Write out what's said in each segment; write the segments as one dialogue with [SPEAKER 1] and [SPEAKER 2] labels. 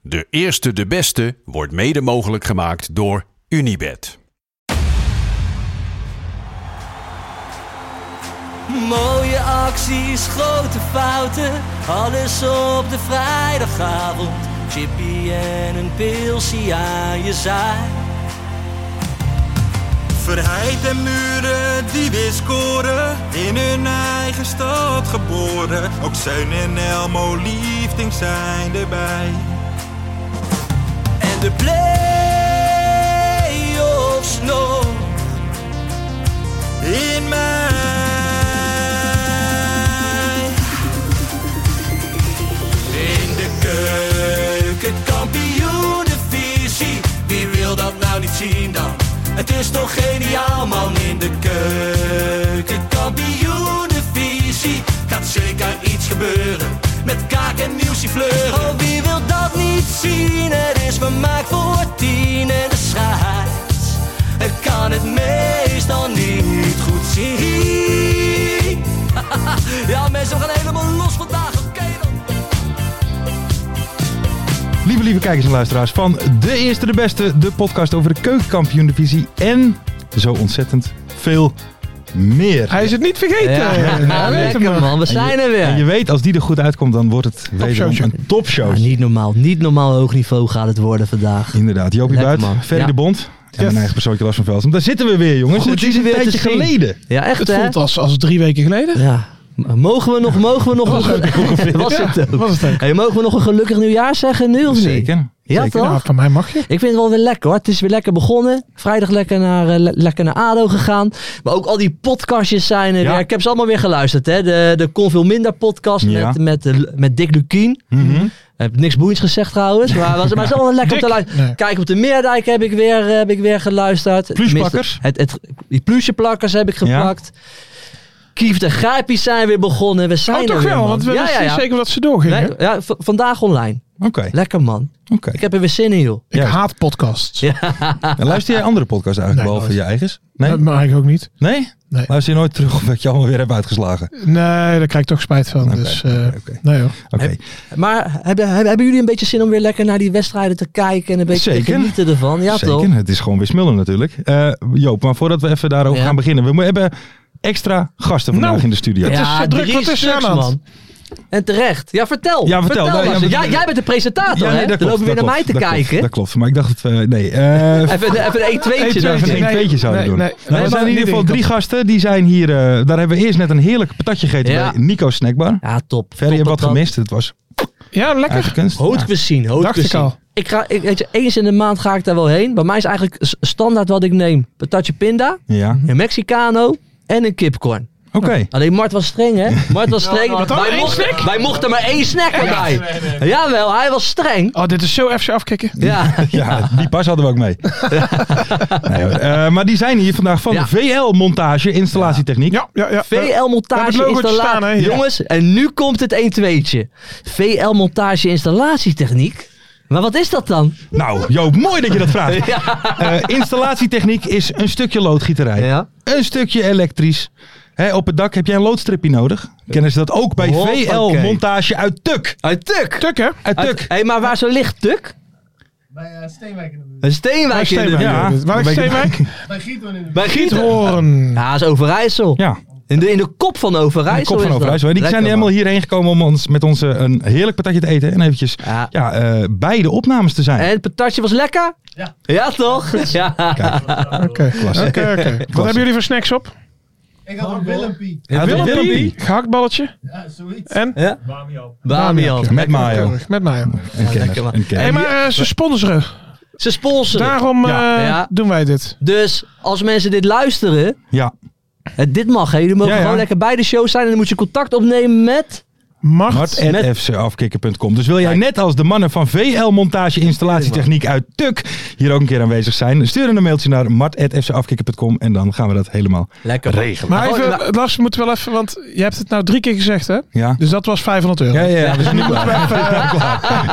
[SPEAKER 1] De eerste, de beste wordt mede mogelijk gemaakt door Unibed.
[SPEAKER 2] Mooie acties, grote fouten, alles op de vrijdagavond. Chippy en een pilsie aan je zaai.
[SPEAKER 3] Verheid en muren die weer scoren, in hun eigen stad geboren. Ook Zijn en Elmo liefding zijn erbij.
[SPEAKER 2] En de play-offs nog
[SPEAKER 3] in mij.
[SPEAKER 2] In de keuken, kampioen de visie. Wie wil dat nou niet zien dan? Het is toch geniaal man in de keuken, kampioen de visie. Gaat zeker iets gebeuren met kaak en nieuwsje fleuren. Oh, wie wil dat niet zien? Het is vermaakt voor tien en de scheids. Ik kan het meestal niet goed zien. Ja, mensen, we gaan helemaal los vandaag. Oké dan.
[SPEAKER 4] Lieve, lieve kijkers en luisteraars van De Eerste de Beste, de podcast over de keukenkampioen-divisie en zo ontzettend veel meer.
[SPEAKER 5] Hij is het niet vergeten.
[SPEAKER 6] Ja,
[SPEAKER 5] Ja,
[SPEAKER 6] ja,
[SPEAKER 5] weet
[SPEAKER 6] lekker
[SPEAKER 5] hem nog.
[SPEAKER 6] man, we zijn er
[SPEAKER 4] En je
[SPEAKER 6] weer.
[SPEAKER 4] weet, als die er goed uitkomt, dan wordt het wederom
[SPEAKER 5] Topshowtje.
[SPEAKER 4] een topshow.
[SPEAKER 6] Ja, niet normaal, niet normaal hoog niveau gaat het worden vandaag.
[SPEAKER 4] Inderdaad, Jopie
[SPEAKER 6] Lekker,
[SPEAKER 4] Buit,
[SPEAKER 6] man.
[SPEAKER 4] Ferry
[SPEAKER 6] Ja.
[SPEAKER 4] de Bond en
[SPEAKER 5] Yes.
[SPEAKER 4] mijn eigen persoontje Lars van Velsen. Daar zitten we weer, jongens.
[SPEAKER 6] Goed
[SPEAKER 4] het is
[SPEAKER 6] jullie
[SPEAKER 4] een
[SPEAKER 6] weer te
[SPEAKER 4] tijdje
[SPEAKER 6] zien.
[SPEAKER 4] geleden.
[SPEAKER 6] Ja, echt
[SPEAKER 5] Het
[SPEAKER 6] hè?
[SPEAKER 5] voelt als, als drie weken geleden.
[SPEAKER 6] Ja. M- Mogen we nog, mogen we nog,
[SPEAKER 5] Was het
[SPEAKER 6] ongeveer, was
[SPEAKER 5] Ja,
[SPEAKER 6] het ook.
[SPEAKER 5] was het ook.
[SPEAKER 6] Hey, mogen we nog een gelukkig nieuwjaar zeggen nu of niet?
[SPEAKER 4] Zeker.
[SPEAKER 6] Ja
[SPEAKER 4] Zeker.
[SPEAKER 6] toch?
[SPEAKER 5] Nou, van mij mag je.
[SPEAKER 6] Ik vind het wel weer lekker hoor. Het is weer lekker begonnen. Vrijdag lekker naar, eh, le- lekker naar ADO gegaan. Maar ook al die podcastjes zijn er
[SPEAKER 4] Ja.
[SPEAKER 6] weer. Ik heb ze allemaal weer geluisterd hè. De, de Kon Veel Minder podcast
[SPEAKER 4] Ja.
[SPEAKER 6] met, met, eh, met Dick Lukien.
[SPEAKER 4] Mhm.
[SPEAKER 6] Heb niks boeiends gezegd trouwens, maar, was, maar het is wel lekker om te
[SPEAKER 5] Dik.
[SPEAKER 6] luisteren.
[SPEAKER 5] Nee.
[SPEAKER 6] Kijk, op de Meerdijk heb ik weer, eh, heb ik weer geluisterd.
[SPEAKER 4] Pluusplakkers.
[SPEAKER 6] Tenminste, Het, het, die pluusjeplakkers heb ik geplakt. Kief de Grijpies zijn weer begonnen. We zijn
[SPEAKER 5] Oh,
[SPEAKER 6] er
[SPEAKER 5] toch
[SPEAKER 6] weer,
[SPEAKER 5] wel,
[SPEAKER 6] man.
[SPEAKER 5] want we
[SPEAKER 6] ja,
[SPEAKER 5] wisten
[SPEAKER 6] ja, ja.
[SPEAKER 5] niet zeker dat ze doorgingen.
[SPEAKER 6] Nee, ja, v- vandaag online.
[SPEAKER 4] Oké,
[SPEAKER 6] Lekker man.
[SPEAKER 4] oké.
[SPEAKER 6] Ik heb er weer zin in, joh.
[SPEAKER 5] Ik
[SPEAKER 4] Ja.
[SPEAKER 5] haat podcasts.
[SPEAKER 6] Ja.
[SPEAKER 4] En Luister jij andere podcasts eigenlijk,
[SPEAKER 5] Nee,
[SPEAKER 4] behalve
[SPEAKER 5] nooit.
[SPEAKER 4] je eigens? Nee?
[SPEAKER 5] Dat mag ik ook niet.
[SPEAKER 4] Nee?
[SPEAKER 5] Nee.
[SPEAKER 4] Luister je nooit terug of ik je allemaal weer heb uitgeslagen?
[SPEAKER 5] Nee, daar krijg ik toch spijt van.
[SPEAKER 4] Oké,
[SPEAKER 5] Dus, eh,
[SPEAKER 4] oké, oké.
[SPEAKER 5] nee hoor.
[SPEAKER 4] Oké.
[SPEAKER 6] Maar hebben, hebben, hebben jullie een beetje zin om weer lekker naar die wedstrijden te kijken en een beetje te
[SPEAKER 4] Zeker.
[SPEAKER 6] genieten ervan? Ja,
[SPEAKER 4] Zeker,
[SPEAKER 6] toch?
[SPEAKER 4] het is gewoon weer smullen natuurlijk. Eh, Joop, maar voordat we even daarover
[SPEAKER 6] Ja.
[SPEAKER 4] gaan beginnen. We mo- hebben extra gasten vandaag
[SPEAKER 5] Nou,
[SPEAKER 4] in de studio.
[SPEAKER 5] Het is zo druk,
[SPEAKER 6] drie
[SPEAKER 5] wat is er
[SPEAKER 6] stuks,
[SPEAKER 5] aan de hand?
[SPEAKER 6] En terecht. Ja, vertel.
[SPEAKER 4] Ja, vertel. Nou, ja,
[SPEAKER 6] Lars.
[SPEAKER 4] maar-
[SPEAKER 6] Ja, jij bent de presentator,
[SPEAKER 4] Ja,
[SPEAKER 6] hè?
[SPEAKER 4] nee, dat
[SPEAKER 6] Dan
[SPEAKER 4] klopt,
[SPEAKER 6] lopen we weer
[SPEAKER 4] dat
[SPEAKER 6] naar mij te
[SPEAKER 4] klopt, dat
[SPEAKER 6] kijken.
[SPEAKER 4] Klopt, dat klopt, maar ik dacht, eh, nee. eh,
[SPEAKER 6] Even, even een 1-2'tje.
[SPEAKER 4] Even
[SPEAKER 6] dacht ik.
[SPEAKER 4] een
[SPEAKER 5] Nee,
[SPEAKER 4] tweetje zouden
[SPEAKER 5] nee,
[SPEAKER 4] doen.
[SPEAKER 5] nee.
[SPEAKER 4] Nou,
[SPEAKER 5] Nee,
[SPEAKER 4] er
[SPEAKER 5] maar
[SPEAKER 4] zijn in
[SPEAKER 5] niet
[SPEAKER 4] ieder geval
[SPEAKER 5] denken.
[SPEAKER 4] drie gasten. Die zijn hier. eh, daar hebben we eerst net een heerlijk patatje gegeten
[SPEAKER 6] Ja.
[SPEAKER 4] bij Nico's Snackbar.
[SPEAKER 6] Ja, top.
[SPEAKER 4] Ferry
[SPEAKER 6] Top
[SPEAKER 4] heeft wat
[SPEAKER 6] dat-
[SPEAKER 4] gemist. Het was
[SPEAKER 5] Ja, lekker.
[SPEAKER 4] eigen kunst.
[SPEAKER 6] Haute
[SPEAKER 4] Ja.
[SPEAKER 6] cuisine, haute
[SPEAKER 5] Dacht ik
[SPEAKER 6] cuisine.
[SPEAKER 5] al.
[SPEAKER 6] Ik ga, ik, weet je, eens in de maand ga ik daar wel heen. Bij mij is eigenlijk s- standaard wat ik neem. Patatje pinda,
[SPEAKER 4] Ja.
[SPEAKER 6] een Mexicano en een kipcorn.
[SPEAKER 4] Oké.
[SPEAKER 6] Alleen Mart was streng, hè? Mart was streng.
[SPEAKER 5] nou, dan
[SPEAKER 6] wij,
[SPEAKER 5] één
[SPEAKER 6] mochten, wij mochten maar één snack erbij. Jawel, hij was streng.
[SPEAKER 5] Oh, dit is zo even afkicken.
[SPEAKER 6] Ja.
[SPEAKER 4] Ja, die pas hadden we ook mee. nee, hoor. Eh, maar die zijn hier vandaag van
[SPEAKER 6] Ja.
[SPEAKER 4] VL Montage Installatietechniek.
[SPEAKER 5] Ja, ja, ja.
[SPEAKER 6] VL
[SPEAKER 5] we
[SPEAKER 6] Montage
[SPEAKER 5] hebben het logootje staan, hè?
[SPEAKER 6] Installatie.
[SPEAKER 5] Ja.
[SPEAKER 6] Jongens, en nu komt het 1-2'tje. VL Montage Installatietechniek. Maar wat is dat dan?
[SPEAKER 4] Nou, Joop, mooi dat je dat vraagt. Eh, installatietechniek is een stukje loodgieterij.
[SPEAKER 6] Ja.
[SPEAKER 4] Een stukje elektrisch. Hè, op het dak heb jij een loodstrippie nodig. Kennen ze dat ook bij
[SPEAKER 6] Hoppakee.
[SPEAKER 4] VL Montage uit Tuk?
[SPEAKER 6] Uit Tuk.
[SPEAKER 5] Tuk, hè?
[SPEAKER 4] Uit
[SPEAKER 6] Uit-
[SPEAKER 4] Tuk.
[SPEAKER 6] Hé, maar waar zo ligt Tuk? Bij eh,
[SPEAKER 5] Bij
[SPEAKER 6] Steenwijk in de buurt. Een Steenwijk in de
[SPEAKER 5] Steenwijk.
[SPEAKER 6] buurt.
[SPEAKER 4] Ja.
[SPEAKER 5] Waar is
[SPEAKER 4] Dan ben ik-
[SPEAKER 5] Steenwijk?
[SPEAKER 6] Bij Gieten.
[SPEAKER 5] Horen.
[SPEAKER 6] Ja, dat is Overijssel.
[SPEAKER 4] Ja.
[SPEAKER 6] In, de, in de kop van Overijssel
[SPEAKER 4] De kop
[SPEAKER 6] is
[SPEAKER 4] van
[SPEAKER 6] dat.
[SPEAKER 4] Overijssel. En Die
[SPEAKER 6] Lekker,
[SPEAKER 4] zijn helemaal
[SPEAKER 6] man.
[SPEAKER 4] hierheen gekomen om ons met ons eh, een heerlijk patatje te eten. En eventjes
[SPEAKER 6] Ja.
[SPEAKER 4] ja. eh, bij de opnames te zijn.
[SPEAKER 6] En het patatje was lekker? Ja. Ja, toch? Ja.
[SPEAKER 5] Oké,
[SPEAKER 4] Klasse.
[SPEAKER 5] oké, oké. Wat hebben jullie voor snacks op?
[SPEAKER 7] Ik had een Willempie.
[SPEAKER 4] Ja,
[SPEAKER 6] Willem
[SPEAKER 4] Willempie.
[SPEAKER 6] Pie.
[SPEAKER 5] Gehaktballetje
[SPEAKER 7] Ja, zoiets.
[SPEAKER 5] en...
[SPEAKER 6] Ja. Bamian.
[SPEAKER 4] Met mayo.
[SPEAKER 5] Keurig, Met mayo.
[SPEAKER 4] Een kenner,
[SPEAKER 6] lekker man.
[SPEAKER 4] een kenner.
[SPEAKER 5] Hé, hey, maar eh, ze sponsoren.
[SPEAKER 6] Ze sponsoren.
[SPEAKER 5] Daarom
[SPEAKER 4] Ja.
[SPEAKER 5] eh,
[SPEAKER 6] Ja.
[SPEAKER 5] doen wij dit.
[SPEAKER 6] Dus als mensen dit luisteren,
[SPEAKER 4] Ja.
[SPEAKER 6] eh, dit mag. Hè. Jullie mogen
[SPEAKER 4] Ja, ja.
[SPEAKER 6] gewoon lekker bij de show zijn en dan moet je contact opnemen met...
[SPEAKER 5] Macht.
[SPEAKER 4] Mart.fcafkikker.com. Dus wil jij net als de mannen van VL Montage Installatietechniek uit Tuk hier ook een keer aanwezig zijn? Stuur een mailtje naar mart.fcafkikker.com en dan gaan we dat helemaal
[SPEAKER 6] Lekker.
[SPEAKER 4] regelen.
[SPEAKER 5] Maar
[SPEAKER 6] Oh, ja.
[SPEAKER 5] even, Lars, we moeten wel even, want je hebt het nou drie keer gezegd, hè?
[SPEAKER 4] Ja.
[SPEAKER 5] Dus dat was 500 euro.
[SPEAKER 4] Ja, ja, ja, we zijn nu klaar.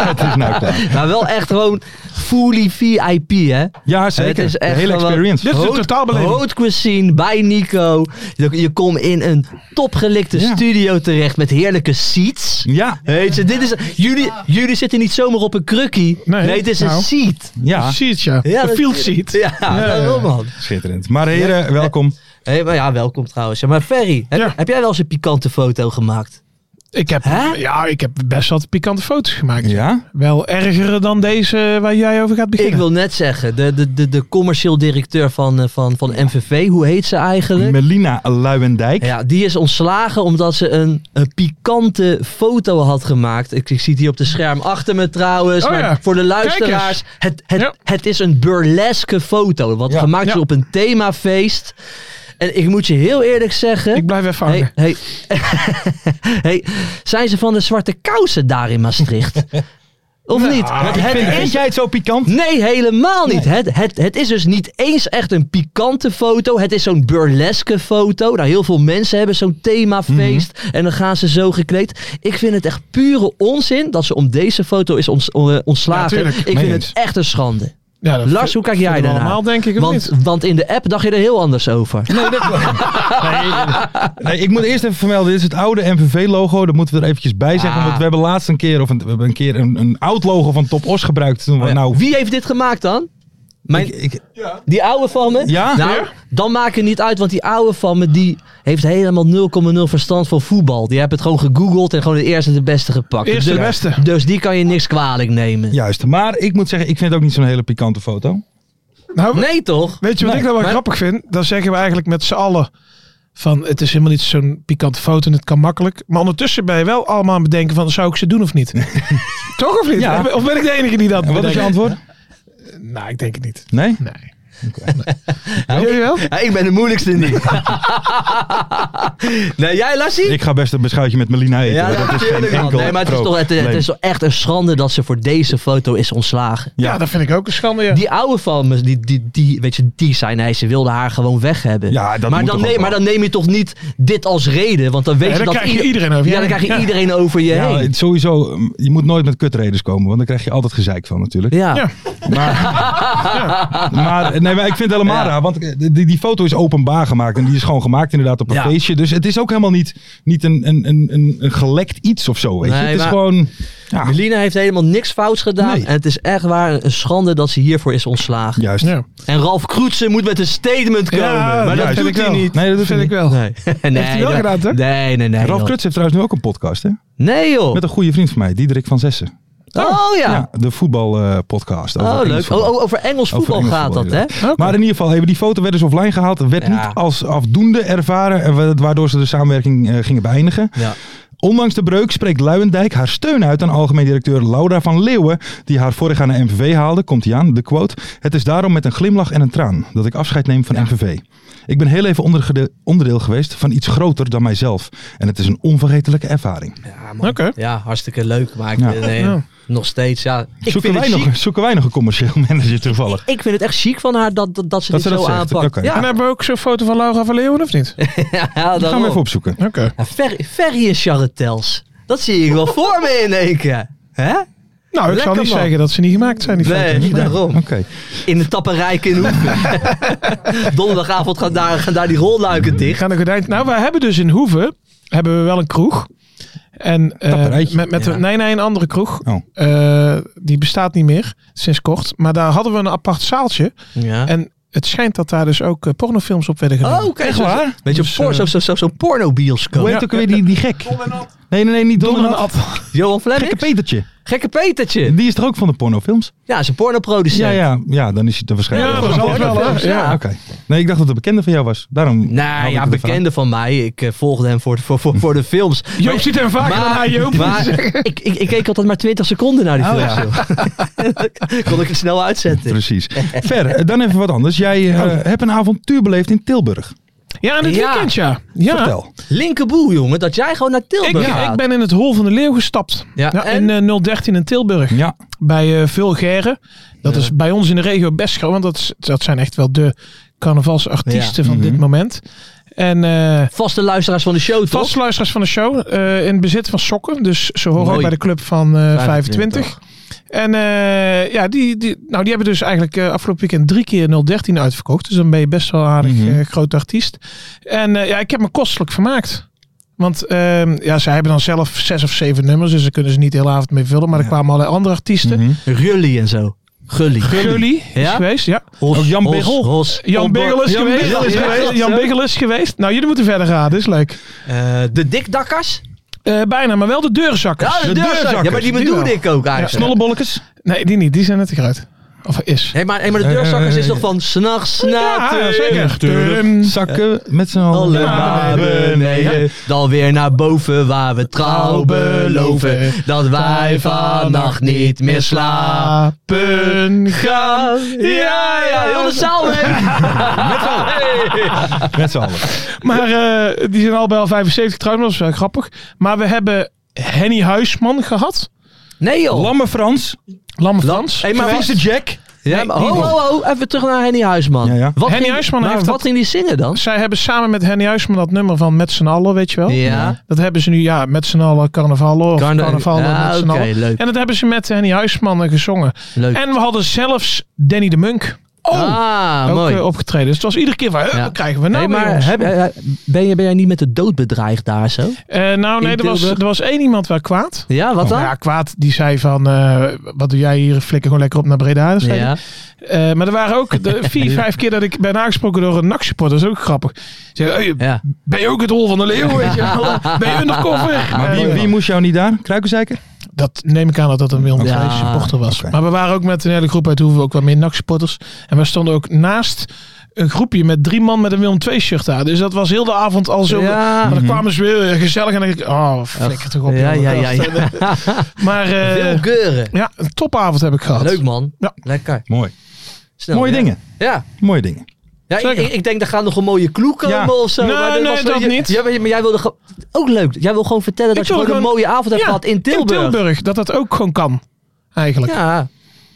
[SPEAKER 4] Het is nou klaar.
[SPEAKER 6] Maar wel echt gewoon fully VIP, hè?
[SPEAKER 4] Ja, zeker.
[SPEAKER 6] Het is echt
[SPEAKER 4] de hele
[SPEAKER 6] gewoon-
[SPEAKER 4] experience.
[SPEAKER 5] Dit is een
[SPEAKER 6] Haute-
[SPEAKER 5] totaalbeleving.
[SPEAKER 6] Haute cuisine bij Nico. Je, je komt in een topgelikte
[SPEAKER 4] Ja.
[SPEAKER 6] studio terecht met heerlijke seats.
[SPEAKER 4] Ja,
[SPEAKER 6] Weet je, dit is, jullie, jullie zitten niet zomaar op een krukkie. Nee,
[SPEAKER 5] Nee,
[SPEAKER 6] het is een
[SPEAKER 5] nou.
[SPEAKER 6] seat.
[SPEAKER 4] ja.
[SPEAKER 5] Zie het, ja.
[SPEAKER 6] Ja,
[SPEAKER 5] Een
[SPEAKER 6] dat-
[SPEAKER 5] field seat.
[SPEAKER 6] Ja, daarom, man.
[SPEAKER 4] Schitterend. Maar heren, welkom.
[SPEAKER 6] Hé, maar ja, welkom trouwens. Ja, maar Ferry, heb,
[SPEAKER 5] Ja.
[SPEAKER 6] heb jij wel eens een pikante foto gemaakt?
[SPEAKER 5] Ik heb,
[SPEAKER 6] Hè?
[SPEAKER 5] ja, ik heb best wat pikante foto's gemaakt.
[SPEAKER 4] Ja?
[SPEAKER 5] Wel ergere dan deze waar jij over gaat beginnen.
[SPEAKER 6] Ik wil net zeggen, de, de, de, de commercieel directeur van, eh, van, van MVV, hoe heet ze eigenlijk?
[SPEAKER 4] Melina Luijendijk.
[SPEAKER 6] Ja, die is ontslagen omdat ze een, een pikante foto had gemaakt. Ik, ik zie het hier op de scherm achter me trouwens.
[SPEAKER 5] Oh
[SPEAKER 6] maar
[SPEAKER 5] ja.
[SPEAKER 6] voor de luisteraars, het, het,
[SPEAKER 5] Ja.
[SPEAKER 6] het is een burleske foto. Wat
[SPEAKER 4] Ja.
[SPEAKER 6] gemaakt is
[SPEAKER 5] Ja.
[SPEAKER 6] op een themafeest. En ik moet je heel eerlijk zeggen...
[SPEAKER 5] Ik blijf even
[SPEAKER 6] Hey, hey,
[SPEAKER 5] hangen.
[SPEAKER 6] hey, zijn ze van de zwarte kousen daar in Maastricht? Of
[SPEAKER 5] Nou,
[SPEAKER 6] niet? Het, het
[SPEAKER 4] Vind,
[SPEAKER 6] is
[SPEAKER 4] vind jij het zo pikant?
[SPEAKER 6] Nee, helemaal niet. Het, het, het is dus niet eens echt een pikante foto. Het is zo'n burleske foto. Nou, heel veel mensen hebben zo'n themafeest.
[SPEAKER 5] Mhm.
[SPEAKER 6] En dan gaan ze zo gekleed. Ik vind het echt pure onzin dat ze om deze foto is ons, eh, ontslagen.
[SPEAKER 5] Ja, tuurlijk.
[SPEAKER 6] ik
[SPEAKER 4] Mee
[SPEAKER 6] vind
[SPEAKER 4] eens.
[SPEAKER 6] het echt een schande.
[SPEAKER 5] Ja, dat
[SPEAKER 6] Lars, hoe kijk jij
[SPEAKER 5] vinden we
[SPEAKER 6] daarnaar?
[SPEAKER 5] allemaal, denk ik, of
[SPEAKER 6] Want,
[SPEAKER 5] niet?
[SPEAKER 6] want in de app dacht je er heel anders over.
[SPEAKER 4] Nee, dat nee, nee, ik moet eerst even vermelden, dit is het oude MVV-logo. Dat moeten we er eventjes bij zeggen.
[SPEAKER 6] Ah.
[SPEAKER 4] Want we hebben laatst een keer, of een, we hebben een keer een, een oud logo van Top Os gebruikt.
[SPEAKER 6] Oh
[SPEAKER 4] Toen we nou...
[SPEAKER 6] Wie heeft dit gemaakt dan? Mijn,
[SPEAKER 4] Ik- ik-
[SPEAKER 6] die oude van me?
[SPEAKER 4] Ja?
[SPEAKER 6] Nou, dan maakt het niet uit, want die oude van me die heeft helemaal 0,0 verstand van voetbal. Die heeft het gewoon gegoogeld en gewoon de eerste de beste gepakt.
[SPEAKER 5] Eerste
[SPEAKER 6] dus,
[SPEAKER 5] de beste.
[SPEAKER 6] Dus die kan je niks kwalijk nemen.
[SPEAKER 4] Juist. Maar ik moet zeggen, ik vind het ook niet zo'n hele pikante foto.
[SPEAKER 5] Nou,
[SPEAKER 6] Nee toch?
[SPEAKER 5] Weet je wat
[SPEAKER 4] Nee,
[SPEAKER 5] ik nou wel
[SPEAKER 6] maar-
[SPEAKER 5] grappig vind? Dan zeggen we eigenlijk met z'n allen van het is helemaal niet zo'n pikante foto en het kan makkelijk. Maar ondertussen ben je wel allemaal aan het bedenken van zou ik ze doen of niet? Toch of niet?
[SPEAKER 4] Ja.
[SPEAKER 5] Of ben ik de enige die dat
[SPEAKER 4] En wat is je
[SPEAKER 5] bedenkt?
[SPEAKER 4] antwoord?
[SPEAKER 5] Nou, ik denk het niet.
[SPEAKER 4] Nee?
[SPEAKER 5] Nee. Jullie wel?
[SPEAKER 6] Ja, ik ben de moeilijkste niet. nee, jij Lassie?
[SPEAKER 4] Ik ga best een beschuitje met Melina eten.
[SPEAKER 6] ja,
[SPEAKER 4] hoor. dat is geen
[SPEAKER 6] natuurlijk wel.
[SPEAKER 4] enkel
[SPEAKER 6] Nee, maar het is, toch, het, het
[SPEAKER 4] probleem.
[SPEAKER 6] is toch echt een schande dat ze voor deze foto is ontslagen.
[SPEAKER 5] Ja. dat vind ik ook een schande. Ja.
[SPEAKER 6] Die oude van me, die, die, die, weet je, die zijn hij, ze wilde haar gewoon weg hebben.
[SPEAKER 4] Ja, dat
[SPEAKER 6] maar,
[SPEAKER 4] moet
[SPEAKER 6] dan
[SPEAKER 4] toch ook
[SPEAKER 6] neem, maar
[SPEAKER 4] wel.
[SPEAKER 6] dan neem je toch niet dit als reden, want dan weet
[SPEAKER 5] Ja,
[SPEAKER 6] je
[SPEAKER 5] dan
[SPEAKER 6] dat
[SPEAKER 5] krijg je
[SPEAKER 6] ieder-
[SPEAKER 5] iedereen over je
[SPEAKER 6] Ja, dan
[SPEAKER 5] heen.
[SPEAKER 6] krijg je
[SPEAKER 5] Ja.
[SPEAKER 6] iedereen over je
[SPEAKER 4] Ja,
[SPEAKER 6] heen.
[SPEAKER 4] het- sowieso, mm, je moet nooit met kutredens komen, want dan krijg je altijd gezeik van natuurlijk.
[SPEAKER 6] Ja.
[SPEAKER 5] Ja.
[SPEAKER 4] Maar, nee, maar ik vind het helemaal
[SPEAKER 6] Ja.
[SPEAKER 4] raar, want eh, die, die foto is openbaar gemaakt en die is gewoon gemaakt inderdaad op een
[SPEAKER 6] Ja.
[SPEAKER 4] feestje. Dus het is ook helemaal niet, niet een, een, een, een, een gelekt iets of zo, weet je.
[SPEAKER 6] Nee,
[SPEAKER 4] het is
[SPEAKER 6] maar-
[SPEAKER 4] gewoon... Ja,
[SPEAKER 6] Melina heeft helemaal niks fouts gedaan.
[SPEAKER 4] Nee.
[SPEAKER 6] En het is echt waar een schande dat ze hiervoor is ontslagen.
[SPEAKER 4] juist.
[SPEAKER 5] Ja.
[SPEAKER 6] En Ralf Kroetsen moet met een statement komen.
[SPEAKER 5] Ah,
[SPEAKER 6] maar dat
[SPEAKER 4] juist.
[SPEAKER 6] doet hij
[SPEAKER 4] wel.
[SPEAKER 6] niet.
[SPEAKER 4] Nee, dat doet
[SPEAKER 5] vind
[SPEAKER 4] hij
[SPEAKER 5] ik
[SPEAKER 4] niet.
[SPEAKER 5] wel.
[SPEAKER 6] Nee. nee,
[SPEAKER 5] hij wel
[SPEAKER 6] dat-
[SPEAKER 5] gedaan, toch?
[SPEAKER 6] Nee, nee, nee.
[SPEAKER 4] Ralf
[SPEAKER 6] joh.
[SPEAKER 4] Kruts heeft trouwens nu ook een podcast, hè?
[SPEAKER 6] Nee joh.
[SPEAKER 4] Met een goede vriend van mij, Diederik van Zessen.
[SPEAKER 6] Oh ja.
[SPEAKER 4] Ja, de voetbalpodcast.
[SPEAKER 6] Oh leuk. Oh, oh, over Engels
[SPEAKER 4] Over
[SPEAKER 6] voetbal
[SPEAKER 4] Engels
[SPEAKER 6] gaat
[SPEAKER 4] voetbal,
[SPEAKER 6] dat hè?
[SPEAKER 4] Maar in ieder geval, hebben die foto werd dus offline gehaald. Werd
[SPEAKER 6] Ja.
[SPEAKER 4] niet als afdoende ervaren, en wa- waardoor ze de samenwerking eh, gingen beëindigen.
[SPEAKER 6] Ja.
[SPEAKER 4] Ondanks de breuk spreekt Luijendijk haar steun uit aan algemeen directeur Laura van Leeuwen, die haar vorig jaar naar MVV haalde. Komt hij aan, de quote. Het is daarom met een glimlach en een traan dat ik afscheid neem van MVV. Ik ben heel even ondergede- onderdeel geweest van iets groter dan mijzelf. En het is een onvergetelijke ervaring.
[SPEAKER 6] Ja,
[SPEAKER 5] Oké.
[SPEAKER 6] Ja, hartstikke leuk. Maar ik, eh,
[SPEAKER 4] Ja.
[SPEAKER 6] nee,
[SPEAKER 5] Ja.
[SPEAKER 6] nog steeds, ja. Ik
[SPEAKER 4] Zoeken
[SPEAKER 6] vind
[SPEAKER 4] wij,
[SPEAKER 6] het chic.
[SPEAKER 4] nog, zoeken wij nog een commercieel manager toevallig?
[SPEAKER 6] Ik vind het echt chic van haar dat, dat, dat ze
[SPEAKER 4] Dat
[SPEAKER 6] dit
[SPEAKER 4] ze dat
[SPEAKER 6] zo
[SPEAKER 4] zegt,
[SPEAKER 6] aanpakt.
[SPEAKER 4] oké.
[SPEAKER 5] En
[SPEAKER 6] Ja,
[SPEAKER 5] hebben we ook zo'n foto van Laura van Leeuwen of niet? Oké.
[SPEAKER 6] ja,
[SPEAKER 4] Dat gaan we even opzoeken.
[SPEAKER 6] Ferry Ferry en Charretels. Dat zie ik wel voor me in één keer. Hè?
[SPEAKER 5] Nou, ik
[SPEAKER 6] Lekker,
[SPEAKER 5] zal niet
[SPEAKER 6] man.
[SPEAKER 5] zeggen dat ze niet gemaakt zijn, die foto.
[SPEAKER 6] Nee, daarom.
[SPEAKER 4] Oké.
[SPEAKER 6] In de tapperijk in Hoeven. Donderdagavond gaan daar, gaan daar die rolluiken
[SPEAKER 5] Die
[SPEAKER 6] dicht.
[SPEAKER 5] gaan de gordijn. Nou, we hebben dus in Hoeve hebben we wel een kroeg. En eh,
[SPEAKER 4] Tapperijtje.
[SPEAKER 5] met, met
[SPEAKER 6] Ja.
[SPEAKER 5] een, nee, nee, een andere kroeg.
[SPEAKER 4] Oh.
[SPEAKER 5] Eh, die bestaat niet meer sinds kort. Maar daar hadden we een apart zaaltje.
[SPEAKER 6] Ja.
[SPEAKER 4] Eh,
[SPEAKER 5] En het schijnt dat daar dus ook eh, pornofilms op werden
[SPEAKER 6] Oh,
[SPEAKER 5] gedaan.
[SPEAKER 6] kijk.
[SPEAKER 4] Echt
[SPEAKER 6] zo-
[SPEAKER 4] waar?
[SPEAKER 6] Weet je,
[SPEAKER 5] Dus,
[SPEAKER 6] por-
[SPEAKER 5] eh,
[SPEAKER 6] zo- zo- zo- zo'n pornobioscoop.
[SPEAKER 4] Hoe heet ook weer die, die gek? Nee, nee, nee, niet Don, en Ad.
[SPEAKER 6] Johan
[SPEAKER 4] Gekke
[SPEAKER 6] Flemming?
[SPEAKER 4] Petertje.
[SPEAKER 6] Gekke Petertje.
[SPEAKER 4] Die is toch ook van de pornofilms?
[SPEAKER 6] Ja, is een pornoproducent.
[SPEAKER 4] Ja, ja, ja, dan is hij er waarschijnlijk.
[SPEAKER 5] Ja,
[SPEAKER 4] wel.
[SPEAKER 5] dat zal het wel, hè?
[SPEAKER 6] Ja.
[SPEAKER 5] Ja.
[SPEAKER 4] Ah, Oké. Nee, ik dacht dat het een bekende van jou was. Daarom. haalde
[SPEAKER 6] Nou
[SPEAKER 4] ik
[SPEAKER 6] ja,
[SPEAKER 4] het ervan.
[SPEAKER 6] bekende van mij. Ik eh, volgde hem voor, voor, voor, voor de films.
[SPEAKER 5] Joop ziet hem vaker dan hij, Joop. Oh,
[SPEAKER 6] maar ik, ik, ik keek altijd maar 20 seconden naar die films. joh. Kon ik het snel uitzetten.
[SPEAKER 4] Precies. Ver, eh, dan even wat anders. Jij eh,
[SPEAKER 5] Oh.
[SPEAKER 4] hebt een avontuur beleefd in Tilburg.
[SPEAKER 5] Ja, in het
[SPEAKER 6] Ja.
[SPEAKER 5] weekend, ja. ja.
[SPEAKER 4] Vertel.
[SPEAKER 6] Linkerboel, jongen, dat jij gewoon naar
[SPEAKER 5] Ik,
[SPEAKER 6] Tilburg gaat.
[SPEAKER 5] ik ben in het Hol van de Leeuw gestapt.
[SPEAKER 6] Ja,
[SPEAKER 5] Ja,
[SPEAKER 6] en?
[SPEAKER 5] in eh, 013 in Tilburg.
[SPEAKER 4] Ja.
[SPEAKER 5] bij eh Vulgaire. Dat is bij ons in de regio best groot, want dat, is- dat zijn echt wel de carnavalsartiesten van dit moment. En eh
[SPEAKER 6] Vaste luisteraars van de show, toch?
[SPEAKER 5] vaste luisteraars van de show eh, in bezit van sokken, dus ze horen
[SPEAKER 6] Mooi.
[SPEAKER 5] ook bij de club van eh, 25. En eh, ja, die, die, nou, die hebben dus eigenlijk eh, afgelopen weekend drie keer 013 uitverkocht. Dus dan ben je best wel een aardig
[SPEAKER 4] Mhm.
[SPEAKER 5] eh, groot artiest. En eh, ja, ik heb me kostelijk vermaakt. Want ehm, ja, zij hebben dan zelf zes of zeven nummers, dus daar kunnen ze niet de hele avond mee vullen. Maar er kwamen allerlei andere artiesten.
[SPEAKER 4] Mhm.
[SPEAKER 6] Rully en zo. Gully.
[SPEAKER 5] Gully is
[SPEAKER 6] Ja?
[SPEAKER 5] geweest, ja.
[SPEAKER 6] Hos,
[SPEAKER 4] Ook Jan
[SPEAKER 6] Hos,
[SPEAKER 4] Biggel?
[SPEAKER 6] Hos.
[SPEAKER 5] Jan Biggel is
[SPEAKER 6] Jan
[SPEAKER 5] geweest.
[SPEAKER 6] Biggel is
[SPEAKER 5] is geweest.
[SPEAKER 6] geweest,
[SPEAKER 5] Jan
[SPEAKER 6] ja.
[SPEAKER 5] Biggel is geweest. Nou, jullie moeten verder raden, is leuk.
[SPEAKER 6] Eh, de dikdakkers?
[SPEAKER 5] Eh, bijna, maar wel de deurzakkers.
[SPEAKER 6] Ja, de, deurzakkers. Ja, maar die
[SPEAKER 5] Die
[SPEAKER 6] bedoelde
[SPEAKER 5] wel.
[SPEAKER 6] ik ook eigenlijk.
[SPEAKER 4] Snollebollekes?
[SPEAKER 5] Nee, die niet. Die zijn net te groot. Of is.
[SPEAKER 6] Hé, maar, hé, maar de deurzakkers is toch van s'nachts na
[SPEAKER 5] Eh, Ja,
[SPEAKER 6] te-
[SPEAKER 5] zeker.
[SPEAKER 4] Tuurlijk. Zakken met z'n allen
[SPEAKER 6] Alle naar beneden, dan weer naar boven waar we trouw beloven dat wij vannacht niet meer slapen
[SPEAKER 5] slapen
[SPEAKER 6] gaan. Ja, ja, heel de zaal weg.
[SPEAKER 4] Met z'n allen.
[SPEAKER 5] Maar eh, die zijn al bij al 75 trouwens, dat is wel grappig. Maar we hebben Henny Huisman gehad.
[SPEAKER 6] Nee joh.
[SPEAKER 4] Lamme Frans.
[SPEAKER 5] Lamme Frans.
[SPEAKER 6] Hey, Oh. maar Ah,
[SPEAKER 5] geweest.
[SPEAKER 6] wacht.
[SPEAKER 4] Jack.
[SPEAKER 6] Ja,
[SPEAKER 5] Nee,
[SPEAKER 6] maar
[SPEAKER 5] die
[SPEAKER 6] ho,
[SPEAKER 5] niet.
[SPEAKER 6] ho, ho, even terug naar Henny Huisman.
[SPEAKER 4] Ja, ja.
[SPEAKER 6] Wat
[SPEAKER 5] Henny
[SPEAKER 6] ging-
[SPEAKER 5] Huisman
[SPEAKER 6] maar
[SPEAKER 5] heeft
[SPEAKER 6] wat
[SPEAKER 5] dat-
[SPEAKER 6] ging die zingen dan?
[SPEAKER 5] Zij hebben samen met Henny Huisman dat nummer van Met z'n allen, weet je wel.
[SPEAKER 6] Ja.
[SPEAKER 5] Dat hebben ze nu, ja, met z'n allen carnavallen of
[SPEAKER 6] Carna-
[SPEAKER 5] carnavallen
[SPEAKER 6] Ja,
[SPEAKER 5] met z'n
[SPEAKER 6] Ah, oké,
[SPEAKER 5] allen.
[SPEAKER 6] leuk.
[SPEAKER 5] En dat hebben ze met Henny Huisman eh, gezongen.
[SPEAKER 6] Leuk.
[SPEAKER 5] En we hadden zelfs Danny de Munk Oh,
[SPEAKER 6] ah,
[SPEAKER 5] ook
[SPEAKER 6] mooi.
[SPEAKER 5] eh, opgetreden. Dus het was iedere keer van, huh,
[SPEAKER 6] Ja.
[SPEAKER 5] wat krijgen we nou
[SPEAKER 6] Hey,
[SPEAKER 5] weer,
[SPEAKER 6] maar
[SPEAKER 5] jongens?
[SPEAKER 6] heb, eh, ben, je, ben jij niet met de dood bedreigd daar zo?
[SPEAKER 5] Eh, nou nee,
[SPEAKER 6] in
[SPEAKER 5] er was,
[SPEAKER 6] Tilburg?
[SPEAKER 5] er was één iemand wel kwaad.
[SPEAKER 6] Ja, wat dan?
[SPEAKER 5] Nou ja, kwaad die zei van, eh, wat doe jij hier? Flikker gewoon lekker op naar Breda. Dus zei
[SPEAKER 6] Ja.
[SPEAKER 5] hij. Eh, maar er waren ook de vier, vijf keer dat ik ben aangesproken door een NAC-supporter. Dat is ook grappig. Ze Zei, hey,
[SPEAKER 6] Ja.
[SPEAKER 5] Ben je ook het hol van de leeuw? Weet je? wel? ben je undercover?
[SPEAKER 4] Maar wie,
[SPEAKER 5] Eh,
[SPEAKER 4] wie moest jou niet daar? Kruikenzeiker?
[SPEAKER 5] Dat neem ik aan dat dat een Willem
[SPEAKER 6] Ja,
[SPEAKER 5] II supporter was.
[SPEAKER 4] oké.
[SPEAKER 5] Maar we waren ook met een hele groep uit Hoeven, ook wat meer NAC-supporters. En we stonden ook naast een groepje met drie man met een Willem II shirt aan. Dus dat was heel de avond al zo.
[SPEAKER 6] Ja. Mhm.
[SPEAKER 5] Maar dan kwamen ze weer eh, gezellig en dan dacht ik, oh, flikker toch op.
[SPEAKER 6] Ja,
[SPEAKER 5] jongen,
[SPEAKER 6] ja, ja,
[SPEAKER 5] gast.
[SPEAKER 6] ja.
[SPEAKER 5] Maar eh,
[SPEAKER 6] Veel geuren.
[SPEAKER 5] ja, een topavond heb ik gehad.
[SPEAKER 6] Leuk man.
[SPEAKER 5] Ja.
[SPEAKER 6] Lekker.
[SPEAKER 4] Mooi.
[SPEAKER 6] Snel,
[SPEAKER 4] Mooie
[SPEAKER 6] ja.
[SPEAKER 4] dingen.
[SPEAKER 6] Ja.
[SPEAKER 4] Mooie dingen.
[SPEAKER 6] Ja, ik,
[SPEAKER 5] Zeker.
[SPEAKER 6] ik, ik denk er gaan nog een mooie kloek komen
[SPEAKER 4] Ja.
[SPEAKER 6] of zo.
[SPEAKER 5] Nee,
[SPEAKER 6] maar
[SPEAKER 5] nee, dat
[SPEAKER 6] je-
[SPEAKER 5] niet.
[SPEAKER 6] Ja, maar, maar jij wilde gewoon- ook leuk. Jij wil gewoon vertellen dat
[SPEAKER 5] Ik
[SPEAKER 6] je
[SPEAKER 5] wil
[SPEAKER 6] gewoon een
[SPEAKER 5] gewoon-
[SPEAKER 6] mooie avond hebt
[SPEAKER 5] Ja,
[SPEAKER 6] gehad in Tilburg.
[SPEAKER 5] In Tilburg, dat dat ook gewoon kan. Eigenlijk.
[SPEAKER 6] Ja,
[SPEAKER 4] Dat is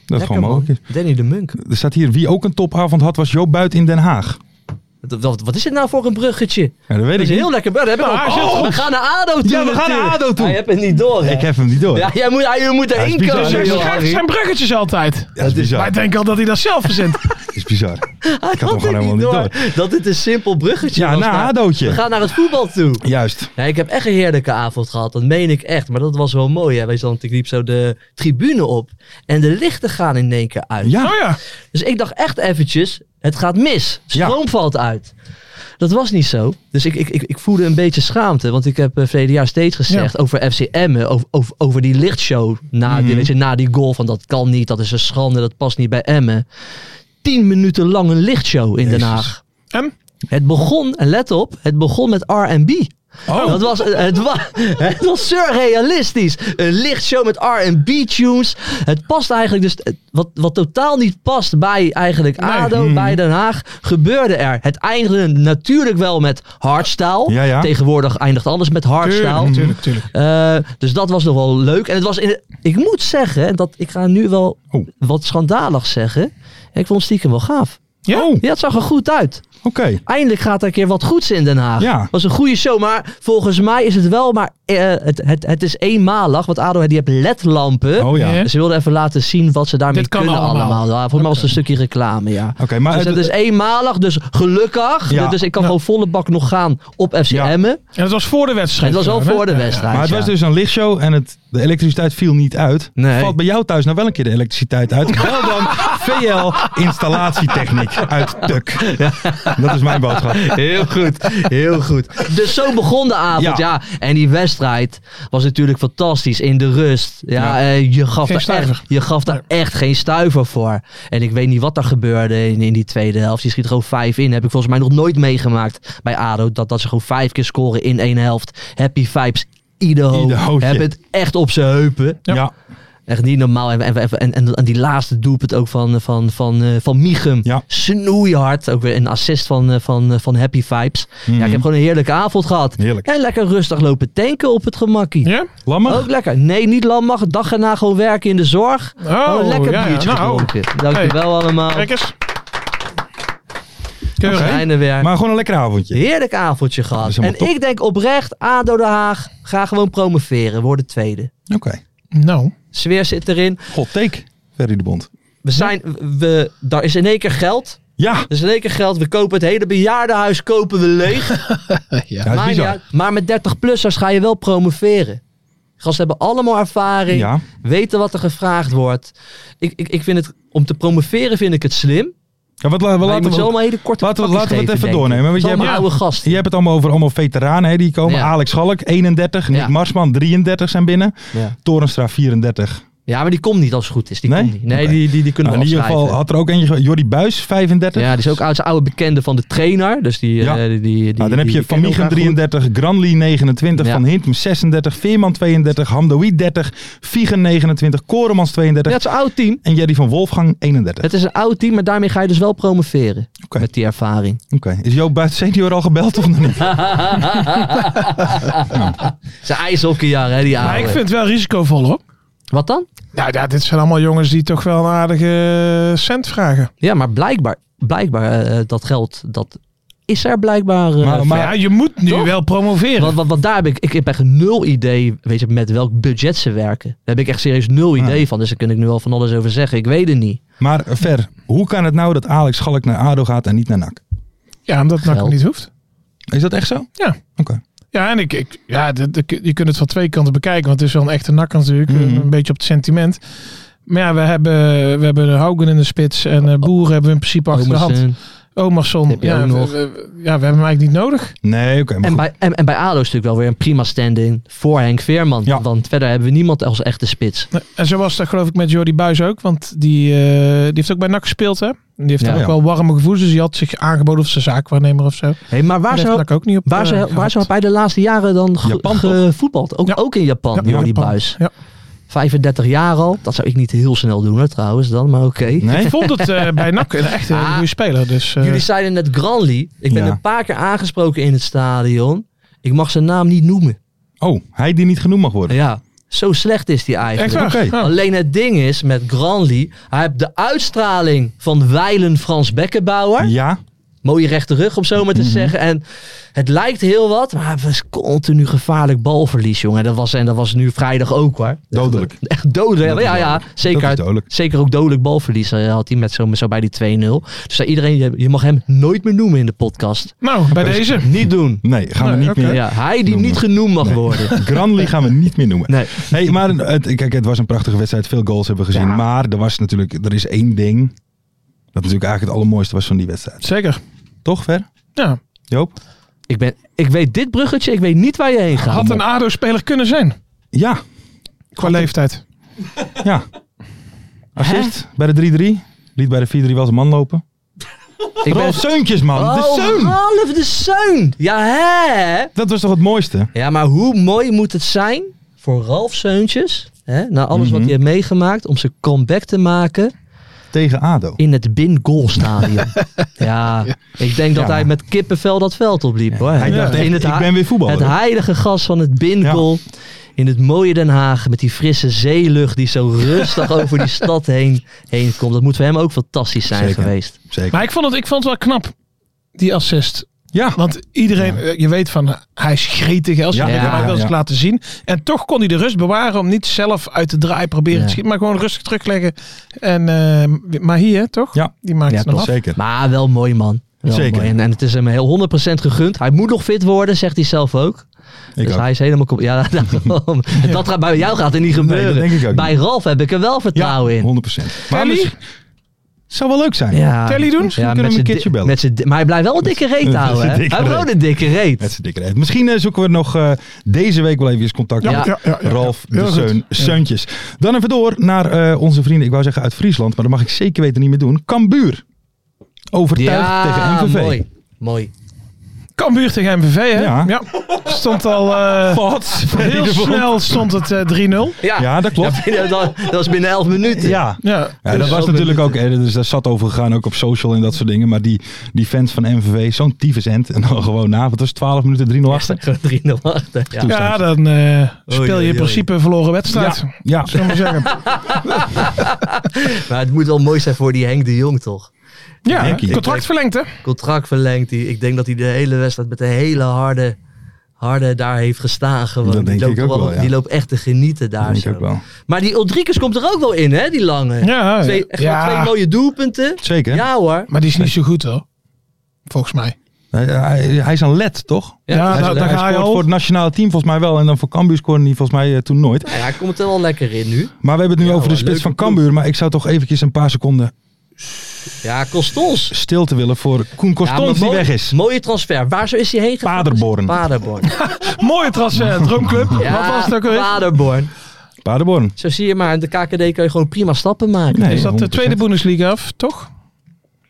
[SPEAKER 6] lekker
[SPEAKER 4] gewoon
[SPEAKER 6] man.
[SPEAKER 4] mogelijk. is.
[SPEAKER 6] Danny de Munk.
[SPEAKER 4] Er staat hier, wie ook een topavond had, was Joop Buit in Den Haag.
[SPEAKER 6] Wat, wat, wat is dit nou voor een bruggetje?
[SPEAKER 4] Ja, dat weet
[SPEAKER 6] Dat
[SPEAKER 4] ik
[SPEAKER 6] is heel
[SPEAKER 4] niet.
[SPEAKER 6] lekker. Dat heb ik
[SPEAKER 5] Nou,
[SPEAKER 6] al-
[SPEAKER 5] hij zit
[SPEAKER 6] oh,
[SPEAKER 5] goed.
[SPEAKER 6] we gaan naar ADO toe
[SPEAKER 4] Ja, we gaan naar
[SPEAKER 6] natuurlijk.
[SPEAKER 4] ADO toe.
[SPEAKER 6] Hij hebt het niet door. hè?
[SPEAKER 4] Ik heb hem niet door.
[SPEAKER 6] Ja, jij moet, hij moet
[SPEAKER 4] is
[SPEAKER 6] erin
[SPEAKER 4] bizar.
[SPEAKER 6] komen.
[SPEAKER 5] Dus Hij
[SPEAKER 4] Ja,
[SPEAKER 6] joh,
[SPEAKER 5] schrijft
[SPEAKER 6] Harry.
[SPEAKER 5] zijn bruggetjes altijd.
[SPEAKER 4] Ja, dat is
[SPEAKER 5] Maar
[SPEAKER 4] bizar.
[SPEAKER 5] ik denk al dat hij dat zelf verzint.
[SPEAKER 4] Dat is bizar.
[SPEAKER 6] Hij
[SPEAKER 4] had hem
[SPEAKER 6] had
[SPEAKER 4] gewoon
[SPEAKER 6] het
[SPEAKER 4] helemaal
[SPEAKER 6] niet door.
[SPEAKER 4] niet
[SPEAKER 6] Dat dit een simpel bruggetje
[SPEAKER 4] Ja,
[SPEAKER 6] was.
[SPEAKER 4] na
[SPEAKER 6] Nou, We
[SPEAKER 4] Adootje.
[SPEAKER 6] gaan naar het voetbal toe.
[SPEAKER 4] Juist.
[SPEAKER 6] Ja, ik heb echt een heerlijke avond gehad. Dat meen ik echt. Maar dat was wel mooi. Hè? Wij zaten, ik liep zo de tribune op. En de lichten gaan in één keer uit.
[SPEAKER 4] Ja.
[SPEAKER 5] Oh ja.
[SPEAKER 6] Dus ik dacht echt eventjes, het gaat mis.
[SPEAKER 4] Ja.
[SPEAKER 6] Stroom valt uit. Dat was niet zo. Dus ik, ik, ik, ik voelde een beetje schaamte. Want ik heb eh verleden jaar steeds gezegd over FCM. Over, over, over die lichtshow na,
[SPEAKER 4] Mhm.
[SPEAKER 6] die, weet je, na die goal. Van dat kan niet, dat is een schande, dat past niet bij Emmen. Tien minuten lang een lichtshow in Den
[SPEAKER 4] Jezus.
[SPEAKER 6] Haag.
[SPEAKER 5] En?
[SPEAKER 6] Het begon, en let op, het begon met R&B.
[SPEAKER 5] Oh.
[SPEAKER 4] Oh.
[SPEAKER 6] Dat was, eh, het, was, het was surrealistisch. Een lichtshow met R&B-tunes. Het past eigenlijk dus... het- Wat, wat totaal niet past bij eigenlijk ADO,
[SPEAKER 5] Hmm.
[SPEAKER 6] bij Den Haag, gebeurde er. Het eindigde natuurlijk wel met hardstyle.
[SPEAKER 4] Ja, ja.
[SPEAKER 6] Tegenwoordig eindigt alles met hardstyle.
[SPEAKER 5] Tuurlijk, tuurlijk.
[SPEAKER 6] Eh, dus dat was nog wel leuk. En het was in, ik moet zeggen, dat ik ga nu wel
[SPEAKER 4] Oh.
[SPEAKER 6] wat schandalig zeggen. Ik vond het stiekem wel gaaf.
[SPEAKER 5] Ja?
[SPEAKER 4] Oh, oké.
[SPEAKER 6] Ja, het zag er goed uit eindelijk gaat er een keer wat goeds in Den Haag.
[SPEAKER 4] Ja.
[SPEAKER 6] Was een goede show, maar volgens mij is het wel maar eh, het, het, het is eenmalig, want ADO die hebt ledlampen.
[SPEAKER 4] Oh ja.
[SPEAKER 5] Ja.
[SPEAKER 4] Oké,
[SPEAKER 6] Dus Ze wilden even laten zien wat ze daarmee
[SPEAKER 5] Dit kan
[SPEAKER 6] kunnen allemaal.
[SPEAKER 5] allemaal.
[SPEAKER 6] Ja, volgens mij was het een stukje reclame, ja.
[SPEAKER 4] maar
[SPEAKER 6] Dus
[SPEAKER 4] het-
[SPEAKER 6] het is eenmalig, dus gelukkig.
[SPEAKER 4] Ja.
[SPEAKER 6] Dus ik kan gewoon volle bak nog gaan op FC
[SPEAKER 4] Ja.
[SPEAKER 6] Emmen.
[SPEAKER 5] En dat was voor de
[SPEAKER 6] En
[SPEAKER 5] wedstrijd.
[SPEAKER 6] dat was al
[SPEAKER 5] gewoon, hè?
[SPEAKER 6] voor de wedstrijd.
[SPEAKER 4] maar het
[SPEAKER 6] ja.
[SPEAKER 4] was dus een lichtshow en het, de elektriciteit viel niet uit.
[SPEAKER 6] Nee.
[SPEAKER 4] Valt bij jou thuis nou wel een keer de elektriciteit uit? Wel dan VL installatietechniek uit Tuk. Dat is mijn boodschap.
[SPEAKER 6] Heel goed, heel goed. Dus zo begon de avond, ja.
[SPEAKER 4] Ja.
[SPEAKER 6] En die wedstrijd was natuurlijk fantastisch in de rust. Ja, eh, je, gaf
[SPEAKER 5] Geen
[SPEAKER 6] daar echt,
[SPEAKER 5] stuiver.
[SPEAKER 6] je gaf daar echt geen stuiver voor. En ik weet niet wat er gebeurde in, in die tweede helft. Die schiet gewoon vijf in. Heb ik volgens mij nog nooit meegemaakt bij ADO. Dat, dat ze gewoon vijf keer scoren in één helft. Happy vibes. Ieder
[SPEAKER 4] Ieder
[SPEAKER 6] hoofd
[SPEAKER 4] hoofdje.
[SPEAKER 6] hebben het echt op zijn heupen.
[SPEAKER 4] Ja.
[SPEAKER 6] Echt niet normaal. En, en, en, en, en die laatste doelpunt ook van, van, van, eh, van Michum.
[SPEAKER 4] Ja.
[SPEAKER 6] Snoeihard. Ook weer een assist van, eh, van, eh, van Happy Vibes. Ja, ik heb gewoon een heerlijke avond gehad.
[SPEAKER 4] Mhm. Heerlijk.
[SPEAKER 6] En lekker rustig lopen tanken op het gemakkie.
[SPEAKER 5] Ja?
[SPEAKER 4] Lammer?
[SPEAKER 6] Ook lekker. Nee, niet lam mag. Dag erna gewoon werken in de zorg.
[SPEAKER 5] Oh,
[SPEAKER 6] Gewoon een lekker
[SPEAKER 5] ja, ja.
[SPEAKER 6] biertje
[SPEAKER 5] Nou.
[SPEAKER 6] gedronken. Dankjewel allemaal.
[SPEAKER 5] Kijk eens. Keurig. hè?
[SPEAKER 6] Fijne werk.
[SPEAKER 4] Maar gewoon een lekker avondje.
[SPEAKER 6] Heerlijk avondje gehad.
[SPEAKER 4] is
[SPEAKER 6] En
[SPEAKER 4] helemaal top.
[SPEAKER 6] ik denk oprecht, ADO Den Haag, ga gewoon promoveren. Worden tweede.
[SPEAKER 4] Oké.
[SPEAKER 5] Nou,
[SPEAKER 6] Sfeer zit erin.
[SPEAKER 4] God, take, Ferry de Bond.
[SPEAKER 6] We zijn, we, daar is in één keer geld.
[SPEAKER 4] Ja,
[SPEAKER 6] Er is in één keer geld. We kopen het hele bejaardenhuis kopen we leeg.
[SPEAKER 4] ja
[SPEAKER 6] Maar,
[SPEAKER 4] dat is
[SPEAKER 6] niet
[SPEAKER 4] bizar.
[SPEAKER 6] uit. maar met 30-plussers ga je wel promoveren. Gasten hebben allemaal ervaring.
[SPEAKER 4] Ja,
[SPEAKER 6] Weten wat er gevraagd wordt. Ik, ik, ik vind het, om te promoveren vind ik het slim.
[SPEAKER 4] ja wat, la- we
[SPEAKER 6] Maar je
[SPEAKER 4] laten
[SPEAKER 6] moet ze
[SPEAKER 4] we...
[SPEAKER 6] allemaal hele korte
[SPEAKER 4] laten we-
[SPEAKER 6] pakjes
[SPEAKER 4] laten we het
[SPEAKER 6] geven,
[SPEAKER 4] even
[SPEAKER 6] denk ik.
[SPEAKER 4] doornemen, want
[SPEAKER 6] Het is
[SPEAKER 4] jij
[SPEAKER 6] allemaal
[SPEAKER 4] hebt-
[SPEAKER 6] oude gasten.
[SPEAKER 4] Je hebt het allemaal over allemaal veteranen hè, die komen.
[SPEAKER 6] Ja.
[SPEAKER 4] Alex Schalk, 31. Nick
[SPEAKER 6] Ja.
[SPEAKER 4] Marsman, 33 zijn binnen.
[SPEAKER 6] Ja.
[SPEAKER 4] Torenstra, 34.
[SPEAKER 6] Ja, maar die komt niet als het goed is. Die
[SPEAKER 4] Nee?
[SPEAKER 6] komt niet. Nee,
[SPEAKER 4] Oké.
[SPEAKER 6] die, die, die kunnen
[SPEAKER 4] Nou, in
[SPEAKER 6] we
[SPEAKER 4] ieder
[SPEAKER 6] afschrijven.
[SPEAKER 4] geval had er ook eentje... ge- Jordi Buis, 35.
[SPEAKER 6] Ja, die is ook oud, zijn oude bekende van de trainer. Dus die,
[SPEAKER 4] Ja.
[SPEAKER 6] eh, die, die, die-
[SPEAKER 4] nou, dan
[SPEAKER 6] die-
[SPEAKER 4] heb je
[SPEAKER 6] die
[SPEAKER 4] Van
[SPEAKER 6] kennen
[SPEAKER 4] Miegen
[SPEAKER 6] elkaar goed.
[SPEAKER 4] 33, Granli 29,
[SPEAKER 6] Ja.
[SPEAKER 4] Van Hintem 36, Veerman 32, Hamdoui 30, Viegen 29, Koremans
[SPEAKER 6] Ja,
[SPEAKER 4] 32
[SPEAKER 6] het is een oud team.
[SPEAKER 4] en Jerry van Wolfgang 31.
[SPEAKER 6] Het is een oud team, maar daarmee ga je dus wel promoveren.
[SPEAKER 4] Oké.
[SPEAKER 6] Met die ervaring.
[SPEAKER 4] Oké, is Joop Buiten senior al gebeld of nog niet?
[SPEAKER 6] Zijn ijshockeyjaren, hè, die oude.
[SPEAKER 5] Maar ik vind het wel risicovol hoor.
[SPEAKER 6] Wat dan?
[SPEAKER 5] Nou ja, dit zijn allemaal jongens die toch wel een aardige eh, cent vragen.
[SPEAKER 6] Ja, maar blijkbaar, blijkbaar eh, dat geld, dat is er blijkbaar. eh,
[SPEAKER 4] Maar-
[SPEAKER 5] Maar
[SPEAKER 4] maar-
[SPEAKER 5] ja, je moet nu
[SPEAKER 6] Toch?
[SPEAKER 5] wel promoveren.
[SPEAKER 6] Want, want, want daar heb ik, ik heb echt nul idee weet je, met welk budget ze werken. Daar heb ik echt serieus nul
[SPEAKER 4] Ja.
[SPEAKER 6] idee van. Dus daar kun ik nu al van alles over zeggen. Ik weet het niet.
[SPEAKER 4] Maar eh, Ver, hoe kan het nou dat Alex Schalk naar ADO gaat en niet naar NAC?
[SPEAKER 5] ja, omdat het
[SPEAKER 6] Geld.
[SPEAKER 5] niet hoeft.
[SPEAKER 4] Is dat echt zo?
[SPEAKER 5] Ja.
[SPEAKER 4] Oké.
[SPEAKER 5] Ja, en ik, ik, ja, dit- dit- je kunt het van twee kanten bekijken. Want het is wel een echte nak natuurlijk. eh,
[SPEAKER 4] Mhm.
[SPEAKER 5] Een beetje op het sentiment. Maar ja, we hebben, we hebben de Haugen in de spits. En eh Boer hebben we in principe achter de hand.
[SPEAKER 6] Omerson.
[SPEAKER 5] Omerson.
[SPEAKER 6] Oh. Heb je
[SPEAKER 5] Ja,
[SPEAKER 6] ook
[SPEAKER 5] we-
[SPEAKER 6] nog.
[SPEAKER 5] we- we- ja, we hebben hem eigenlijk niet nodig.
[SPEAKER 4] Nee, oké. maar
[SPEAKER 6] En
[SPEAKER 4] goed.
[SPEAKER 6] bij, en, en bij ADO is natuurlijk wel weer een prima stand-in voor Henk Veerman.
[SPEAKER 4] Ja.
[SPEAKER 6] Want verder hebben we niemand als echte spits.
[SPEAKER 5] En zo was dat geloof ik met Jordi Buis ook. Want die, eh, die heeft ook bij NAC gespeeld hè. En Die heeft
[SPEAKER 6] Ja.
[SPEAKER 5] daar ook
[SPEAKER 4] Ja.
[SPEAKER 5] wel warme gevoelens. Dus die had zich aangeboden of zijn zaakwaarnemer of zo.
[SPEAKER 6] Hey, maar waar
[SPEAKER 5] Daar heeft
[SPEAKER 6] zou,
[SPEAKER 5] NAC ook niet op
[SPEAKER 6] waar,
[SPEAKER 5] eh,
[SPEAKER 6] zou, waar
[SPEAKER 5] gehad.
[SPEAKER 6] zou hij de laatste jaren dan ge-
[SPEAKER 4] Japan, toch?
[SPEAKER 6] gevoetbald? Ook,
[SPEAKER 5] Ja.
[SPEAKER 6] ook in Japan,
[SPEAKER 5] Ja,
[SPEAKER 6] Jordi
[SPEAKER 5] Japan.
[SPEAKER 6] Buis.
[SPEAKER 5] Ja.
[SPEAKER 6] 35 jaar al. Dat zou ik niet heel snel doen hè, trouwens dan, maar oké.
[SPEAKER 4] Nee?
[SPEAKER 5] Ik vond het eh, bij NAC een echt een
[SPEAKER 6] Ah.
[SPEAKER 5] goede speler. Dus, eh,
[SPEAKER 6] Jullie zeiden net Granli. Ik ben
[SPEAKER 4] Ja.
[SPEAKER 6] een paar keer aangesproken in het stadion. Ik mag zijn naam niet noemen.
[SPEAKER 4] Oh, hij die niet genoemd mag worden.
[SPEAKER 6] Ja, zo slecht is die
[SPEAKER 5] echt
[SPEAKER 6] eigenlijk.
[SPEAKER 5] waar.
[SPEAKER 4] Oké.
[SPEAKER 5] Ja.
[SPEAKER 6] Alleen het ding is met Granli, hij heeft de uitstraling van wijlen Frans Beckenbauer.
[SPEAKER 4] Ja, Mhm.
[SPEAKER 6] Mooie rechte rug, om zo maar te zeggen. En het lijkt heel wat, maar het was continu gevaarlijk balverlies, jongen. Dat was, en dat was nu vrijdag ook, hoor.
[SPEAKER 4] dodelijk.
[SPEAKER 6] Echt dodelijk.
[SPEAKER 4] Dat is
[SPEAKER 6] ja, ja,
[SPEAKER 4] Dat is
[SPEAKER 6] zeker.
[SPEAKER 4] dodelijk.
[SPEAKER 6] Zeker ook dodelijk balverlies eh, had hij met zo, met zo bij die 2-0. Dus daar iedereen, je, je mag hem nooit meer noemen in de podcast. Dus
[SPEAKER 5] Nou, bij deze.
[SPEAKER 6] Niet doen.
[SPEAKER 4] Nee, gaan we
[SPEAKER 5] Nee,
[SPEAKER 4] niet
[SPEAKER 5] oké.
[SPEAKER 4] meer.
[SPEAKER 6] Ja, hij die niet genoemd mag worden.
[SPEAKER 4] Granli gaan we niet meer noemen.
[SPEAKER 6] Nee.
[SPEAKER 4] Hey, maar het, kijk, het was een prachtige wedstrijd. Veel goals hebben we gezien.
[SPEAKER 6] Ja.
[SPEAKER 4] Maar er, was natuurlijk, er is één ding. Dat natuurlijk eigenlijk het allermooiste was van die wedstrijd.
[SPEAKER 5] Zeker.
[SPEAKER 4] Toch, Ver?
[SPEAKER 5] Ja.
[SPEAKER 4] Joop?
[SPEAKER 6] Ik, ben, ik weet dit bruggetje, ik weet niet waar je heen gaat.
[SPEAKER 5] Had een ADO-speler kunnen zijn.
[SPEAKER 4] Ja,
[SPEAKER 5] Qua leeftijd.
[SPEAKER 4] ja. Assist bij de 3-3. Liet bij de 4-3 wel zijn man lopen.
[SPEAKER 6] ik ben,
[SPEAKER 4] Rolf Seuntjes, man. de
[SPEAKER 6] oh,
[SPEAKER 4] Seun.
[SPEAKER 6] Ralf de Seun. Ja, hè?
[SPEAKER 4] Dat was toch het mooiste?
[SPEAKER 6] Ja, maar hoe mooi moet het zijn voor Ralf Seuntjes, hè, na alles wat hij
[SPEAKER 4] Mhm.
[SPEAKER 6] heeft meegemaakt, om zijn comeback te maken
[SPEAKER 4] Tegen ADO.
[SPEAKER 6] in het Bin Goal Stadion. ja, ik denk dat
[SPEAKER 4] Ja.
[SPEAKER 6] hij met kippenvel dat veld opliep. hoor.
[SPEAKER 4] Hij dacht
[SPEAKER 6] in
[SPEAKER 4] echt,
[SPEAKER 6] het,
[SPEAKER 4] ik
[SPEAKER 6] ha-
[SPEAKER 4] ben weer voetballer.
[SPEAKER 6] het heilige gas van het Bin
[SPEAKER 4] Ja.
[SPEAKER 6] Goal in het mooie Den Haag, met die frisse zeelucht die zo rustig over die stad heen, heen komt. Dat moet voor hem ook fantastisch zijn
[SPEAKER 4] Zeker.
[SPEAKER 6] geweest.
[SPEAKER 4] Zeker.
[SPEAKER 5] Maar ik vond het, ik vond het wel knap. Die assist.
[SPEAKER 4] ja.
[SPEAKER 5] Want iedereen, eh, je weet van, hij is gretig. Als
[SPEAKER 4] Ja,
[SPEAKER 5] hij
[SPEAKER 6] ja,
[SPEAKER 5] ja,
[SPEAKER 6] ja,
[SPEAKER 5] wil
[SPEAKER 4] ja.
[SPEAKER 5] zich laten zien. En toch kon hij de rust bewaren om niet zelf uit de draai proberen
[SPEAKER 6] Ja.
[SPEAKER 5] te schieten. Maar gewoon rustig terugleggen. En, eh, maar hier, hè, toch?
[SPEAKER 4] Ja.
[SPEAKER 5] Die maakt
[SPEAKER 4] Ja,
[SPEAKER 5] het nog
[SPEAKER 4] toch
[SPEAKER 5] af.
[SPEAKER 4] zeker.
[SPEAKER 6] Maar wel mooi man. Wel
[SPEAKER 4] Zeker.
[SPEAKER 6] mooi. En, en het is hem heel 100% gegund. Hij moet nog fit worden, zegt hij zelf ook.
[SPEAKER 4] Ik
[SPEAKER 6] dus
[SPEAKER 4] ook.
[SPEAKER 6] hij is helemaal... kom- Ja, daarom. dat gaat, bij jou gaat het niet
[SPEAKER 4] Nee, dat
[SPEAKER 6] gebeuren.
[SPEAKER 4] denk ik ook
[SPEAKER 6] bij
[SPEAKER 4] niet.
[SPEAKER 6] Ralf heb ik er wel vertrouwen
[SPEAKER 4] Ja,
[SPEAKER 6] in.
[SPEAKER 4] 100%. Maar
[SPEAKER 5] Telly?
[SPEAKER 4] misschien- zou wel leuk zijn.
[SPEAKER 6] Ja.
[SPEAKER 5] Telly doen?
[SPEAKER 4] Misschien kunnen we hem een
[SPEAKER 6] met z'n
[SPEAKER 4] keertje
[SPEAKER 6] di-
[SPEAKER 4] bellen.
[SPEAKER 6] met z'n di- maar hij blijft wel een dikke reet
[SPEAKER 4] met
[SPEAKER 6] houden. hè?
[SPEAKER 4] z'n
[SPEAKER 6] Hij
[SPEAKER 4] dikke
[SPEAKER 6] heeft gewoon
[SPEAKER 4] reet.
[SPEAKER 6] een dikke
[SPEAKER 4] Met
[SPEAKER 6] reet.
[SPEAKER 4] z'n dikke reet. Misschien eh, zoeken we nog eh, deze week wel even eens contact
[SPEAKER 6] Ja.
[SPEAKER 4] met
[SPEAKER 5] Ja, ja, ja.
[SPEAKER 4] Ralf
[SPEAKER 5] Heel
[SPEAKER 4] de
[SPEAKER 5] goed.
[SPEAKER 4] Seun,
[SPEAKER 5] Ja.
[SPEAKER 4] Seuntjes. Dan even door naar eh, onze vrienden, ik wou zeggen uit Friesland, maar dat mag ik zeker weten niet meer doen. Cambuur. Overtuigd tegen MVV.
[SPEAKER 6] mooi. Mooi.
[SPEAKER 5] Cambuur tegen MVV, hè?
[SPEAKER 4] Ja.
[SPEAKER 5] Stond al eh,
[SPEAKER 4] Wat?
[SPEAKER 5] heel snel stond het eh, 3-0.
[SPEAKER 6] Ja,
[SPEAKER 4] Ja, dat klopt.
[SPEAKER 6] binnen- dat, dat was binnen 11 minuten.
[SPEAKER 4] Ja.
[SPEAKER 5] Ja.
[SPEAKER 4] Ja, dat
[SPEAKER 6] Dus
[SPEAKER 4] was
[SPEAKER 6] ook
[SPEAKER 4] natuurlijk
[SPEAKER 6] met-
[SPEAKER 4] ook, eh, dus daar zat over gegaan, ook op social en dat soort dingen. Maar die, die fans van MVV, zo'n tyfusend. En dan gewoon na, wat was het, 12 minuten 3-0 achter?
[SPEAKER 6] 3-0 achter. Ja.
[SPEAKER 5] Ja, dan eh, speel je
[SPEAKER 6] oei,
[SPEAKER 5] in
[SPEAKER 6] oei.
[SPEAKER 5] principe een verloren wedstrijd.
[SPEAKER 4] Ja, ja.
[SPEAKER 5] Zullen we maar zeggen.
[SPEAKER 6] Maar het moet wel mooi zijn voor die Henk de Jong, toch?
[SPEAKER 5] Ja,
[SPEAKER 4] Henkie.
[SPEAKER 5] contract verlengd, hè?
[SPEAKER 6] Contract verlengd. Die, ik denk dat hij de hele wedstrijd met een hele harde, Harde daar heeft gestaan gewoon.
[SPEAKER 4] Dat denk
[SPEAKER 6] die, loopt
[SPEAKER 4] ik ook
[SPEAKER 6] wel-
[SPEAKER 4] wel, ja.
[SPEAKER 6] die loopt echt te genieten daar
[SPEAKER 4] denk ik
[SPEAKER 6] zo.
[SPEAKER 4] ook wel.
[SPEAKER 6] Maar die Ulrikes komt er ook wel in, hè, die lange.
[SPEAKER 5] Ja,
[SPEAKER 6] Twee, echt wel
[SPEAKER 5] Ja.
[SPEAKER 6] twee mooie doelpunten.
[SPEAKER 4] Zeker.
[SPEAKER 6] Ja hoor.
[SPEAKER 5] Maar die is niet zo goed hoor. Volgens mij.
[SPEAKER 4] Hij, hij- hij is een led, toch?
[SPEAKER 5] Ja,
[SPEAKER 4] hij
[SPEAKER 5] nou,
[SPEAKER 4] hij
[SPEAKER 5] daar ga je
[SPEAKER 4] scoort
[SPEAKER 5] al.
[SPEAKER 4] voor het nationale team volgens mij wel. En dan voor Cambuur scoorde hij volgens mij eh, toen nooit.
[SPEAKER 6] Ja, hij komt er wel lekker in nu.
[SPEAKER 4] Maar we hebben het nu
[SPEAKER 6] Ja,
[SPEAKER 4] over de
[SPEAKER 6] hoor,
[SPEAKER 4] spits van
[SPEAKER 6] leuke
[SPEAKER 4] Cambuur. Maar ik zou toch eventjes een paar seconden
[SPEAKER 6] Ja, Costons.
[SPEAKER 4] stilte willen voor Koen
[SPEAKER 6] Ja, maar
[SPEAKER 4] Costons die
[SPEAKER 6] mooi-
[SPEAKER 4] weg is.
[SPEAKER 6] Mooie transfer. Waar zo is hij heen gegaan?
[SPEAKER 4] Paderborn.
[SPEAKER 6] Paderborn.
[SPEAKER 5] Mooie transfer, Droomclub. Wat was het ook alweer?
[SPEAKER 6] Paderborn.
[SPEAKER 4] Paderborn.
[SPEAKER 6] Zo zie je maar, in de KKD kun je gewoon prima stappen maken.
[SPEAKER 4] Nee.
[SPEAKER 5] Is dat de
[SPEAKER 4] 100%.
[SPEAKER 5] tweede Bundesliga af, toch?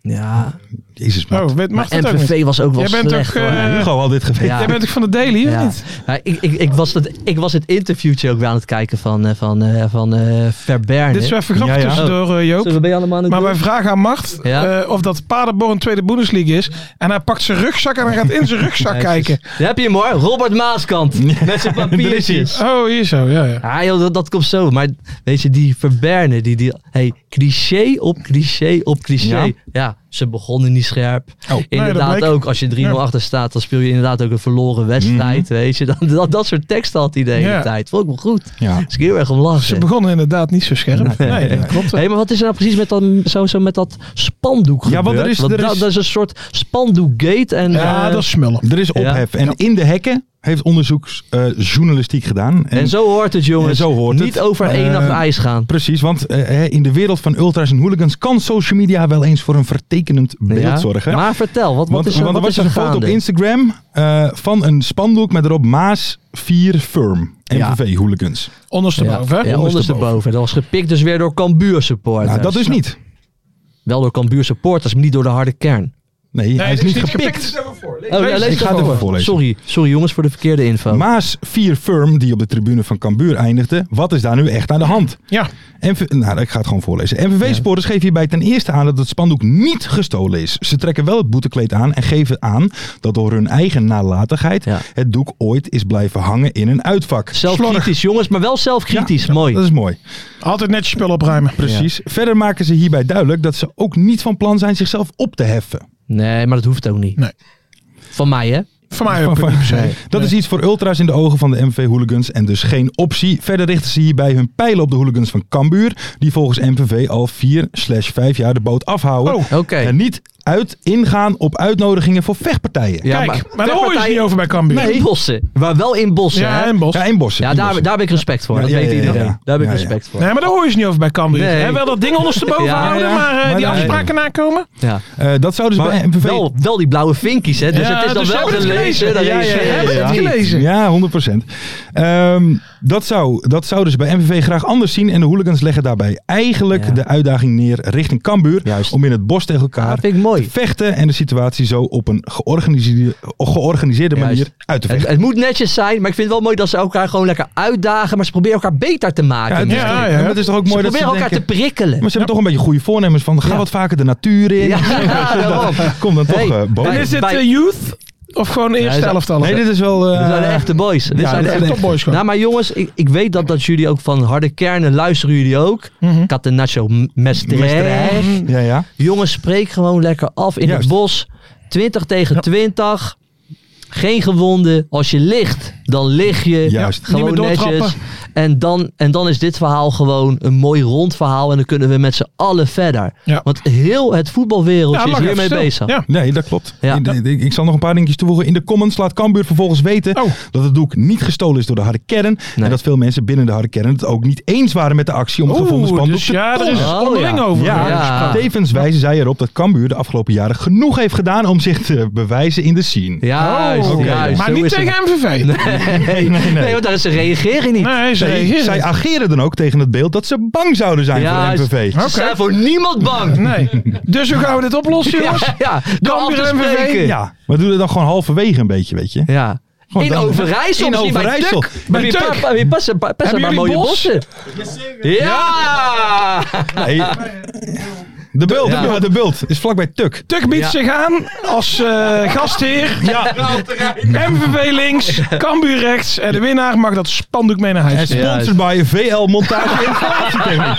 [SPEAKER 6] Ja,
[SPEAKER 4] Jezus, man.
[SPEAKER 5] Oh, weet- mag dat ook niet?
[SPEAKER 6] MVV was ook wel
[SPEAKER 5] Jij bent
[SPEAKER 6] slecht
[SPEAKER 5] ook,
[SPEAKER 6] hoor.
[SPEAKER 5] eh,
[SPEAKER 4] Hugo al dit geweten.
[SPEAKER 6] ja.
[SPEAKER 5] Jij bent ook van de Daily, of
[SPEAKER 6] Ja.
[SPEAKER 5] niet?
[SPEAKER 6] Ja, ik, ik, ik, was het, ik was het interviewtje ook weer aan het kijken van, eh, van, eh, van eh Verberne.
[SPEAKER 5] Dit is wel even grappig
[SPEAKER 4] Ja, ja.
[SPEAKER 5] tussendoor, eh, Joop.
[SPEAKER 6] Zullen we bij allemaal aan het
[SPEAKER 5] Maar
[SPEAKER 6] doen?
[SPEAKER 5] wij vragen aan Mart
[SPEAKER 6] Ja.
[SPEAKER 5] eh, of dat Paderborn tweede Bundesliga is. En hij pakt zijn rugzak en hij gaat in zijn rugzak
[SPEAKER 6] Netjes.
[SPEAKER 5] kijken.
[SPEAKER 6] Daar heb je hem hoor, Robert Maaskant. Met zijn papiertjes.
[SPEAKER 5] Oh, hier zo, ja, ja.
[SPEAKER 6] Ja Ah, joh, dat, dat komt zo. Maar weet je, die Verberne, die, die hey, cliché op cliché op cliché.
[SPEAKER 4] Ja? Oh,
[SPEAKER 6] Ja, ze begonnen niet scherp. inderdaad
[SPEAKER 5] bleek.
[SPEAKER 6] ook, als je 3-0
[SPEAKER 5] Ja.
[SPEAKER 6] achter staat, dan speel je inderdaad ook een verloren wedstrijd.
[SPEAKER 4] Mhm.
[SPEAKER 6] Weet je, dat, dat, dat soort teksten had hij de hele
[SPEAKER 5] Ja.
[SPEAKER 6] tijd. Vond ik wel goed.
[SPEAKER 4] Ja.
[SPEAKER 6] Dus ik heel erg om lachen.
[SPEAKER 5] Ze begonnen inderdaad niet zo scherp. Nee, dat klopt.
[SPEAKER 6] Hé, maar wat is er nou precies met dat, zo, zo met dat spandoek
[SPEAKER 4] Ja,
[SPEAKER 6] gebeurd?
[SPEAKER 4] want er is- er
[SPEAKER 6] dat,
[SPEAKER 4] is-
[SPEAKER 6] dat is een soort spandoekgate. En,
[SPEAKER 5] Ja,
[SPEAKER 6] eh,
[SPEAKER 5] dat is smullen.
[SPEAKER 4] Er is ophef. En in de hekken heeft onderzoeksjournalistiek gedaan.
[SPEAKER 6] en zo hoort het, jongens.
[SPEAKER 4] en zo hoort
[SPEAKER 6] Niet
[SPEAKER 4] het.
[SPEAKER 6] over één
[SPEAKER 4] Eh,
[SPEAKER 6] nacht ijs gaan.
[SPEAKER 4] Precies, want eh, hè, in de wereld van ultras en hooligans kan social media wel eens voor een vertekenend beeld
[SPEAKER 6] Ja.
[SPEAKER 4] zorgen.
[SPEAKER 6] Maar vertel, wat, wat
[SPEAKER 4] want
[SPEAKER 6] is er,
[SPEAKER 4] want er
[SPEAKER 6] wat
[SPEAKER 4] was
[SPEAKER 6] is er
[SPEAKER 4] een foto op
[SPEAKER 6] gaande?
[SPEAKER 4] Instagram eh, van een spandoek met erop Maas 4 Firm.
[SPEAKER 6] Ja.
[SPEAKER 4] MVV hooligans.
[SPEAKER 5] Ondersteboven. hè?
[SPEAKER 6] Ja, ondersteboven. Dat was gepikt dus weer door Cambuur supporters.
[SPEAKER 4] Nou, dat is niet.
[SPEAKER 6] Wel door Cambuur supporters, maar niet door de harde kern.
[SPEAKER 4] Nee, hij is
[SPEAKER 5] dit
[SPEAKER 4] niet
[SPEAKER 5] niet
[SPEAKER 4] gepikt.
[SPEAKER 5] gepikt. Stel maar voor. Lees.
[SPEAKER 6] Oh, ja, lees
[SPEAKER 4] ik
[SPEAKER 6] dat
[SPEAKER 4] ga het
[SPEAKER 6] voor.
[SPEAKER 4] even voorlezen.
[SPEAKER 6] Sorry, sorry jongens voor de verkeerde info.
[SPEAKER 4] Maas 4 Firm, die op de tribune van Cambuur eindigde. Wat is daar nu echt aan de hand?
[SPEAKER 5] Ja,
[SPEAKER 4] MV nou, ik ga het gewoon voorlezen. MVV-sporters geven hierbij ten eerste aan dat het spandoek niet gestolen is. Ze trekken wel het boetekleed aan en geven aan dat door hun eigen nalatigheid
[SPEAKER 6] Ja.
[SPEAKER 4] het doek ooit is blijven hangen in een uitvak.
[SPEAKER 6] zelfkritisch jongens, maar wel zelfkritisch.
[SPEAKER 4] Ja,
[SPEAKER 6] Mooi.
[SPEAKER 4] Dat is mooi.
[SPEAKER 5] altijd netjes spullen opruimen.
[SPEAKER 4] Precies. Verder maken ze hierbij duidelijk dat ze ook niet van plan zijn zichzelf op te heffen.
[SPEAKER 6] Nee, maar dat hoeft ook niet.
[SPEAKER 5] Nee.
[SPEAKER 6] Van mij hè?
[SPEAKER 5] Voor mij ook niet per se.
[SPEAKER 4] Dat is iets voor ultra's in de ogen van de MV-hooligans en dus geen optie. Verder richten ze hierbij hun pijlen op de hooligans van Cambuur, die volgens MVV al 4 slash 5 jaar de boot afhouden.
[SPEAKER 5] Oh.
[SPEAKER 6] Oké.
[SPEAKER 4] En niet uit ingaan op uitnodigingen voor vechtpartijen.
[SPEAKER 6] Ja,
[SPEAKER 5] Kijk, maar, daar hoor je ze
[SPEAKER 6] vechtpartijen-
[SPEAKER 5] niet over bij Cambuur.
[SPEAKER 6] Nee. In bossen. Maar wel in bossen.
[SPEAKER 5] Ja,
[SPEAKER 6] hè?
[SPEAKER 5] en Bos.
[SPEAKER 4] Ja, in bossen.
[SPEAKER 6] ja
[SPEAKER 4] in
[SPEAKER 6] daar,
[SPEAKER 4] bossen.
[SPEAKER 6] daar heb ik respect voor.
[SPEAKER 4] Ja,
[SPEAKER 6] dat
[SPEAKER 4] ja,
[SPEAKER 6] weet
[SPEAKER 4] ja, ja,
[SPEAKER 6] iedereen.
[SPEAKER 4] ja.
[SPEAKER 6] Daar heb ik
[SPEAKER 4] Ja, ja.
[SPEAKER 6] respect voor.
[SPEAKER 5] Nee, maar daar hoor je ze niet over bij Cambuur.
[SPEAKER 6] Nee.
[SPEAKER 5] Hè, wel dat ding ondersteboven
[SPEAKER 6] Ja,
[SPEAKER 5] houden,
[SPEAKER 4] ja.
[SPEAKER 5] maar eh,
[SPEAKER 4] Maar
[SPEAKER 5] die
[SPEAKER 4] nee.
[SPEAKER 5] afspraken nakomen.
[SPEAKER 6] Ja.
[SPEAKER 4] Eh, dat zou dus bij MVV...
[SPEAKER 6] Wel, wel die blauwe vinkjes, hè? Dus
[SPEAKER 5] Ja,
[SPEAKER 6] het is dan
[SPEAKER 5] dus
[SPEAKER 6] wel
[SPEAKER 5] hebben we het
[SPEAKER 6] gelezen.
[SPEAKER 5] gelezen.
[SPEAKER 6] dat
[SPEAKER 5] Ja,
[SPEAKER 6] is-
[SPEAKER 5] ja, ja, hebben we het
[SPEAKER 6] ja.
[SPEAKER 5] gelezen.
[SPEAKER 4] Ja, 100 Ehm, dat, zou, dat zou dus bij MVV graag anders zien. En de hooligans leggen daarbij eigenlijk
[SPEAKER 6] Ja.
[SPEAKER 4] de uitdaging neer richting Cambuur.
[SPEAKER 6] Juist.
[SPEAKER 4] Om in het bos tegen elkaar
[SPEAKER 6] Dat vind ik mooi.
[SPEAKER 4] te vechten. En de situatie zo op een georganiseerde, georganiseerde manier
[SPEAKER 6] Juist.
[SPEAKER 4] uit te
[SPEAKER 6] Het,
[SPEAKER 4] vechten.
[SPEAKER 6] het moet netjes zijn, maar ik vind het wel mooi dat ze elkaar gewoon lekker uitdagen. Maar ze proberen elkaar beter te maken.
[SPEAKER 4] het is-
[SPEAKER 5] Ja,
[SPEAKER 4] maar
[SPEAKER 5] ja.
[SPEAKER 4] het is toch ook
[SPEAKER 6] ze
[SPEAKER 4] mooi dat ze
[SPEAKER 6] proberen elkaar
[SPEAKER 4] denken...
[SPEAKER 6] te prikkelen.
[SPEAKER 4] Maar ze hebben toch een beetje goede voornemens van ga
[SPEAKER 6] Ja.
[SPEAKER 4] wat vaker de natuur in.
[SPEAKER 6] Ja, daarom.
[SPEAKER 4] Kom dan toch
[SPEAKER 6] Hey,
[SPEAKER 4] eh, boven.
[SPEAKER 5] En
[SPEAKER 6] Bij-
[SPEAKER 5] is dit
[SPEAKER 6] bij-
[SPEAKER 5] eh, youth of gewoon eerste
[SPEAKER 6] dat-
[SPEAKER 5] elftal?
[SPEAKER 4] Nee, dit is wel... eh,
[SPEAKER 6] Dit zijn de echte boys. Dit
[SPEAKER 4] ja,
[SPEAKER 6] zijn de
[SPEAKER 4] dit
[SPEAKER 6] echte
[SPEAKER 4] zijn
[SPEAKER 5] topboys gewoon.
[SPEAKER 6] Nou, maar jongens, ik, ik weet dat, dat jullie ook van harde kernen luisteren jullie ook.
[SPEAKER 4] Mhm.
[SPEAKER 6] Catenaccio Mestre.
[SPEAKER 4] Ja, ja.
[SPEAKER 6] Jongens, spreek gewoon lekker af in
[SPEAKER 4] Juist.
[SPEAKER 6] het bos. 20 tegen 20. Geen gewonden. Als je ligt, dan lig je.
[SPEAKER 4] Juist.
[SPEAKER 6] Gewoon
[SPEAKER 5] Niet meer
[SPEAKER 6] netjes.
[SPEAKER 5] doortrappen.
[SPEAKER 6] En dan, en dan is dit verhaal gewoon een mooi rond verhaal. En dan kunnen we met z'n allen verder.
[SPEAKER 5] Ja.
[SPEAKER 6] Want heel het voetbalwereldje is hiermee bezig.
[SPEAKER 5] Ja.
[SPEAKER 4] Nee, dat klopt.
[SPEAKER 6] Ja.
[SPEAKER 4] In de- ik, ik zal nog een paar dingetjes toevoegen. In de comments laat Cambuur vervolgens weten
[SPEAKER 5] Oh.
[SPEAKER 4] dat het doek niet gestolen is door de harde kern. En
[SPEAKER 6] Nee.
[SPEAKER 4] dat veel mensen binnen de harde kern het ook niet eens waren met de actie om het gevonden
[SPEAKER 5] Oeh,
[SPEAKER 4] spandoek
[SPEAKER 5] dus
[SPEAKER 4] te
[SPEAKER 5] ja, er is
[SPEAKER 6] Oh,
[SPEAKER 5] onderling
[SPEAKER 6] ja.
[SPEAKER 5] over.
[SPEAKER 4] ja,
[SPEAKER 6] Ja.
[SPEAKER 4] tevens wijzen zij erop dat Cambuur de afgelopen jaren genoeg heeft gedaan om zich te bewijzen in de scene.
[SPEAKER 6] Juist,
[SPEAKER 4] oké.
[SPEAKER 6] juist,
[SPEAKER 5] Oh, Maar
[SPEAKER 6] zo
[SPEAKER 5] niet
[SPEAKER 6] is het.
[SPEAKER 5] tegen MVV. Nee,
[SPEAKER 4] Nee, nee, nee.
[SPEAKER 6] Nee, want daar is ze reageren niet.
[SPEAKER 5] ze
[SPEAKER 4] Zij-
[SPEAKER 5] reageren.
[SPEAKER 4] zij ageren dan ook tegen het beeld dat ze bang zouden zijn voor de
[SPEAKER 6] Juist.
[SPEAKER 4] MVV.
[SPEAKER 6] Ze zijn voor niemand bang.
[SPEAKER 5] Nee. Dus hoe gaan we dit oplossen, jongens?
[SPEAKER 6] Ja, ja, door af
[SPEAKER 5] Cambuur
[SPEAKER 6] te
[SPEAKER 5] MVV.
[SPEAKER 6] spreken.
[SPEAKER 4] Ja, maar doe dat dan gewoon halverwege een beetje, weet je.
[SPEAKER 6] Ja.
[SPEAKER 4] Gewoon
[SPEAKER 6] in
[SPEAKER 4] Oh, dan-
[SPEAKER 6] Overijssel,
[SPEAKER 4] in
[SPEAKER 6] misschien
[SPEAKER 4] Overijssel.
[SPEAKER 6] bij Tuk. Maar wie
[SPEAKER 5] Tuk.
[SPEAKER 6] pa- pa- wie passen pa- passen
[SPEAKER 5] Hebben
[SPEAKER 6] maar
[SPEAKER 5] jullie
[SPEAKER 6] mooie
[SPEAKER 5] bos?
[SPEAKER 6] bossen. Ja!
[SPEAKER 4] Nee, De Bult,
[SPEAKER 6] Ja.
[SPEAKER 4] ja, de Bult. Is vlakbij Tuk.
[SPEAKER 5] Tuk biedt
[SPEAKER 6] Ja.
[SPEAKER 5] zich aan als eh, gastheer. MVV links, Cambuur rechts. En de winnaar mag dat spandoek mee naar
[SPEAKER 4] En
[SPEAKER 5] huis.
[SPEAKER 4] sponsored by VL Montage Informatietechniek.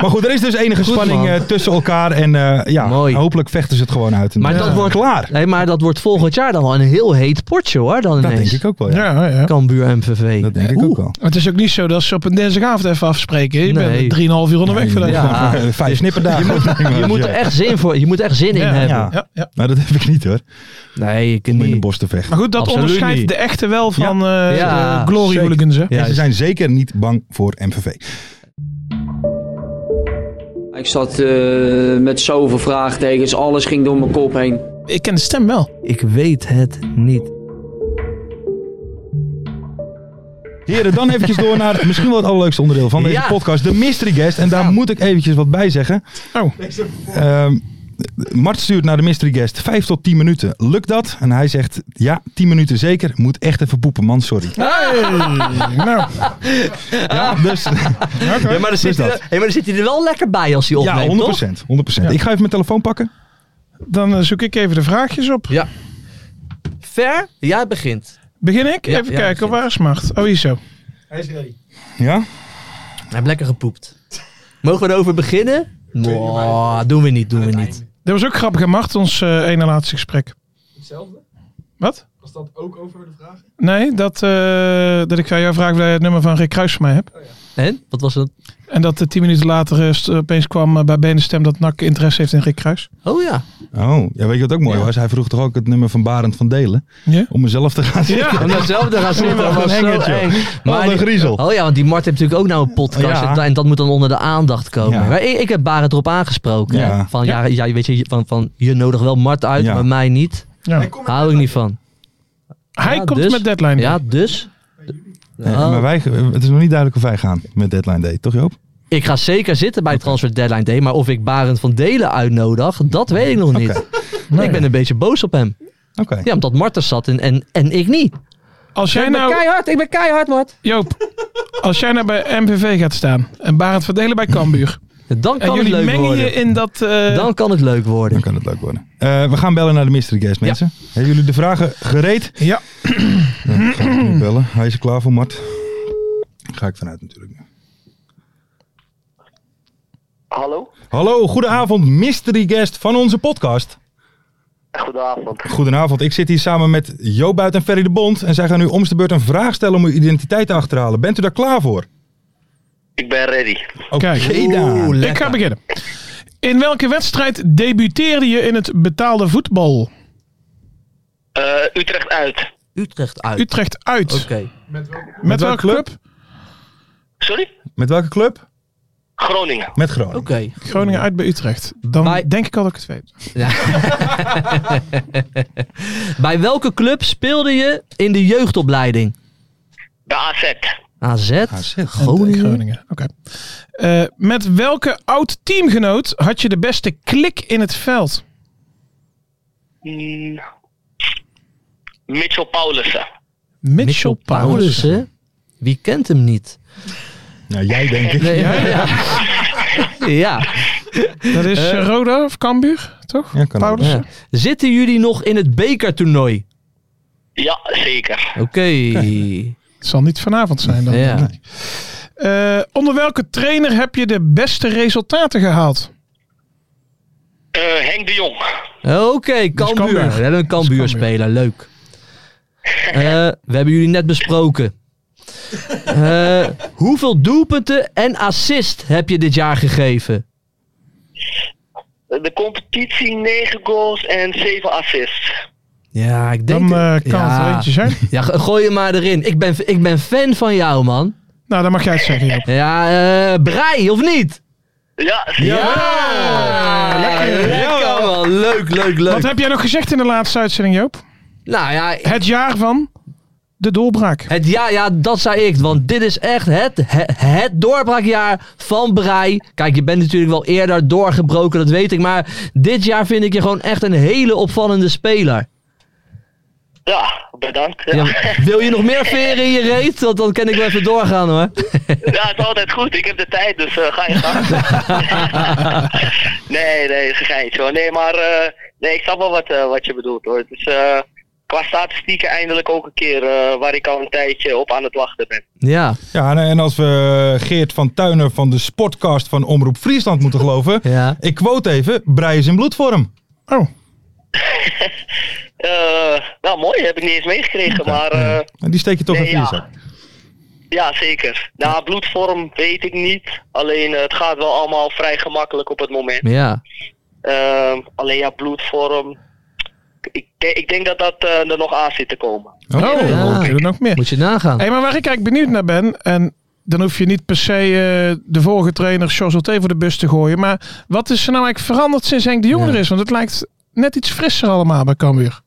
[SPEAKER 4] maar goed, er is dus enige
[SPEAKER 6] Goed,
[SPEAKER 4] spanning
[SPEAKER 6] man.
[SPEAKER 4] eh, tussen elkaar. En eh, ja,
[SPEAKER 6] Mooi.
[SPEAKER 4] hopelijk vechten ze het gewoon uit. En
[SPEAKER 6] Maar
[SPEAKER 4] dan
[SPEAKER 6] dat
[SPEAKER 4] is het
[SPEAKER 6] wordt-
[SPEAKER 4] klaar.
[SPEAKER 6] Nee, maar dat wordt volgend jaar dan wel een heel heet potje hoor. Dan
[SPEAKER 4] Dat
[SPEAKER 6] ineens.
[SPEAKER 4] denk ik ook wel, ja.
[SPEAKER 5] Ja, ja.
[SPEAKER 6] Cambuur MVV.
[SPEAKER 4] Dat denk ik
[SPEAKER 6] Oeh.
[SPEAKER 4] ook wel.
[SPEAKER 5] Maar het is ook niet zo dat ze op een dinsdagavond even afspreken. Je
[SPEAKER 6] Nee.
[SPEAKER 5] bent 3,5 uur onderweg
[SPEAKER 4] Nee,
[SPEAKER 5] vandaag.
[SPEAKER 4] je
[SPEAKER 5] Ja.
[SPEAKER 4] moet gewoon, eh, Vijf snipperdagen.
[SPEAKER 6] Je moet er echt zin, voor, je moet er echt zin in
[SPEAKER 5] Ja,
[SPEAKER 6] hebben.
[SPEAKER 4] ja.
[SPEAKER 5] Ja,
[SPEAKER 4] Maar dat heb ik niet hoor.
[SPEAKER 6] Nee, ik
[SPEAKER 4] Om in de
[SPEAKER 6] niet.
[SPEAKER 4] bos te vechten.
[SPEAKER 5] Maar goed, dat
[SPEAKER 6] Absoluut
[SPEAKER 5] onderscheidt
[SPEAKER 6] niet.
[SPEAKER 5] de echte wel van eh,
[SPEAKER 6] Ja,
[SPEAKER 5] de Glory
[SPEAKER 4] zeker.
[SPEAKER 5] Hooligans. hè.
[SPEAKER 4] En ze zijn zeker niet bang voor MVV.
[SPEAKER 8] Ik zat eh, met zoveel vraagtekens, alles ging door mijn kop heen.
[SPEAKER 5] Ik ken de stem wel.
[SPEAKER 6] Ik weet het niet.
[SPEAKER 4] Heren, dan eventjes door naar misschien wel het allerleukste onderdeel van deze
[SPEAKER 6] Ja. Nou.
[SPEAKER 4] podcast. De mystery guest. En daar moet ik eventjes wat bij zeggen.
[SPEAKER 5] Oh,
[SPEAKER 4] Ehm, Mart stuurt naar de mystery guest 5 tot 10 minuten. Lukt dat? En hij zegt ja, 10 minuten zeker. Moet echt even poepen, man. Sorry.
[SPEAKER 5] nou.
[SPEAKER 4] Ja, dus,
[SPEAKER 6] Ja, maar, dan zit hij,
[SPEAKER 4] dat.
[SPEAKER 6] er- hey, maar dan zit hij er wel lekker bij als hij opneemt,
[SPEAKER 4] Ja, 100%. 100%. Ik ga even mijn telefoon pakken.
[SPEAKER 5] Dan eh, zoek ik even de vraagjes op.
[SPEAKER 6] toch? Ver, jij begint.
[SPEAKER 5] Begin ik?
[SPEAKER 6] Ja,
[SPEAKER 5] even
[SPEAKER 6] ja,
[SPEAKER 5] kijken,
[SPEAKER 6] begin.
[SPEAKER 5] waar is Macht? Oh, hier zo.
[SPEAKER 4] Ja?
[SPEAKER 6] Hij heeft lekker gepoept. Mogen we erover beginnen? Mwah, doen we niet, doen we niet.
[SPEAKER 5] Dat was ook grappig aan Macht, ons eh, ene laatste gesprek.
[SPEAKER 7] Hetzelfde?
[SPEAKER 5] Wat?
[SPEAKER 7] Was dat ook over de vraag?
[SPEAKER 5] Nee, dat, eh, dat ik aan jou vraag of jij het nummer van Rick Kruis voor mij hebt.
[SPEAKER 6] En? Wat was dat?
[SPEAKER 5] En dat eh, tien minuten later eh, st- opeens kwam eh, bij Benenstem dat NAC interesse heeft in Rick Kruis.
[SPEAKER 6] Oh ja.
[SPEAKER 4] Oh, ja, weet je wat ook mooi
[SPEAKER 6] Ja.
[SPEAKER 4] was? Hij vroeg toch ook het nummer van Barend van Delen.
[SPEAKER 5] Ja?
[SPEAKER 4] Om mezelf te gaan zitten.
[SPEAKER 6] Om datzelfde gaan zitten. dat
[SPEAKER 4] Wat
[SPEAKER 6] was
[SPEAKER 4] een
[SPEAKER 6] zo
[SPEAKER 4] hengertje.
[SPEAKER 6] eng.
[SPEAKER 4] Wat een
[SPEAKER 6] die-
[SPEAKER 4] griezel.
[SPEAKER 6] Oh ja, want die Mart heeft natuurlijk ook nou een podcast.
[SPEAKER 4] Ja.
[SPEAKER 6] En, en dat moet dan onder de aandacht komen.
[SPEAKER 4] Ja.
[SPEAKER 6] Maar ik, ik heb Barend erop aangesproken.
[SPEAKER 4] Ja.
[SPEAKER 6] Van, ja, ja, weet je, van, van, je nodig wel Mart uit,
[SPEAKER 4] Ja.
[SPEAKER 6] maar mij niet.
[SPEAKER 5] Ja.
[SPEAKER 6] Hou ik niet van.
[SPEAKER 5] Hij
[SPEAKER 6] Ja,
[SPEAKER 5] komt
[SPEAKER 6] dus-
[SPEAKER 5] met deadline.
[SPEAKER 6] Ja, dus?
[SPEAKER 4] Ja,
[SPEAKER 6] Oh.
[SPEAKER 4] Maar wij, het is nog niet duidelijk of wij gaan met Deadline Day, toch Joop?
[SPEAKER 6] Ik ga zeker zitten bij Transfer Deadline Day. Maar of ik Barend van Delen uitnodig, dat weet ik nog niet. Ik ben een beetje boos op hem.
[SPEAKER 4] Oké.
[SPEAKER 6] Ja, omdat Mart er zat en, en, en ik niet.
[SPEAKER 5] Als jij
[SPEAKER 6] Ik ben
[SPEAKER 5] nou,
[SPEAKER 6] keihard, ik ben keihard, Mart.
[SPEAKER 5] Joop, als jij nou bij MVV gaat staan en Barend verdelen bij Cambuur.
[SPEAKER 6] Dan
[SPEAKER 5] en
[SPEAKER 6] kan het
[SPEAKER 5] jullie
[SPEAKER 6] leuk
[SPEAKER 5] mengen
[SPEAKER 6] worden.
[SPEAKER 5] je in dat... eh,
[SPEAKER 6] Dan kan het leuk worden.
[SPEAKER 4] Dan kan het leuk worden. Eh, we gaan bellen naar de mystery guest, mensen. Hebben jullie de vragen gereed?
[SPEAKER 5] Ja.
[SPEAKER 4] Dan ga ik nu bellen. Hij is er klaar voor, Mart. Daar Ga ik vanuit natuurlijk.
[SPEAKER 9] Hallo,
[SPEAKER 4] Hallo, goedenavond, mystery guest van onze podcast.
[SPEAKER 9] goedenavond.
[SPEAKER 4] Goedenavond, ik zit hier samen met Jo Buit en Ferry de Bond. En zij gaan nu om de beurt een vraag stellen om uw identiteit te achterhalen. Bent u daar klaar voor?
[SPEAKER 9] Ik ben ready.
[SPEAKER 4] Oké,
[SPEAKER 5] Kijk.
[SPEAKER 4] dan.
[SPEAKER 5] Ik ga beginnen. In welke wedstrijd debuteerde je in het betaalde voetbal?
[SPEAKER 9] Eh, Utrecht uit.
[SPEAKER 6] Utrecht uit.
[SPEAKER 5] Utrecht uit.
[SPEAKER 6] Oké.
[SPEAKER 5] Met, welke club?
[SPEAKER 9] Sorry?
[SPEAKER 4] Met welke club?
[SPEAKER 9] Groningen.
[SPEAKER 4] Met Groningen.
[SPEAKER 6] Oké.
[SPEAKER 5] Groningen uit bij Utrecht. Dan
[SPEAKER 6] Bij-
[SPEAKER 5] denk ik al dat ik het weet.
[SPEAKER 6] Bij welke club speelde je in de jeugdopleiding?
[SPEAKER 9] De AZ.
[SPEAKER 6] AZ,
[SPEAKER 4] AZ.
[SPEAKER 5] Groningen.
[SPEAKER 6] Groningen.
[SPEAKER 5] Oké. Eh, met welke oud teamgenoot had je de beste klik in het veld?
[SPEAKER 9] Mm. Mitchell Paulussen.
[SPEAKER 5] Mitchell,
[SPEAKER 6] Mitchell
[SPEAKER 5] Paulussen.
[SPEAKER 6] Paulussen. Wie kent hem niet?
[SPEAKER 4] Nou, jij denk ik.
[SPEAKER 6] ja. ja. ja.
[SPEAKER 5] Dat is eh, Roda of Cambuur, toch?
[SPEAKER 4] Ja, kan ook.
[SPEAKER 5] Paulussen.
[SPEAKER 6] Zitten jullie nog in het bekertoernooi?
[SPEAKER 9] Ja, zeker.
[SPEAKER 6] Oké.
[SPEAKER 5] Het zal niet vanavond zijn dan.
[SPEAKER 6] Ja.
[SPEAKER 5] Eh, onder welke trainer heb je de beste resultaten gehaald?
[SPEAKER 9] Eh, Henk de Jong.
[SPEAKER 6] Oké, Cambuur.
[SPEAKER 5] Cambuur.
[SPEAKER 6] We hebben een Cambuurspeler. Leuk. Eh, we hebben jullie net besproken. Eh, hoeveel doelpunten en assist heb je dit jaar gegeven?
[SPEAKER 9] De competitie 9 goals en 7 assists.
[SPEAKER 6] Ja, ik
[SPEAKER 5] Dan
[SPEAKER 6] denk...
[SPEAKER 5] eh, kan het er
[SPEAKER 6] ja.
[SPEAKER 5] eentje zijn.
[SPEAKER 6] Ja, go- gooi hem maar erin. Ik ben, ik ben fan van jou, man.
[SPEAKER 5] Nou, dan mag jij het zeggen, Joop.
[SPEAKER 6] Ja, eh Brei, of niet?
[SPEAKER 9] Ja, zeker.
[SPEAKER 6] Ja! Lekker, man. Leuk, leuk, leuk.
[SPEAKER 5] Wat heb jij nog gezegd in de laatste uitzending, Joop?
[SPEAKER 6] Nou ja,
[SPEAKER 5] Het jaar van de doorbraak.
[SPEAKER 6] Het, ja, ja, dat zei ik. Want dit is echt het, het, het doorbraakjaar van Brei. Kijk, je bent natuurlijk wel eerder doorgebroken, dat weet ik. Maar dit jaar vind ik je gewoon echt een hele opvallende speler.
[SPEAKER 9] Ja, bedankt. Ja.
[SPEAKER 6] Ja, wil je nog meer veren in je reet? Want dan kan ik wel even doorgaan hoor.
[SPEAKER 9] Ja, het is altijd goed. Ik heb de tijd, dus eh, ga je gang. nee, nee, is een geintje hoor. Nee, maar eh, nee, ik snap wel wat, eh, wat je bedoelt hoor. Het is eh, qua statistieken eindelijk ook een keer eh, waar ik al een tijdje op aan het wachten ben.
[SPEAKER 6] Ja,
[SPEAKER 4] Ja, en- en als we Geert van Tuinen van de Sportcast van Omroep Friesland moeten geloven.
[SPEAKER 6] ja.
[SPEAKER 4] Ik quote even, Brei is in bloedvorm.
[SPEAKER 5] Oh,
[SPEAKER 9] Eh, nou, mooi, heb ik niet eens meegekregen, maar eh,
[SPEAKER 4] En die steek je toch
[SPEAKER 9] Nee,
[SPEAKER 4] even in je
[SPEAKER 9] ja.
[SPEAKER 4] zak.
[SPEAKER 9] ja, zeker. Nou, bloedvorm weet ik niet. Alleen eh, het gaat wel allemaal vrij gemakkelijk op het moment.
[SPEAKER 6] Ja,
[SPEAKER 9] Ehm, alleen ja, bloedvorm. Ik, ik denk dat dat eh, er nog aan zit te komen.
[SPEAKER 5] oh,
[SPEAKER 6] ja.
[SPEAKER 5] oké, dan nog meer.
[SPEAKER 6] moet je nagaan.
[SPEAKER 5] Hé, maar waar ik eigenlijk benieuwd naar ben, en dan hoef je niet per se eh, de vorige trainer Charles voor de bus te gooien, maar wat is er nou eigenlijk veranderd sinds Henk de Jong
[SPEAKER 6] Ja.
[SPEAKER 5] er is? Want het lijkt net iets frisser allemaal bij Cambuur.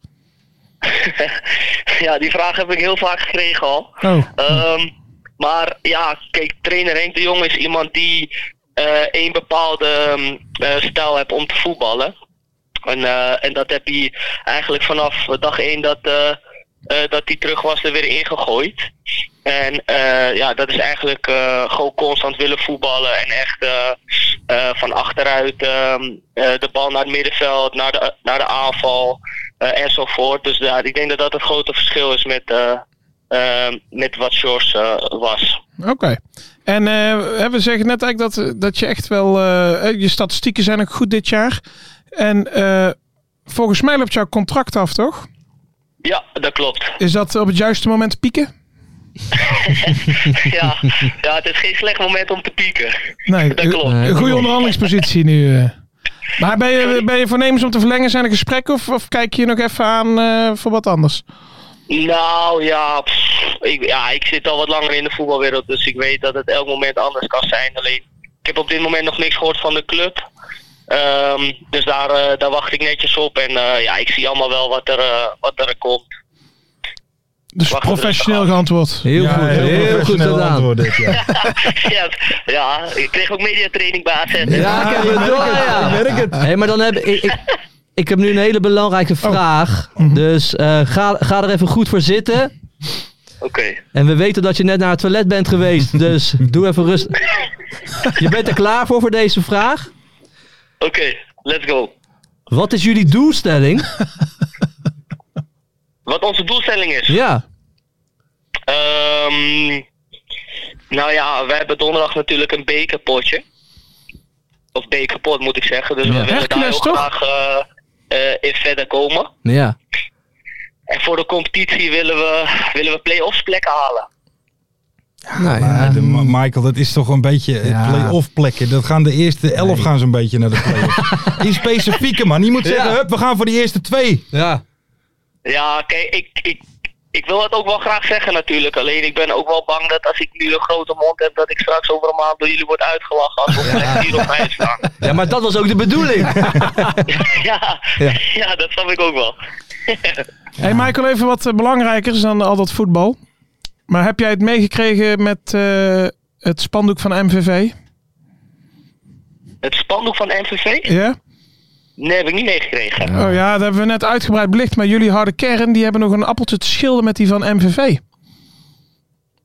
[SPEAKER 9] Ja, die vraag heb ik heel vaak gekregen al.
[SPEAKER 5] Oh,
[SPEAKER 9] Ehm, maar ja, kijk, trainer Henk de Jong is iemand die eh een bepaalde ehm, eh, stijl heeft om te voetballen. En, eh, en dat heb hij eigenlijk vanaf dag één dat, eh, eh, dat hij terug was er weer ingegooid. En eh, ja, dat is eigenlijk eh, gewoon constant willen voetballen en echt eh, eh, van achteruit ehm, eh, de bal naar het middenveld, naar de, naar de aanval eh, enzovoort. Dus ja, ik denk dat dat het grote verschil is met, eh, eh, met wat George eh, was.
[SPEAKER 5] oké. En eh, hè, we zeggen net eigenlijk dat, dat je echt wel, eh, hè, je statistieken zijn ook goed dit jaar. En eh, volgens mij loopt jouw contract af, toch?
[SPEAKER 9] Ja, dat klopt.
[SPEAKER 5] Is dat op het juiste moment pieken?
[SPEAKER 9] ja. ja, het is geen slecht moment om te pieken.
[SPEAKER 5] Nee, eh,
[SPEAKER 9] Dat klopt.
[SPEAKER 5] Een goede onderhandelingspositie nu. eh. Maar ben je,
[SPEAKER 9] Sorry?
[SPEAKER 5] ben je voornemens om te verlengen? Zijn er gesprekken of, of kijk je nog even aan eh, voor wat anders?
[SPEAKER 9] Nou ja, pff, ik, ja, ik zit al wat langer in de voetbalwereld, dus ik weet dat het elk moment anders kan zijn. Alleen, ik heb op dit moment nog niks gehoord van de club. Ehm, dus daar, eh, daar wacht ik netjes op. En eh, ja, ik zie allemaal wel wat er, eh, wat er komt.
[SPEAKER 5] Dus
[SPEAKER 9] Wacht,
[SPEAKER 5] professioneel
[SPEAKER 9] rustig
[SPEAKER 5] geantwoord.
[SPEAKER 6] Heel
[SPEAKER 4] Ja,
[SPEAKER 6] goed, heel, goed
[SPEAKER 4] professioneel
[SPEAKER 6] gedaan.
[SPEAKER 4] antwoord dit, ja.
[SPEAKER 9] ja, ja, ik kreeg ook mediatraining bij AZ. hè.
[SPEAKER 6] Ja, ik heb het Oh. door, ja.
[SPEAKER 4] Ik merk het.
[SPEAKER 6] Hé, maar dan heb ik, ik... Ik heb nu een hele belangrijke vraag. Dus eh, ga, ga er even goed voor zitten.
[SPEAKER 9] Oké.
[SPEAKER 6] En we weten dat je net naar het toilet bent geweest. Dus doe even rustig. Je bent er klaar voor voor deze vraag.
[SPEAKER 9] Oké, let's go.
[SPEAKER 6] Wat is jullie doelstelling?
[SPEAKER 9] Wat onze doelstelling is.
[SPEAKER 6] Ja.
[SPEAKER 9] Ehm, nou ja, we hebben donderdag natuurlijk een bekerpotje. Of bekerpot moet ik zeggen. Dus we willen daar
[SPEAKER 5] Hercules,
[SPEAKER 9] heel
[SPEAKER 5] toch?
[SPEAKER 9] graag eh, eh, in verder komen.
[SPEAKER 6] Ja.
[SPEAKER 9] En voor de competitie willen we, willen we play-offs plekken halen.
[SPEAKER 6] Nou,
[SPEAKER 4] Maar de- Ma- Michael, dat is toch een beetje het
[SPEAKER 6] Ja.
[SPEAKER 4] play-off plekken. Dat gaan de eerste elf gaan zo'n beetje naar de play-off. Die specifieke man. Die moet zeggen,
[SPEAKER 6] Ja.
[SPEAKER 4] hup, we gaan voor die eerste twee.
[SPEAKER 6] ja.
[SPEAKER 9] Ja, kijk, ik, ik, ik wil het ook wel graag zeggen natuurlijk. Alleen ik ben ook wel bang dat als ik nu een grote mond heb... dat ik straks over een maand door jullie word uitgelachen... als we op plek 4 of 5 staan.
[SPEAKER 6] ja, maar dat was ook de bedoeling.
[SPEAKER 9] ja,
[SPEAKER 6] Ja.
[SPEAKER 9] ja. ja, dat snap ik ook wel.
[SPEAKER 5] Hey Michael, even wat eh, belangrijker is dan al dat voetbal. Maar heb jij het meegekregen met eh, het spandoek van MVV?
[SPEAKER 9] Het spandoek van MVV?
[SPEAKER 5] Ja?
[SPEAKER 9] Nee, heb ik niet meegekregen.
[SPEAKER 5] Oh ja, dat hebben we net uitgebreid belicht. Maar jullie harde kern, die hebben nog een appeltje te schilden met die van MVV.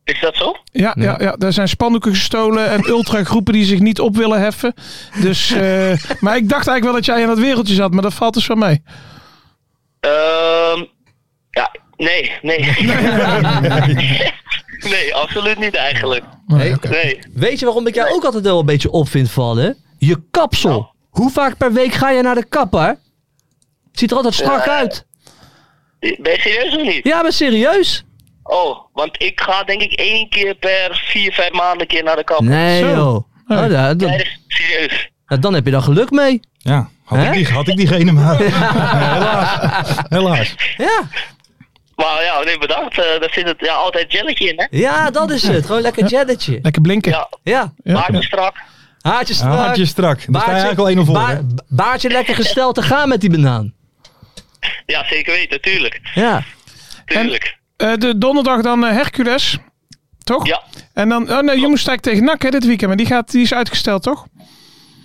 [SPEAKER 9] Is dat zo?
[SPEAKER 5] Ja, ja, ja, daar zijn spandoeken gestolen en ultragroepen die zich niet op willen heffen. Dus, eh, maar ik dacht eigenlijk wel dat jij in dat wereldje zat, maar dat valt dus wel mee.
[SPEAKER 9] Ehm ja, nee, nee. nee, absoluut niet eigenlijk.
[SPEAKER 6] Nee, oké.
[SPEAKER 9] Nee.
[SPEAKER 6] Weet je waarom ik jou ook altijd wel een beetje op vind vallen? Je kapsel. Hoe vaak per week ga je naar de kapper? Ziet er altijd strak
[SPEAKER 9] Ja.
[SPEAKER 6] uit.
[SPEAKER 9] Ben je serieus of niet?
[SPEAKER 6] Ja, maar serieus?
[SPEAKER 9] Oh, want ik ga denk ik één keer per vier, vijf maanden een keer naar de kapper.
[SPEAKER 6] Nee,
[SPEAKER 5] Zo.
[SPEAKER 6] joh.
[SPEAKER 5] Nee.
[SPEAKER 6] Oh, ja, dan,
[SPEAKER 9] Nee, dat is serieus.
[SPEAKER 6] nou, dan heb je daar geluk mee.
[SPEAKER 4] Ja, had, ik,
[SPEAKER 6] Hè?
[SPEAKER 4] die, had ik diegene maar. Helaas. Helaas.
[SPEAKER 6] Ja,
[SPEAKER 9] Maar ja, nee, bedankt. Eh, daar zit het, ja, altijd jelletje in, hè?
[SPEAKER 6] ja dat is het. Gewoon lekker jelletje.
[SPEAKER 5] Lekker blinken.
[SPEAKER 9] Ja,
[SPEAKER 6] Ja,
[SPEAKER 9] maakt me strak.
[SPEAKER 6] haartje strak.
[SPEAKER 4] Had je strak. Daar sta je eigenlijk al één of voor. hè?
[SPEAKER 6] baar- baartje lekker gesteld te gaan met die banaan.
[SPEAKER 9] Ja, zeker weten, tuurlijk.
[SPEAKER 6] Ja.
[SPEAKER 9] Tuurlijk.
[SPEAKER 5] Eh, de donderdag dan eh, Hercules, toch?
[SPEAKER 9] Ja,
[SPEAKER 5] En dan, oh nee, Jong stijgt tegen NAC hè, dit weekend, maar die, gaat, die is uitgesteld, toch?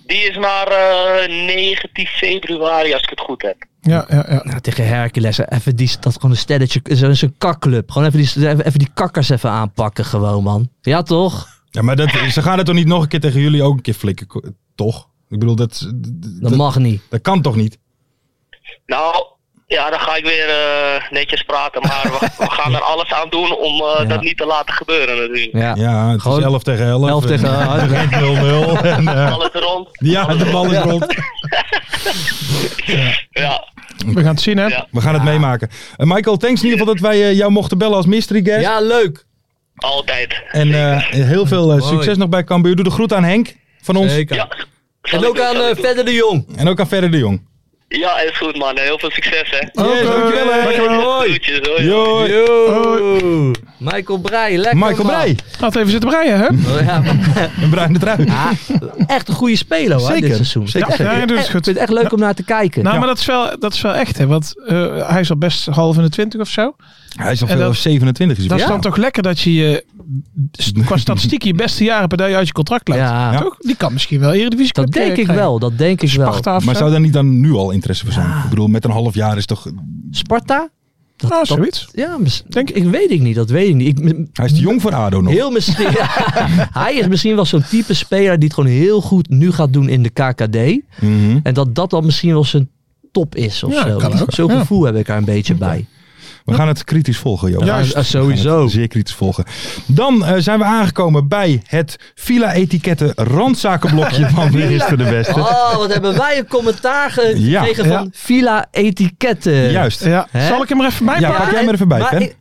[SPEAKER 9] die is naar eh 19 februari als ik het goed heb.
[SPEAKER 5] Ja, ja, ja.
[SPEAKER 6] Nou, tegen Hercules, hè, even die, dat gewoon een stelletje, zo'n zo'n kakclub. Gewoon even die, even, even die kakkers even aanpakken gewoon, man. Ja, toch?
[SPEAKER 4] Ja, maar dat, ze gaan het toch niet nog een keer tegen jullie ook een keer flikken, ko- toch? Ik bedoel, dat, dat,
[SPEAKER 6] Dat mag niet.
[SPEAKER 4] dat kan toch niet?
[SPEAKER 9] Nou, ja, dan ga ik weer eh, netjes praten. Maar we, we gaan er alles aan doen om eh,
[SPEAKER 6] Ja.
[SPEAKER 9] dat niet te laten gebeuren natuurlijk.
[SPEAKER 6] Ja.
[SPEAKER 4] Ja, het
[SPEAKER 6] Gewoon
[SPEAKER 4] is 11 tegen 11.
[SPEAKER 6] 11 tegen
[SPEAKER 4] en-
[SPEAKER 6] 11.
[SPEAKER 4] het brengt 0-0. en, eh,
[SPEAKER 9] Alles rond.
[SPEAKER 4] ja, de bal is rond.
[SPEAKER 9] Ja,
[SPEAKER 5] We gaan het zien, hè?
[SPEAKER 9] Ja.
[SPEAKER 4] We gaan het meemaken. Eh, Michael, thanks in ieder geval dat wij eh, jou mochten bellen als mystery guest.
[SPEAKER 6] Ja, leuk.
[SPEAKER 9] altijd.
[SPEAKER 4] En eh, heel veel eh,
[SPEAKER 6] Mooi.
[SPEAKER 4] succes nog bij Cambuur. Doe de groet aan Henk van ons
[SPEAKER 6] Zeker.
[SPEAKER 9] Ja. Zal
[SPEAKER 6] En
[SPEAKER 9] ik
[SPEAKER 6] ook
[SPEAKER 9] doen,
[SPEAKER 6] aan
[SPEAKER 9] zal ik
[SPEAKER 6] eh,
[SPEAKER 9] doen.
[SPEAKER 6] Verder de Jong.
[SPEAKER 4] en ook aan Ferre de Jong.
[SPEAKER 9] Ja, is goed man. Heel veel succes hè.
[SPEAKER 4] Yes, dankjewel, hè.
[SPEAKER 6] Hoi.
[SPEAKER 9] Groetjes hoor.
[SPEAKER 4] Yo.
[SPEAKER 6] Yo. Michael Breij, lekker
[SPEAKER 4] Michael
[SPEAKER 6] man.
[SPEAKER 4] Breij.
[SPEAKER 5] Laat even zitten breien, hè?
[SPEAKER 6] Oh, ja.
[SPEAKER 4] En Bruin de Trui.
[SPEAKER 6] Ah, echt een goede speler hoor,
[SPEAKER 4] Zeker,
[SPEAKER 6] dit seizoen.
[SPEAKER 4] zeker.
[SPEAKER 6] Echt, eh,
[SPEAKER 5] Ja, hij doet het
[SPEAKER 6] echt-
[SPEAKER 5] goed.
[SPEAKER 6] Ik vind het echt leuk om naar te kijken.
[SPEAKER 5] Nou, maar dat is wel, dat is wel echt, hè? Want eh, hij is al best half in de twintig of zo.
[SPEAKER 4] Hij is al
[SPEAKER 5] En
[SPEAKER 4] veel
[SPEAKER 5] dat-
[SPEAKER 4] 27 is hij.
[SPEAKER 5] Dat is
[SPEAKER 4] Ja.
[SPEAKER 5] dan toch lekker dat je je st- qua statistiek je beste jaren per dag uit je contract laat.
[SPEAKER 6] Ja.
[SPEAKER 5] Toch? Die kan misschien wel Eredivisie
[SPEAKER 6] dat denk ik wel, dat denk ik wel.
[SPEAKER 5] Sparta of
[SPEAKER 4] Maar
[SPEAKER 5] zo.
[SPEAKER 4] zou daar niet dan nu al interesse voor zijn? Ik bedoel, met een half jaar is toch...
[SPEAKER 6] Sparta? Dat,
[SPEAKER 5] Nou,
[SPEAKER 6] dat-
[SPEAKER 5] zoiets.
[SPEAKER 6] ja, mis- denk ik. weet ik niet, dat weet ik niet. Ik, m-
[SPEAKER 4] Hij is te jong voor ADO nog.
[SPEAKER 6] heel misschien, hij is misschien wel zo'n type speler die het gewoon heel goed nu gaat doen in de KKD.
[SPEAKER 4] Mhm.
[SPEAKER 6] En dat dat dan misschien wel zijn top is of
[SPEAKER 5] Ja,
[SPEAKER 6] zo.
[SPEAKER 5] kan ook,
[SPEAKER 6] Zo'n
[SPEAKER 5] ja.
[SPEAKER 6] gevoel heb ik er een beetje bij.
[SPEAKER 4] We gaan het kritisch volgen, Joost.
[SPEAKER 5] Ja, Juist.
[SPEAKER 6] Ah,
[SPEAKER 4] We gaan
[SPEAKER 6] sowieso.
[SPEAKER 4] het Zeer kritisch volgen. Dan eh, zijn we aangekomen bij het Villa-etiketten randzakenblokje van Wie is er de Beste.
[SPEAKER 6] Oh, wat hebben wij een commentaar
[SPEAKER 4] Ja.
[SPEAKER 6] gekregen
[SPEAKER 5] Ja.
[SPEAKER 6] van Villa Etiketten.
[SPEAKER 4] Juist.
[SPEAKER 5] Ja.
[SPEAKER 6] Hè?
[SPEAKER 5] Zal ik hem er even bij
[SPEAKER 4] Ja,
[SPEAKER 5] pakken?
[SPEAKER 4] pak jij
[SPEAKER 6] en-
[SPEAKER 4] maar even bij,
[SPEAKER 6] maar
[SPEAKER 4] Fen.
[SPEAKER 6] ik,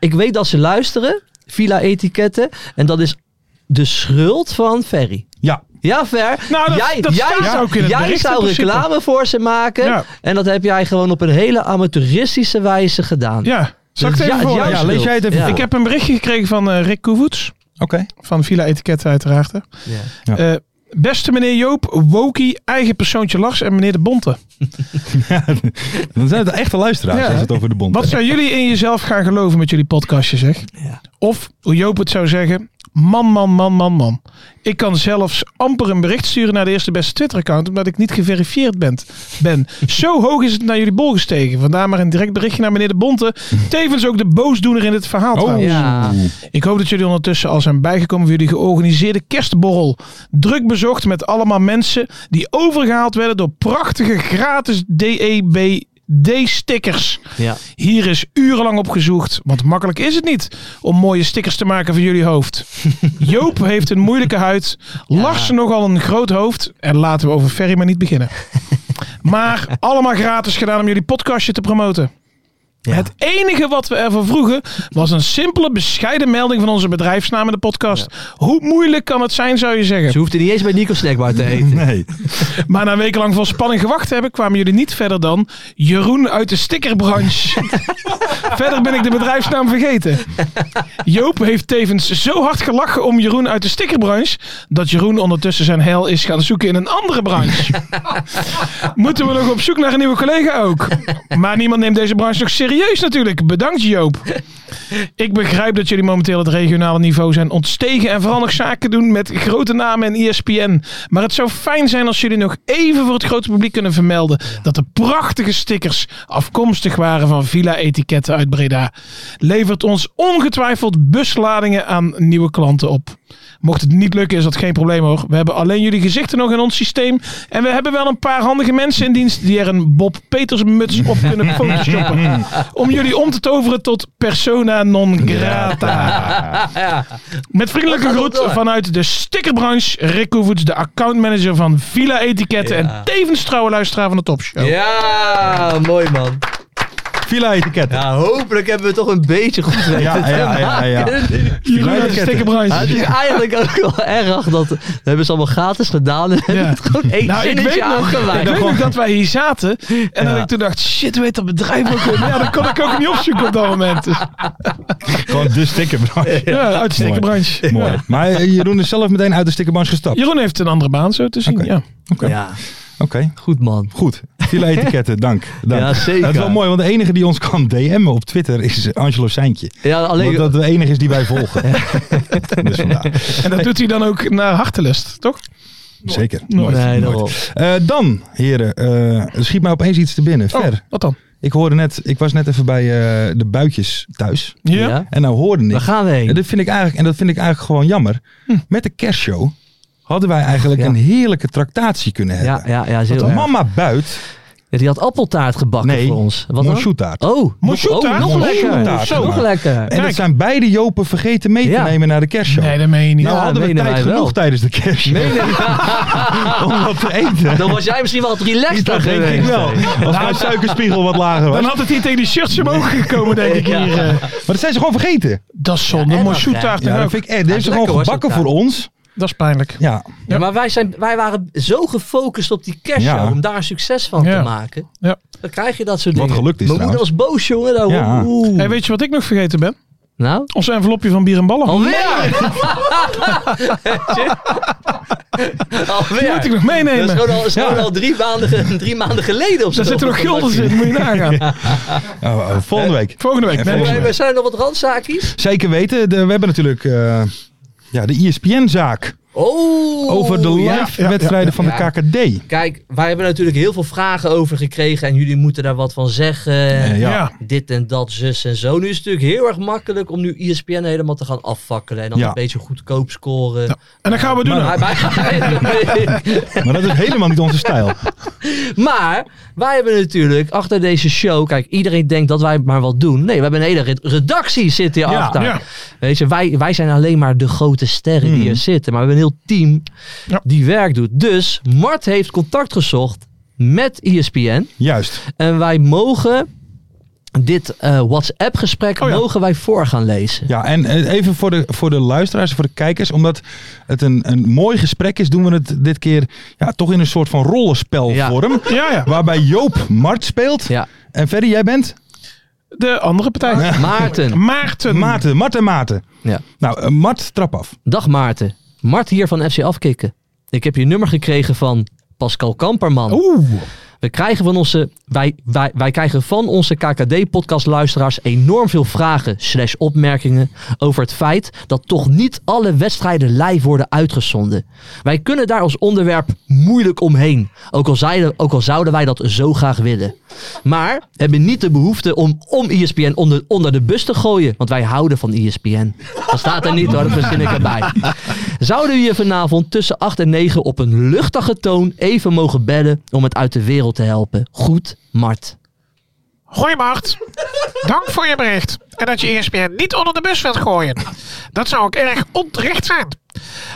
[SPEAKER 6] ik weet dat ze luisteren, Villa Etiketten. En dat is de schuld van Ferry.
[SPEAKER 4] Ja,
[SPEAKER 6] Ja, Fer.
[SPEAKER 5] Nou, dat-
[SPEAKER 6] jij
[SPEAKER 5] dat
[SPEAKER 6] jij,
[SPEAKER 5] staat
[SPEAKER 6] zou,
[SPEAKER 5] ook in het
[SPEAKER 6] jij
[SPEAKER 5] bericht in
[SPEAKER 6] zou
[SPEAKER 5] principe.
[SPEAKER 6] reclame voor ze maken.
[SPEAKER 5] Ja.
[SPEAKER 6] En dat heb jij gewoon op een hele amateuristische wijze gedaan.
[SPEAKER 5] Ja. Zal ik het
[SPEAKER 6] Ja,
[SPEAKER 5] even
[SPEAKER 6] het
[SPEAKER 5] voor?
[SPEAKER 6] jouw
[SPEAKER 4] Ja, lees
[SPEAKER 6] schuld.
[SPEAKER 4] jij het even voor.
[SPEAKER 5] Ik heb een berichtje gekregen van eh, Rick Koevoets.
[SPEAKER 4] oké.
[SPEAKER 5] Van Villa Etiketten uiteraard. hè.
[SPEAKER 6] Ja.
[SPEAKER 5] Eh, beste meneer Joop, Woki, eigen persoontje Lars en meneer De Bonte.
[SPEAKER 4] Dan zijn het echte luisteraars
[SPEAKER 5] Ja.
[SPEAKER 4] als het over de bond
[SPEAKER 5] Wat
[SPEAKER 4] gaat.
[SPEAKER 5] zou jullie in jezelf gaan geloven met jullie podcastje zeg?
[SPEAKER 6] Ja.
[SPEAKER 5] Of, hoe Joop het zou zeggen, man, man, man, man, man. Ik kan zelfs amper een bericht sturen naar de eerste beste Twitter-account, omdat ik niet geverifieerd ben. ben. Zo hoog is het naar jullie bol gestegen. Vandaar maar een direct berichtje naar meneer De Bonte. Tevens ook de boosdoener in het verhaal
[SPEAKER 4] Oh,
[SPEAKER 5] trouwens.
[SPEAKER 6] Oh, Ja.
[SPEAKER 5] Ik hoop dat jullie ondertussen al zijn bijgekomen voor jullie georganiseerde kerstborrel. Druk bezocht met allemaal mensen die overgehaald werden door prachtige gratis E DEBD-stickers.
[SPEAKER 6] Ja.
[SPEAKER 5] Hier is urenlang op gezocht, want makkelijk is het niet om mooie stickers te maken van jullie hoofd. Joop heeft een moeilijke huid, Lars nogal een groot hoofd en laten we over Ferry maar niet beginnen. Maar allemaal gratis gedaan om jullie podcastje te promoten.
[SPEAKER 6] Ja.
[SPEAKER 5] Het enige wat we ervoor vroegen was een simpele, bescheiden melding van onze bedrijfsnaam in de podcast. Hoe moeilijk kan het zijn, zou je zeggen?
[SPEAKER 6] Ze hoefde niet eens bij Nico Snackbar te eten.
[SPEAKER 4] Nee.
[SPEAKER 5] Maar na wekenlang vol spanning gewacht te hebben, kwamen jullie niet verder dan Jeroen uit de stickerbranche. verder ben ik de bedrijfsnaam vergeten. Joop heeft tevens zo hard gelachen om Jeroen uit de stickerbranche, dat Jeroen ondertussen zijn hel is gaan zoeken in een andere branche. Moeten we nog op zoek naar een nieuwe collega ook? Maar niemand neemt deze branche nog serieus natuurlijk. Bedankt Joop. Ik begrijp dat jullie momenteel het regionale niveau zijn ontstegen en vooral nog zaken doen met grote namen en E ESPN. Maar het zou fijn zijn als jullie nog even voor het grote publiek kunnen vermelden dat de prachtige stickers afkomstig waren van Villa Etiketten uit Breda. Levert ons ongetwijfeld busladingen aan nieuwe klanten op. Mocht het niet lukken is dat geen probleem hoor. We hebben alleen jullie gezichten nog in ons systeem. En we hebben wel een paar handige mensen in dienst die er een Bob Peters muts op kunnen photoshoppen. om jullie om te toveren tot persona non grata. Met vriendelijke
[SPEAKER 6] Dat gaat wel
[SPEAKER 5] groet
[SPEAKER 6] door.
[SPEAKER 5] vanuit de stickerbranche. Rick Koevoets, de accountmanager van Villa Etiketten. En tevens trouwe luisteraar van de Topshow.
[SPEAKER 6] Ja, mooi man.
[SPEAKER 4] Villa-etiketten.
[SPEAKER 6] Ja, hopelijk hebben we toch een beetje goed weten
[SPEAKER 4] Ja, ja,
[SPEAKER 6] te
[SPEAKER 4] ja, ja, ja.
[SPEAKER 6] maken.
[SPEAKER 5] Jeroen uit de
[SPEAKER 6] Ja, het
[SPEAKER 5] stickerbranche.
[SPEAKER 6] is eigenlijk ook wel erg dat we hebben ze allemaal gratis gedaan en hebben het gewoon één
[SPEAKER 5] Nou, ik
[SPEAKER 6] zinnetje
[SPEAKER 5] weet, nog, ik
[SPEAKER 6] aangeweid.
[SPEAKER 5] weet nog dat wij hier zaten. En dat ik toen dacht, shit, hoe heet dat bedrijf ook weer? Ja, dat kon ik ook niet opzoeken op dat moment. Dus,
[SPEAKER 4] Gewoon de stickerbranche.
[SPEAKER 5] ja, uit de stickerbranche.
[SPEAKER 4] Mooi. Maar eh, Jeroen is zelf meteen uit de stickerbranche gestapt.
[SPEAKER 5] Jeroen heeft een andere baan, zo te zien.
[SPEAKER 4] Oké.
[SPEAKER 5] Ja.
[SPEAKER 6] Ja,
[SPEAKER 4] Oké,
[SPEAKER 6] goed man.
[SPEAKER 4] goed. Villa-etiketten, dank. dank.
[SPEAKER 6] Ja, zeker.
[SPEAKER 4] Dat is wel mooi, want de enige die ons kan DM'en op Twitter is eh, Angelo Seintje.
[SPEAKER 6] Ja, alleen,
[SPEAKER 4] Omdat dat de enige is die wij volgen. dus vandaar.
[SPEAKER 5] En dat doet hij dan ook naar hartelust, toch?
[SPEAKER 4] Zeker.
[SPEAKER 5] Nooit.
[SPEAKER 6] Nee,
[SPEAKER 4] nooit.
[SPEAKER 6] daarom.
[SPEAKER 4] Eh, dan, heren, eh, er schiet mij opeens iets te binnen.
[SPEAKER 5] Oh,
[SPEAKER 4] Ver.
[SPEAKER 5] wat dan?
[SPEAKER 4] Ik hoorde net, ik was net even bij eh, de buitjes thuis.
[SPEAKER 5] Ja?
[SPEAKER 6] Ja?
[SPEAKER 4] En nou hoorde ik.
[SPEAKER 6] Waar gaan we
[SPEAKER 4] En
[SPEAKER 6] heen? Hm.
[SPEAKER 4] dat vind ik eigenlijk, en dat vind ik eigenlijk gewoon jammer. Met de kerstshow hadden wij eigenlijk
[SPEAKER 6] ja.
[SPEAKER 4] een heerlijke tractatie
[SPEAKER 6] Ja,
[SPEAKER 4] kunnen hebben.
[SPEAKER 6] ja, ja, is heel erg.
[SPEAKER 4] Mama Buit,
[SPEAKER 6] Ja, Die had appeltaart gebakken
[SPEAKER 4] Nee,
[SPEAKER 6] voor ons. Wat dan?
[SPEAKER 4] Monsjoetaart.
[SPEAKER 6] Oh,
[SPEAKER 5] Monsjoetaart?
[SPEAKER 6] oh, nog lekker.
[SPEAKER 4] Monsjoetaart.
[SPEAKER 6] Zo. Nog
[SPEAKER 4] Ja.
[SPEAKER 6] lekker.
[SPEAKER 4] En dat
[SPEAKER 5] Kijk.
[SPEAKER 4] zijn beide Jopen vergeten mee te
[SPEAKER 6] Ja.
[SPEAKER 4] nemen naar de kerstshow.
[SPEAKER 5] Nee, dat meen je niet.
[SPEAKER 4] nou
[SPEAKER 6] Ja,
[SPEAKER 4] hadden we
[SPEAKER 6] menen
[SPEAKER 4] tijd
[SPEAKER 6] wij wel. Ah.
[SPEAKER 4] genoeg tijdens de kerstshow om wat te eten.
[SPEAKER 6] Dan was jij misschien wel wat relaxter
[SPEAKER 4] dat denk ik
[SPEAKER 6] geweest.
[SPEAKER 4] wel. Als mijn suikerspiegel wat lager was.
[SPEAKER 5] Dan had het hier tegen die shirts omhoog gekomen, denk ik.
[SPEAKER 6] Ja.
[SPEAKER 5] Hier, eh.
[SPEAKER 4] Maar dat zijn ze gewoon vergeten.
[SPEAKER 5] Dat is zonde.
[SPEAKER 6] en
[SPEAKER 5] maar
[SPEAKER 6] dat,
[SPEAKER 5] shoot daar
[SPEAKER 4] Ja,
[SPEAKER 5] toch
[SPEAKER 4] dat
[SPEAKER 5] ook.
[SPEAKER 4] vind ik eh, echt. Dit is
[SPEAKER 6] Ja,
[SPEAKER 4] gewoon
[SPEAKER 6] lekker hoor,
[SPEAKER 4] gebakken
[SPEAKER 6] zo'n
[SPEAKER 4] voor ons.
[SPEAKER 5] Dat is pijnlijk.
[SPEAKER 4] Ja,
[SPEAKER 6] Ja, maar wij, zijn, wij waren zo gefocust op die kerstshow
[SPEAKER 4] Ja.
[SPEAKER 6] om daar succes van
[SPEAKER 5] Ja.
[SPEAKER 6] te maken.
[SPEAKER 5] Ja.
[SPEAKER 6] Dan krijg je dat soort
[SPEAKER 4] Wat
[SPEAKER 6] dingen.
[SPEAKER 4] gelukt is
[SPEAKER 6] Mijn moeder was boos, jongen. daar-
[SPEAKER 4] Ja.
[SPEAKER 6] Oeh.
[SPEAKER 5] Hey, weet je wat ik nog vergeten ben?
[SPEAKER 6] Nou?
[SPEAKER 5] Ons envelopje van bier en
[SPEAKER 4] Oh,
[SPEAKER 5] ballen.
[SPEAKER 6] Alweer!
[SPEAKER 5] Die moet ik
[SPEAKER 6] Alweer!
[SPEAKER 5] nog meenemen.
[SPEAKER 6] Dat is
[SPEAKER 5] Daar
[SPEAKER 6] gewoon al, is gewoon al drie, maanden, ge- drie maanden geleden of zo.
[SPEAKER 5] zitten nog guldens in, moet je nagaan.
[SPEAKER 4] Oh, oh, volgende week.
[SPEAKER 5] Volgende week.
[SPEAKER 4] Volgende
[SPEAKER 5] Nee,
[SPEAKER 4] week.
[SPEAKER 6] We zijn er nog wat randzaakjes.
[SPEAKER 4] Zeker weten, de- we hebben natuurlijk eh, ja, de E ESPN-zaak
[SPEAKER 6] Oh!
[SPEAKER 4] over de live-wedstrijden van de
[SPEAKER 6] ja.
[SPEAKER 4] KKD.
[SPEAKER 6] Kijk, wij hebben natuurlijk heel veel vragen over gekregen en jullie moeten daar wat van zeggen.
[SPEAKER 4] Eh, ja.
[SPEAKER 5] Ja.
[SPEAKER 6] Dit en dat, zus en zo. Nu is het natuurlijk heel erg makkelijk om nu E ESPN helemaal te gaan afvakkelen. En dan
[SPEAKER 4] Ja.
[SPEAKER 6] een beetje goedkoop scoren.
[SPEAKER 5] En dat gaan we doen.
[SPEAKER 6] Maar, maar-
[SPEAKER 4] Maar dat is helemaal niet onze stijl.
[SPEAKER 6] maar wij hebben natuurlijk achter deze show... Kijk, iedereen denkt dat wij maar wat doen. Nee, we hebben een hele red- redactie zit hier achter.
[SPEAKER 5] ja. Hmm.
[SPEAKER 6] Weet je, wij, wij zijn alleen maar de grote sterren die er zitten. Maar we hebben een heel team
[SPEAKER 5] Ja.
[SPEAKER 6] die werk doet. Dus Mart heeft contact gezocht met E ESPN.
[SPEAKER 4] Juist.
[SPEAKER 6] En wij mogen dit eh, WhatsApp-gesprek
[SPEAKER 5] Oh ja.
[SPEAKER 6] mogen wij voor gaan lezen.
[SPEAKER 4] Ja, en eh, even voor de, voor de luisteraars, voor de kijkers, omdat het een, een mooi gesprek is, doen we het dit keer ja, toch in een soort van rollenspelvorm.
[SPEAKER 5] Ja, ja.
[SPEAKER 4] Waarbij Joop Mart speelt.
[SPEAKER 6] Ja.
[SPEAKER 4] En Ferry, jij bent?
[SPEAKER 5] De andere partij.
[SPEAKER 6] Maarten.
[SPEAKER 5] Maarten.
[SPEAKER 4] Maarten. Mart en Maarten.
[SPEAKER 6] Ja.
[SPEAKER 4] Nou, eh, Mart, trap af.
[SPEAKER 6] Dag Maarten. Mart hier van FC Afkikken. Ik heb je nummer gekregen van Pascal Kamperman.
[SPEAKER 5] Oeh.
[SPEAKER 6] We krijgen van onze, wij, wij, wij krijgen van onze KKD-podcastluisteraars enorm veel vragen slash opmerkingen over het feit dat toch niet alle wedstrijden live worden uitgezonden. Wij kunnen daar als onderwerp moeilijk omheen, ook al, zeiden, ook al zouden wij dat zo graag willen. Maar hebben niet de behoefte om, om E ESPN onder, onder de bus te gooien, want wij houden van E ESPN. Dat staat er niet hoor, dat verzin ik erbij. Zouden we je vanavond tussen 8 en 9 op een luchtige toon even mogen bellen om het uit de wereld te helpen? Goed, Mart.
[SPEAKER 5] Hoi Mart. Dank voor je bericht. En dat je E ESPN niet onder de bus wilt gooien. Dat zou ook erg onterecht zijn.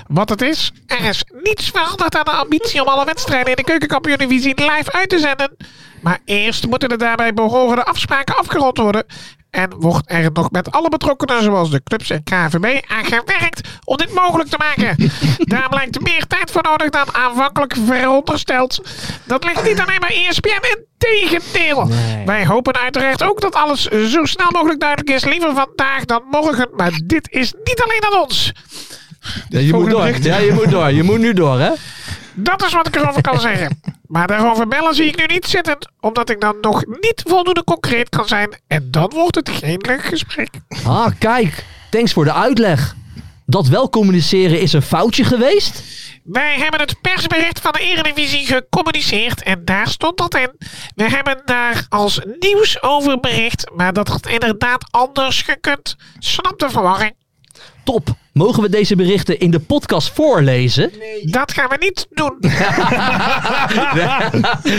[SPEAKER 5] Wat het is, er is niets veranderd aan de ambitie om alle wedstrijden in de keukenkampioen-divisie live uit te zenden. Maar eerst moeten de daarbij behorende afspraken afgerond worden. En wordt er nog met alle betrokkenen, zoals de clubs en KVB, aan gewerkt om dit mogelijk te maken. Daar blijkt meer tijd voor nodig dan aanvankelijk verondersteld. Dat ligt niet alleen bij E ESPN, in tegendeel.
[SPEAKER 6] Nee.
[SPEAKER 5] Wij hopen uiteraard ook dat alles zo snel mogelijk duidelijk is. Liever vandaag dan morgen, maar dit is niet alleen aan ons.
[SPEAKER 6] je
[SPEAKER 5] moet door.
[SPEAKER 6] Ja, je moet door. Je moet nu door, hè?
[SPEAKER 5] Dat is wat ik erover kan zeggen. Maar daarover bellen zie ik nu niet zitten, omdat ik dan nog niet voldoende concreet kan zijn. En dan wordt het geen leuk gesprek.
[SPEAKER 6] Ah, kijk. Thanks voor de uitleg. Dat wel communiceren is een foutje geweest?
[SPEAKER 5] Wij hebben het persbericht van de Eredivisie gecommuniceerd en daar stond dat in. We hebben daar als nieuws over bericht, maar dat had inderdaad anders gekund. Snap de verwarring?
[SPEAKER 6] Top. Mogen we deze berichten in de podcast voorlezen?
[SPEAKER 5] Dat gaan we niet doen.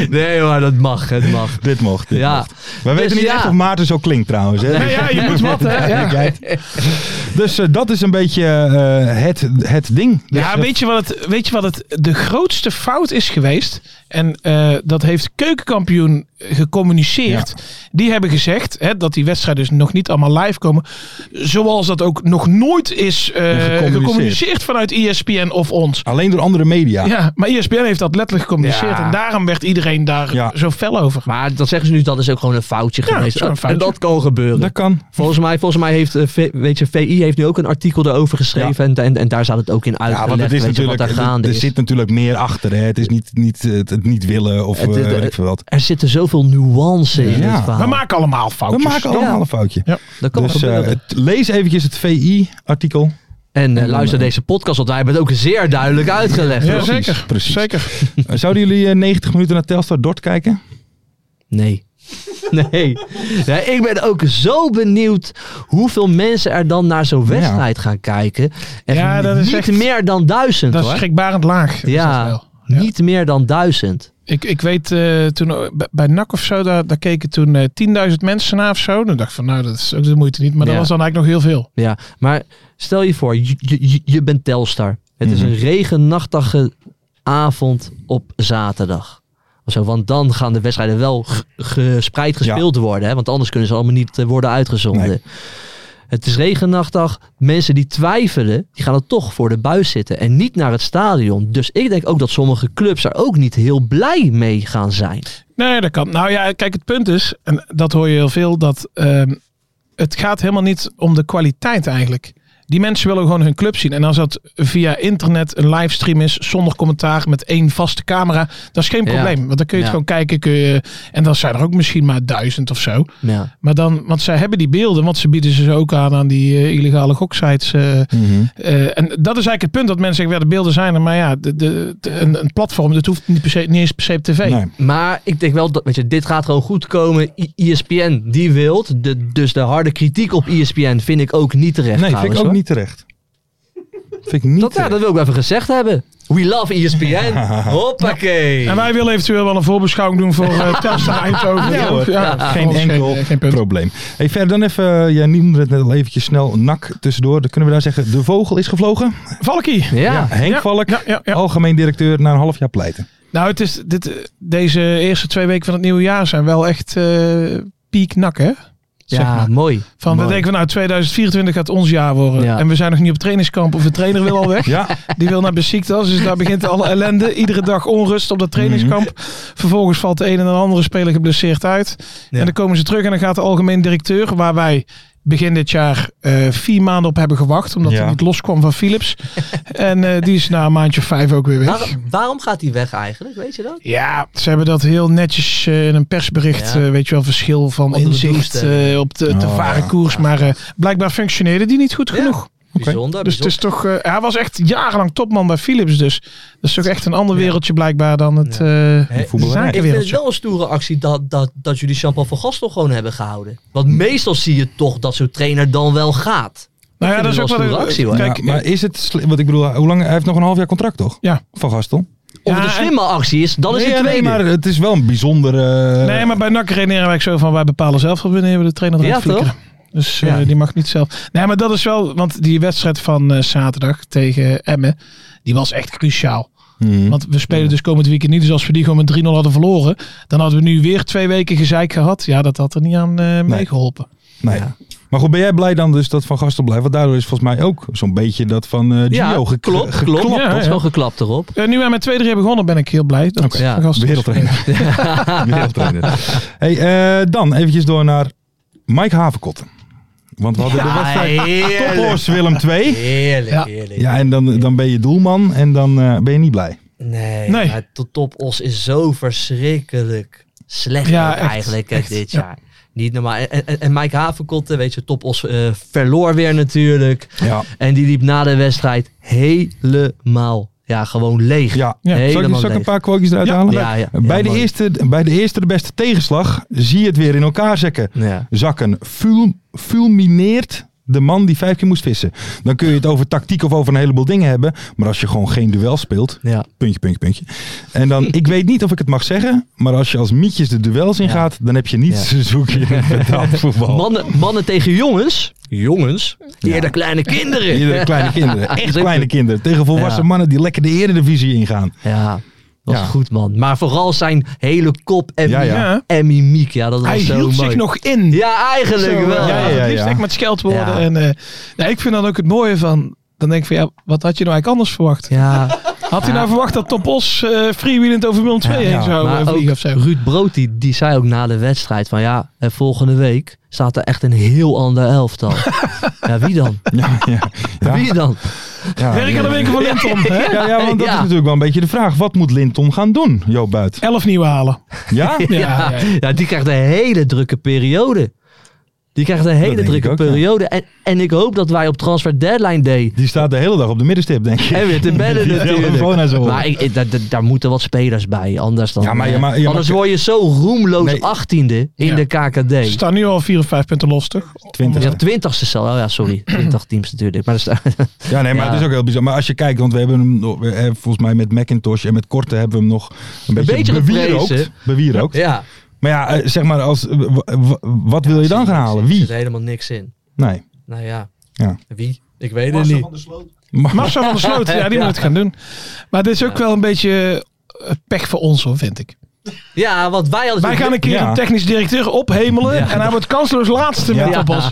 [SPEAKER 6] Nee hoor, dat mag. Het mag.
[SPEAKER 4] Dit mocht. Dit
[SPEAKER 6] Ja. Dus
[SPEAKER 4] mocht. We weten niet
[SPEAKER 6] ja.
[SPEAKER 4] echt of Maarten zo klinkt trouwens. Hè?
[SPEAKER 5] Nee, ja, je moet wat, hè? Ja.
[SPEAKER 4] Dus eh, dat is een beetje eh, het, het ding. Dus,
[SPEAKER 5] Ja,
[SPEAKER 4] eh,
[SPEAKER 5] weet je wat het, weet je wat het de grootste fout is geweest? En eh, dat heeft keukenkampioen gecommuniceerd. Die hebben gezegd hè, dat die wedstrijden dus nog niet allemaal live komen. Zoals dat ook nog nooit is eh,
[SPEAKER 4] Gecommuniceerd.
[SPEAKER 5] gecommuniceerd vanuit E ESPN of ons.
[SPEAKER 4] eh, Alleen door andere media.
[SPEAKER 5] Ja. maar E ESPN heeft dat letterlijk gecommuniceerd.
[SPEAKER 6] Ja.
[SPEAKER 5] En daarom werd iedereen daar
[SPEAKER 4] Ja.
[SPEAKER 5] zo fel over.
[SPEAKER 6] Maar dat zeggen ze nu, dat is ook gewoon een foutje
[SPEAKER 5] Ja,
[SPEAKER 6] geweest.
[SPEAKER 5] dat is een foutje.
[SPEAKER 6] En dat kan gebeuren.
[SPEAKER 4] Dat kan.
[SPEAKER 6] Volgens mij, volgens mij heeft eh, V- weet je, VI heeft nu ook een artikel daarover geschreven. En, en, en daar staat het ook in uitgelegd.
[SPEAKER 4] Ja, want het is
[SPEAKER 6] weet je, wat
[SPEAKER 4] natuurlijk,
[SPEAKER 6] daar
[SPEAKER 4] er,
[SPEAKER 6] gaande
[SPEAKER 4] er
[SPEAKER 6] is.
[SPEAKER 4] zit natuurlijk meer achter. Hè. Het is niet, niet eh, het, het niet willen of
[SPEAKER 6] Het is-
[SPEAKER 4] eh,
[SPEAKER 6] het-
[SPEAKER 4] weet ik veel wat.
[SPEAKER 6] Er zitten zoveel nuance in
[SPEAKER 4] Ja.
[SPEAKER 6] dit verhaal.
[SPEAKER 5] We maken allemaal
[SPEAKER 4] We
[SPEAKER 5] foutjes.
[SPEAKER 4] maken allemaal
[SPEAKER 6] Ja.
[SPEAKER 4] een foutje.
[SPEAKER 5] Ja.
[SPEAKER 6] dat kan
[SPEAKER 4] Dus eh,
[SPEAKER 6] gebeuren.
[SPEAKER 4] het- lees eventjes het VI-artikel.
[SPEAKER 6] En eh, luister deze podcast, want wij hebben het ook zeer duidelijk uitgelegd.
[SPEAKER 5] Ja,
[SPEAKER 6] hoor.
[SPEAKER 5] zeker.
[SPEAKER 4] precies.
[SPEAKER 5] Zeker.
[SPEAKER 4] Zouden jullie eh, 90 minuten naar Telstar Dort kijken?
[SPEAKER 6] Nee. Nee. nee. Ik ben ook zo benieuwd hoeveel mensen er dan naar zo'n wedstrijd gaan kijken. Echt
[SPEAKER 5] Ja, dat is
[SPEAKER 6] niet
[SPEAKER 5] echt-
[SPEAKER 6] meer dan duizend
[SPEAKER 5] Dat is
[SPEAKER 6] hoor.
[SPEAKER 5] schrikbarend laag. is dat
[SPEAKER 6] ja,
[SPEAKER 5] wel. Ja.
[SPEAKER 6] niet meer dan duizend.
[SPEAKER 5] Ik, ik weet eh, toen eh, bij- bij NAC of zo, daar, daar keken toen eh 10.000 mensen naar of zo. Dan dacht ik van nou, dat is ook de moeite niet. Maar
[SPEAKER 6] Ja.
[SPEAKER 5] dat was dan eigenlijk nog heel veel.
[SPEAKER 6] Ja, maar stel je voor, je, je- je, je bent Telstar. Het is een regenachtige avond op zaterdag. Of Zo, want dan gaan de wedstrijden wel g- gespreid gespeeld worden. Hè? Want anders kunnen ze allemaal niet eh, worden uitgezonden.
[SPEAKER 4] Nee.
[SPEAKER 6] Het is regenachtig. Mensen die twijfelen, die gaan er toch voor de buis zitten. En niet naar het stadion. Dus ik denk ook dat sommige clubs daar ook niet heel blij mee gaan zijn.
[SPEAKER 5] Nee, dat kan. Nou ja, kijk, het punt is, en dat hoor je heel veel, dat ehm, het gaat helemaal niet om de kwaliteit eigenlijk. Die mensen willen gewoon hun club zien. En als dat via internet een livestream is, zonder commentaar, met één vaste camera, dat is geen
[SPEAKER 6] Ja.
[SPEAKER 5] probleem. Want dan kun je
[SPEAKER 6] Ja.
[SPEAKER 5] het gewoon kijken. Kun je, en dan zijn er ook misschien maar duizend of zo.
[SPEAKER 6] Ja.
[SPEAKER 5] Maar dan, want zij hebben die beelden, want ze bieden ze ze ook aan aan die eh, illegale goksites. eh,
[SPEAKER 4] Mhm.
[SPEAKER 5] eh, en dat is eigenlijk het punt dat mensen zeggen, ja, de beelden zijn er, maar ja, de, de, de- een, een platform, dat hoeft niet, per se, niet eens per se op tv.
[SPEAKER 4] Nee.
[SPEAKER 6] Maar ik denk wel dat, weet je, dit gaat gewoon goed komen. I- E ESPN, die wilt. De, dus de harde kritiek op E ESPN vind ik ook niet terecht.
[SPEAKER 4] nee, vind
[SPEAKER 6] trouwens,
[SPEAKER 4] ik ook
[SPEAKER 6] hoor.
[SPEAKER 4] niet terecht. Vind ik niet
[SPEAKER 6] Dat, ja,
[SPEAKER 4] terecht.
[SPEAKER 6] dat wil ik wel even gezegd hebben. We love E ESPN. Hoppakee.
[SPEAKER 5] En wij willen eventueel wel een voorbeschouwing doen voor eh Telstra Eindhoven.
[SPEAKER 4] Ja, hoor. geen
[SPEAKER 5] ons
[SPEAKER 4] enkel
[SPEAKER 5] geen- geen punt.
[SPEAKER 4] probleem. Hey, verder dan even, eh, jij noemde het net al eventjes snel, nak tussendoor. Dan kunnen we daar zeggen, de vogel is gevlogen.
[SPEAKER 5] Valky.
[SPEAKER 6] Ja.
[SPEAKER 4] Henk
[SPEAKER 5] Ja,
[SPEAKER 4] Valk,
[SPEAKER 5] ja, ja, ja.
[SPEAKER 4] algemeen directeur, na een half jaar pleiten.
[SPEAKER 5] Nou, het is, dit, eh, deze eerste twee weken van het nieuwe jaar zijn wel echt eh piek nak, hè? Zeg
[SPEAKER 6] Ja,
[SPEAKER 5] maar.
[SPEAKER 6] mooi.
[SPEAKER 5] Van, we
[SPEAKER 6] Mooi.
[SPEAKER 5] denken van nou, 2024 gaat ons jaar worden.
[SPEAKER 6] Ja.
[SPEAKER 5] En we zijn nog niet op trainingskamp of de trainer wil al weg.
[SPEAKER 4] Ja,
[SPEAKER 5] Die wil naar Besiktas, dus daar begint alle ellende. Iedere dag onrust op dat trainingskamp. Vervolgens valt de een en de andere speler geblesseerd uit. En dan komen ze terug en dan gaat de algemeen directeur, waar wij begin dit jaar eh, vier maanden op hebben gewacht, omdat
[SPEAKER 4] Ja.
[SPEAKER 5] hij niet loskwam van Philips. en eh, die is na een maandje of vijf ook weer weg.
[SPEAKER 6] Waar- waarom gaat hij weg eigenlijk? Weet je dat?
[SPEAKER 5] Ja, ze hebben dat heel netjes eh, in een persbericht,
[SPEAKER 6] Ja.
[SPEAKER 5] eh, weet je wel, verschil van
[SPEAKER 6] Onder de
[SPEAKER 5] inzicht
[SPEAKER 6] doelstelling.
[SPEAKER 5] eh, op de, de
[SPEAKER 4] Oh,
[SPEAKER 5] varen
[SPEAKER 4] ja.
[SPEAKER 5] koers. Maar eh, blijkbaar functioneerde die niet goed
[SPEAKER 6] Ja.
[SPEAKER 5] genoeg.
[SPEAKER 6] Bijzonder.
[SPEAKER 5] Dus het is toch, eh, hij was echt jarenlang topman bij Philips. Dus dat is toch echt een ander wereldje blijkbaar dan het eh,
[SPEAKER 4] Een voetballerij.
[SPEAKER 6] ik vind het
[SPEAKER 5] zakenwereldje.
[SPEAKER 6] wel een stoere actie dat, dat, dat jullie Jean-Paul van Gastel gewoon hebben gehouden. Want meestal zie je toch dat zo'n trainer dan wel gaat.
[SPEAKER 5] Nou ja,
[SPEAKER 6] ik
[SPEAKER 5] dat
[SPEAKER 6] vind
[SPEAKER 5] is ook
[SPEAKER 6] het wel
[SPEAKER 5] wel
[SPEAKER 6] een stoere actie, hoor.
[SPEAKER 5] Kijk,
[SPEAKER 4] Ja, maar is het, sli- want ik bedoel, hoe lang, hij heeft nog een half jaar contract toch?
[SPEAKER 5] Ja.
[SPEAKER 4] Van Gastel.
[SPEAKER 6] Of
[SPEAKER 5] Ja,
[SPEAKER 6] het een
[SPEAKER 5] en-
[SPEAKER 6] slimme actie is, dan is
[SPEAKER 4] nee,
[SPEAKER 6] het
[SPEAKER 4] ja,
[SPEAKER 6] tweede.
[SPEAKER 4] nee, maar het is wel een bijzondere... eh,
[SPEAKER 6] Eh,
[SPEAKER 5] Nee, maar bij NAC redeneren wij zo van wij bepalen zelf wel wanneer we de trainer eruit
[SPEAKER 6] Ja, toch?
[SPEAKER 5] flikkeren. Dus eh,
[SPEAKER 6] Ja.
[SPEAKER 5] die mag niet zelf. Nee, maar dat is wel, want die wedstrijd van eh, zaterdag tegen Emmen, die was echt cruciaal.
[SPEAKER 4] Mhm.
[SPEAKER 5] Want we spelen dus komend weekend niet. Dus als we die gewoon met 3-0 hadden verloren, dan hadden we nu weer twee weken gezeik gehad. Ja, dat had er niet aan eh meegeholpen.
[SPEAKER 4] Nee. Maar goed, ben jij blij dan dus dat Van Gastel blijft? Want daardoor is volgens mij ook zo'n beetje dat van eh Gio
[SPEAKER 6] ja,
[SPEAKER 4] gek-
[SPEAKER 6] klopt,
[SPEAKER 4] ge-
[SPEAKER 6] klopt.
[SPEAKER 5] Ja,
[SPEAKER 6] Dat
[SPEAKER 5] ja.
[SPEAKER 6] is wel geklapt erop.
[SPEAKER 5] Eh, nu wij met 2-3 hebben begonnen, ben ik heel blij. Dat
[SPEAKER 4] Oké.
[SPEAKER 5] Van
[SPEAKER 6] Ja.
[SPEAKER 5] Gastel is
[SPEAKER 4] Wereldtrainer. Wereldtrainer. Hey, eh, dan eventjes door naar Mike Havenkotten. Want we hadden de
[SPEAKER 6] Ja,
[SPEAKER 4] wedstrijd
[SPEAKER 6] heerlijk.
[SPEAKER 4] Tophorst Willem 2.
[SPEAKER 6] Heerlijk,
[SPEAKER 5] Ja.
[SPEAKER 6] heerlijk.
[SPEAKER 4] Ja, en dan, dan ben je doelman en dan eh, ben je niet blij.
[SPEAKER 6] Nee,
[SPEAKER 5] Nee.
[SPEAKER 6] maar to- Top Os is zo verschrikkelijk slecht
[SPEAKER 5] Ja,
[SPEAKER 6] ook
[SPEAKER 5] echt,
[SPEAKER 6] eigenlijk hè,
[SPEAKER 5] echt,
[SPEAKER 6] dit
[SPEAKER 5] ja.
[SPEAKER 6] jaar. Niet normaal. En, en, en Mike Havenkotten, weet je, Top Os eh, verloor weer natuurlijk.
[SPEAKER 4] Ja.
[SPEAKER 6] En die liep na de wedstrijd helemaal, ja, gewoon leeg.
[SPEAKER 4] Ja,
[SPEAKER 5] Ja,
[SPEAKER 4] zal ik,
[SPEAKER 6] helemaal
[SPEAKER 4] zal ik een
[SPEAKER 6] leeg.
[SPEAKER 4] paar quotejes eruit halen?
[SPEAKER 6] ja, ja.
[SPEAKER 4] bij,
[SPEAKER 6] Ja,
[SPEAKER 4] de
[SPEAKER 6] mooi.
[SPEAKER 4] eerste, bij de eerste de beste tegenslag zie je het weer in elkaar zakken.
[SPEAKER 6] Ja.
[SPEAKER 4] zakken Ful- fulmineert de man die vijf keer moest vissen. Dan kun je het over tactiek of over een heleboel dingen hebben. Maar als je gewoon geen duel speelt,
[SPEAKER 6] Ja.
[SPEAKER 4] puntje, puntje, puntje. En dan, ik weet niet of ik het mag zeggen, maar als je als mietjes de duels ingaat, dan heb je niets te zoeken in het betaald
[SPEAKER 5] Oh.
[SPEAKER 4] voetbal.
[SPEAKER 6] Mannen, mannen tegen jongens. Jongens? Eerder kleine kinderen.
[SPEAKER 4] Iedere kleine kinderen, echt
[SPEAKER 6] Zeker.
[SPEAKER 4] kleine kinderen. Tegen volwassen
[SPEAKER 6] Ja.
[SPEAKER 4] mannen die lekker de eredivisie ingaan.
[SPEAKER 6] Ja, was
[SPEAKER 4] Ja.
[SPEAKER 6] goed man. Maar vooral zijn hele kop en,
[SPEAKER 4] Ja, ja.
[SPEAKER 6] en mimiek. Ja, dat was
[SPEAKER 5] Hij
[SPEAKER 6] zo
[SPEAKER 5] hield
[SPEAKER 6] mooi.
[SPEAKER 5] zich nog in.
[SPEAKER 6] Ja, eigenlijk
[SPEAKER 5] Zo, eh,
[SPEAKER 6] wel.
[SPEAKER 5] Ja, ja,
[SPEAKER 4] ja,
[SPEAKER 5] Het
[SPEAKER 4] ja.
[SPEAKER 5] liefst echt met scheldwoorden.
[SPEAKER 6] Ja.
[SPEAKER 5] En, eh, nou, ik vind dan ook het mooie van... Dan denk ik van, ja, wat had je nou eigenlijk anders verwacht?
[SPEAKER 6] ja.
[SPEAKER 5] Had hij nou verwacht dat Top Os eh freewheelend over Willem 2
[SPEAKER 4] Ja,
[SPEAKER 5] heen
[SPEAKER 4] ja.
[SPEAKER 5] zou eh,
[SPEAKER 6] Maar ook
[SPEAKER 5] vliegen of zo?
[SPEAKER 6] Ruud Brood die, die zei ook na de wedstrijd van ja, eh, volgende week staat er echt een heel ander elftal. ja, wie dan?
[SPEAKER 4] Ja, ja, ja,
[SPEAKER 6] Wie dan?
[SPEAKER 4] ja.
[SPEAKER 5] Werk aan de winkel van Linton. hè?
[SPEAKER 4] Ja, ja, want dat
[SPEAKER 6] Ja.
[SPEAKER 4] is natuurlijk wel een beetje de vraag. Wat moet Linton gaan doen, Joop Buit?
[SPEAKER 5] Elf nieuwe halen.
[SPEAKER 4] Ja?
[SPEAKER 5] Ja, ja, ja.
[SPEAKER 6] Ja, die krijgt een hele drukke periode. Die krijgt een hele
[SPEAKER 4] denk ik
[SPEAKER 6] drukke
[SPEAKER 4] ook, ja.
[SPEAKER 6] periode. En, en ik hoop dat wij op Transfer Deadline Day
[SPEAKER 4] Die staat de hele dag op de middenstip, denk ik.
[SPEAKER 6] En weer te bellen
[SPEAKER 4] Die telefoon aan
[SPEAKER 6] natuurlijk.
[SPEAKER 4] zijn oor.
[SPEAKER 6] Maar ik, ik- daar- daar- daar moeten wat spelers bij. Anders, dan,
[SPEAKER 4] Ja, maar je
[SPEAKER 6] eh,
[SPEAKER 4] ma- je
[SPEAKER 6] anders
[SPEAKER 4] mag-
[SPEAKER 6] word je zo roemloos
[SPEAKER 4] Nee.
[SPEAKER 6] 18e in
[SPEAKER 5] Ja.
[SPEAKER 6] de KKD.
[SPEAKER 5] Ze staan nu al vier of vijf punten los, toch?
[SPEAKER 4] Twintig.
[SPEAKER 6] Ja, twintigste cel. Oh ja, sorry. 20 teams natuurlijk. Maar er staan-
[SPEAKER 4] Ja, nee, maar
[SPEAKER 6] Ja.
[SPEAKER 4] het is ook heel bizar. Maar als je kijkt, want we hebben hem nog- eh, volgens mij met Macintosh en met Korte hebben we hem nog een,
[SPEAKER 6] beetje
[SPEAKER 4] beetje bewierookt.
[SPEAKER 6] geprezen.
[SPEAKER 4] bewierookt.
[SPEAKER 6] ja.
[SPEAKER 4] Maar ja, eh, zeg maar, als, eh, w- w- wat wil je dan gaan halen?
[SPEAKER 6] Er
[SPEAKER 4] Wie?
[SPEAKER 6] zit helemaal niks in.
[SPEAKER 4] Nee.
[SPEAKER 6] Nou ja.
[SPEAKER 4] Ja.
[SPEAKER 6] Wie? Ik weet het
[SPEAKER 7] Marcel
[SPEAKER 6] niet.
[SPEAKER 7] van der Sloot.
[SPEAKER 4] Maar,
[SPEAKER 5] Marcel van der Sloot, ja, die
[SPEAKER 6] Ja.
[SPEAKER 5] moet het gaan doen. Maar dit is ook wel een beetje eh, pech voor ons, hoor, vind ik.
[SPEAKER 6] Ja, want wij hadden...
[SPEAKER 5] Wij gaan een keer
[SPEAKER 4] Ja.
[SPEAKER 5] een technisch directeur ophemelen en hij wordt kansloos laatste
[SPEAKER 4] Ja.
[SPEAKER 5] met appels.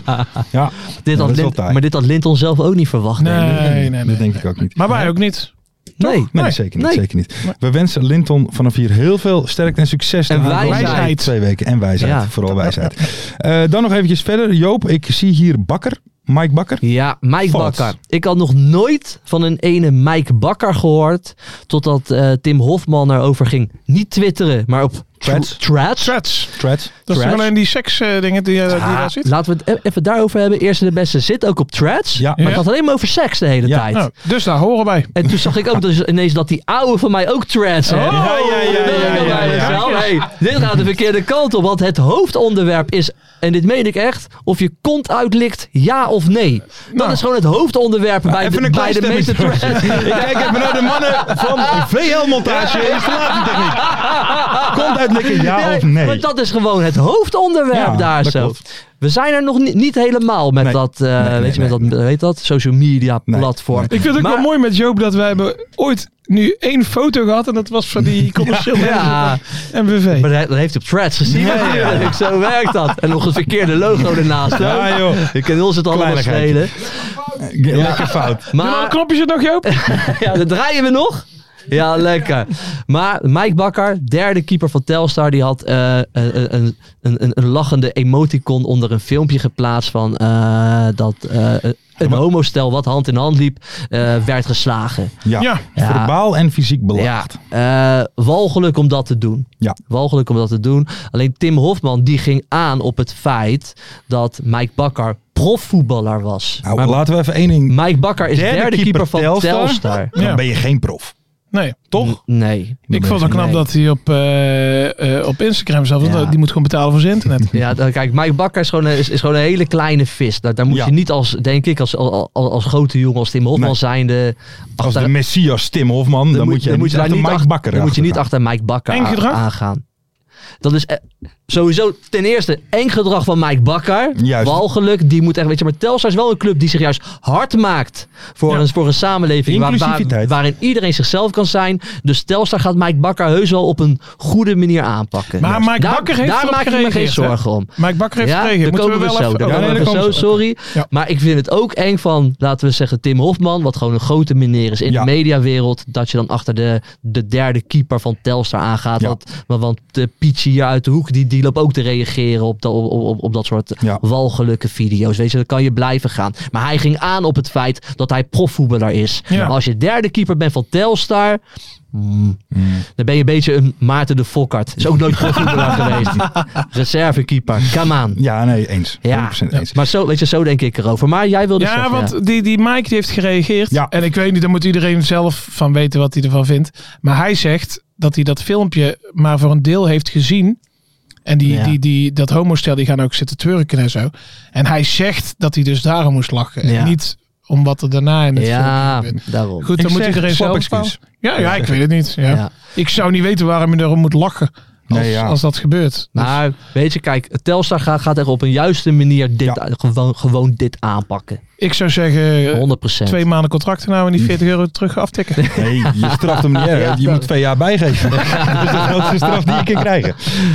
[SPEAKER 4] ja,
[SPEAKER 6] dit
[SPEAKER 4] dat
[SPEAKER 6] had
[SPEAKER 4] is wel
[SPEAKER 6] Lin-
[SPEAKER 4] taai.
[SPEAKER 6] maar dit had Linton zelf ook niet verwacht.
[SPEAKER 5] Nee,
[SPEAKER 6] denk ik.
[SPEAKER 5] nee, nee.
[SPEAKER 4] dat denk ik ook niet.
[SPEAKER 5] Maar wij ook niet.
[SPEAKER 6] nee.
[SPEAKER 4] Nee,
[SPEAKER 5] Nee.
[SPEAKER 4] zeker niet.
[SPEAKER 6] Nee.
[SPEAKER 4] Zeker niet. We wensen Linton vanaf hier heel veel sterkte en succes. de
[SPEAKER 6] En
[SPEAKER 4] aankomende
[SPEAKER 6] wijsheid.
[SPEAKER 4] Twee weken. En wijsheid.
[SPEAKER 6] Ja.
[SPEAKER 4] Vooral wijsheid. Eh, dan nog eventjes verder. Joop, ik zie hier Bakker. Mike Bakker.
[SPEAKER 6] Ja, Mike
[SPEAKER 4] Valt.
[SPEAKER 6] Bakker. Ik had nog nooit van een ene Mike Bakker gehoord. Totdat eh, Tim Hofman erover ging. Niet twitteren, maar op
[SPEAKER 4] Threads.
[SPEAKER 6] Threads.
[SPEAKER 5] Threads.
[SPEAKER 4] Threads.
[SPEAKER 5] Dat is
[SPEAKER 6] Threads.
[SPEAKER 5] alleen die seksdingen die, eh, die
[SPEAKER 6] Ah,
[SPEAKER 5] daar zit.
[SPEAKER 6] Laten we het e- even daarover hebben. Eerst de beste zit ook op Threads.
[SPEAKER 4] Ja.
[SPEAKER 6] Maar ik had alleen maar over seks de hele
[SPEAKER 4] Ja.
[SPEAKER 6] tijd.
[SPEAKER 5] Nou, dus daar horen wij.
[SPEAKER 6] En toen zag ik ook dus ineens dat die oude van mij ook Threads had.
[SPEAKER 4] Oh.
[SPEAKER 5] ja, ja,
[SPEAKER 6] Dan
[SPEAKER 5] ja,
[SPEAKER 6] denk ik al
[SPEAKER 5] ja,
[SPEAKER 6] bij
[SPEAKER 5] ja, ja.
[SPEAKER 6] mezelf, hey, dit gaat de verkeerde kant op. Want het hoofdonderwerp is, en dit meen ik echt, of je kont uitlikt, ja of nee. Dat
[SPEAKER 5] Nou.
[SPEAKER 6] is gewoon het hoofdonderwerp bij,
[SPEAKER 4] even
[SPEAKER 6] de, bij
[SPEAKER 4] een klein
[SPEAKER 6] de meeste
[SPEAKER 4] stemmetje.
[SPEAKER 6] Threads.
[SPEAKER 4] Ik kijk even naar de mannen van VL Montage en Installatietechniek. Komt uitlikken, ja of nee?
[SPEAKER 6] Want dat is gewoon het hoofdonderwerp
[SPEAKER 4] Ja,
[SPEAKER 6] daar
[SPEAKER 4] dat
[SPEAKER 6] zo.
[SPEAKER 4] klopt.
[SPEAKER 6] We zijn er nog niet, niet helemaal met
[SPEAKER 4] Nee.
[SPEAKER 6] dat, eh,
[SPEAKER 4] nee,
[SPEAKER 6] weet je,
[SPEAKER 4] nee.
[SPEAKER 6] met dat, weet dat, social media
[SPEAKER 4] Nee.
[SPEAKER 6] platform.
[SPEAKER 5] Ik vind het ook
[SPEAKER 6] Maar-
[SPEAKER 5] wel mooi met Joop dat wij hebben ooit nu één foto gehad. En dat was van die commercieel
[SPEAKER 6] Ja,
[SPEAKER 5] en MVV.
[SPEAKER 6] maar dat dat heeft hij op threads gezien
[SPEAKER 4] Ja, ja.
[SPEAKER 6] natuurlijk. Zo werkt dat. En nog een verkeerde logo ernaast. ook.
[SPEAKER 4] Ja joh,
[SPEAKER 6] Je kunt ons het allemaal
[SPEAKER 4] Kleinigheidje.
[SPEAKER 6] schelen.
[SPEAKER 4] lekker fout.
[SPEAKER 5] Doen alle
[SPEAKER 6] Maar
[SPEAKER 5] knopjes er nog, Joop?
[SPEAKER 6] ja, dat draaien we nog. Ja, lekker. Maar Mike Bakker, derde keeper van Telstar, die had eh, een, een, een, een lachende emoticon onder een filmpje geplaatst van eh, dat eh, een homostel wat hand in hand liep, eh, werd geslagen.
[SPEAKER 4] Ja.
[SPEAKER 5] Ja.
[SPEAKER 6] Ja.
[SPEAKER 4] verbaal en fysiek belaagd.
[SPEAKER 6] Ja, eh, walgelijk om dat te doen.
[SPEAKER 4] Ja.
[SPEAKER 6] Walgelijk om dat te doen. Alleen Tim Hofman die ging aan op het feit dat Mike Bakker profvoetballer was.
[SPEAKER 4] Nou, laten we even één ding.
[SPEAKER 6] Mike Bakker is derde, keeper, van Telstar.
[SPEAKER 4] Dan
[SPEAKER 5] Ja.
[SPEAKER 4] ben je geen prof.
[SPEAKER 5] Nee.
[SPEAKER 4] Toch?
[SPEAKER 6] Nee.
[SPEAKER 4] ben
[SPEAKER 5] Ik
[SPEAKER 4] je geen-
[SPEAKER 5] vond het wel knap
[SPEAKER 6] nee.
[SPEAKER 5] dat hij op, eh, eh, op Instagram zelf, want
[SPEAKER 6] Ja.
[SPEAKER 5] die moet gewoon betalen voor zijn internet.
[SPEAKER 6] Ja, dan- kijk, Mike Bakker is gewoon een, is, is gewoon een hele kleine vis. Daar, daar moet
[SPEAKER 4] Ja.
[SPEAKER 6] je niet als, denk ik, als, als, als grote jongen als Tim Hofman
[SPEAKER 4] Nee.
[SPEAKER 6] zijnde...
[SPEAKER 4] Als
[SPEAKER 6] achter-
[SPEAKER 4] de Messias Tim Hofman, dan, moet je, dan moet je
[SPEAKER 6] daar
[SPEAKER 4] achter
[SPEAKER 6] niet
[SPEAKER 4] Mike
[SPEAKER 6] ach-
[SPEAKER 4] Bakker
[SPEAKER 6] dan moet je niet
[SPEAKER 4] achteraan.
[SPEAKER 6] achter Mike Bakker
[SPEAKER 5] Eng
[SPEAKER 6] a-
[SPEAKER 5] gedrag?
[SPEAKER 6] aangaan. Dat is eh, sowieso ten eerste eng gedrag van Mike Bakker.
[SPEAKER 4] Juist.
[SPEAKER 6] Walgeluk, die moet echt, weet je, maar Telstar is wel een club die zich juist hard maakt voor,
[SPEAKER 5] Ja.
[SPEAKER 6] een, voor een samenleving waar- waar-
[SPEAKER 4] Inclusiviteit.
[SPEAKER 6] waarin iedereen zichzelf kan zijn. Dus Telstar gaat Mike Bakker heus wel op een goede manier aanpakken.
[SPEAKER 5] Maar Mike
[SPEAKER 6] daar,
[SPEAKER 5] Bakker heeft
[SPEAKER 6] daar
[SPEAKER 5] erop
[SPEAKER 6] maak ik me geen
[SPEAKER 5] gereageerd, hè?
[SPEAKER 6] zorgen om.
[SPEAKER 5] Mike Bakker heeft
[SPEAKER 6] Ja,
[SPEAKER 5] gekregen.
[SPEAKER 6] daar
[SPEAKER 5] Moeten we
[SPEAKER 6] komen we
[SPEAKER 5] wel
[SPEAKER 6] zo.
[SPEAKER 5] even...
[SPEAKER 6] Daar
[SPEAKER 5] oh,
[SPEAKER 4] ja,
[SPEAKER 6] komen we
[SPEAKER 4] nee, daar
[SPEAKER 6] zo,
[SPEAKER 4] komen ze.
[SPEAKER 6] sorry.
[SPEAKER 5] Ja.
[SPEAKER 6] Maar ik vind het ook eng van, laten we zeggen, Tim Hofman. Wat gewoon een grote meneer is in
[SPEAKER 4] Ja.
[SPEAKER 6] de mediawereld. Dat je dan achter de, de derde keeper van Telstar aangaat.
[SPEAKER 4] Ja.
[SPEAKER 6] Want, want, want de Pietje hier uit de hoek, die, die loopt ook te reageren op, dat- op, op, op, op dat soort
[SPEAKER 4] Ja.
[SPEAKER 6] walgelijke video's. Weet je, dan kan je blijven gaan. Maar hij ging aan op het feit dat hij profvoetballer is. Nou,
[SPEAKER 5] Ja.
[SPEAKER 6] Als je derde keeper bent van Telstar... mm, Dan ben je een beetje een Maarten de Fokkart. Is ook nooit profvoetballer geweest. Reservekeeper. Come on.
[SPEAKER 4] Ja, nee, eens.
[SPEAKER 6] Ja,
[SPEAKER 4] 100% eens.
[SPEAKER 6] maar zo, weet je, zo denk ik erover. Maar jij wilde
[SPEAKER 5] Ja,
[SPEAKER 6] zeggen, ja.
[SPEAKER 5] want die, die Mike die heeft gereageerd.
[SPEAKER 4] Ja.
[SPEAKER 5] En ik weet niet, daar moet iedereen zelf van weten wat hij ervan vindt. Maar hij zegt dat hij dat filmpje maar voor een deel heeft gezien. En die,
[SPEAKER 6] Ja.
[SPEAKER 5] die, die, dat homostel die gaan ook zitten twerken en zo. En hij zegt dat hij dus daarom moest lachen. En
[SPEAKER 6] Ja.
[SPEAKER 5] niet om wat er daarna in het
[SPEAKER 6] Ja,
[SPEAKER 5] filmpje gebeurt.
[SPEAKER 6] daarom.
[SPEAKER 5] Goed, dan
[SPEAKER 4] Ik
[SPEAKER 5] moet
[SPEAKER 4] zeg
[SPEAKER 5] iedereen zelf
[SPEAKER 4] slapexcuus.
[SPEAKER 5] bepalen. Ja, ja, ik weet het niet. Ja.
[SPEAKER 6] Ja.
[SPEAKER 5] Ik zou niet weten waarom je daarom moet lachen. Als,
[SPEAKER 4] Nee, ja.
[SPEAKER 5] als dat gebeurt.
[SPEAKER 6] Maar
[SPEAKER 5] Dus-
[SPEAKER 6] weet je, kijk, Telstar gaat, gaat echt op een juiste manier dit, gewoon, gewoon dit aanpakken. 100%.
[SPEAKER 5] Dus ik zou zeggen, eh, twee maanden contract nou en die 40 euro terug aftikken.
[SPEAKER 4] Nee, je straft hem niet erg.
[SPEAKER 6] Ja.
[SPEAKER 4] Je moet twee jaar bijgeven. dat is de grootste straf die je kan krijgen.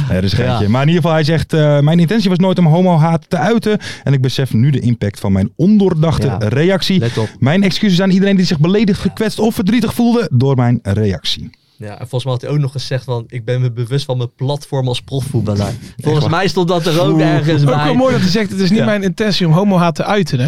[SPEAKER 4] Nee, dat is een geintje.
[SPEAKER 6] Ja.
[SPEAKER 4] Maar in ieder geval, hij zegt... eh, mijn intentie was nooit om homohaat te uiten. En ik besef nu de impact van mijn ondoordachte
[SPEAKER 6] Ja.
[SPEAKER 4] reactie.
[SPEAKER 6] Let op.
[SPEAKER 4] Mijn excuses aan iedereen die zich beledigd, gekwetst of verdrietig voelde door mijn reactie.
[SPEAKER 6] Ja, en volgens mij had hij ook nog gezegd van, ik ben me bewust van mijn platform als profvoetballer. Volgens mij stond dat er ook ergens
[SPEAKER 5] Ook wel
[SPEAKER 6] bij.
[SPEAKER 5] mooi dat hij zegt, het is niet mijn intentie om homohaat te uiten. Hè?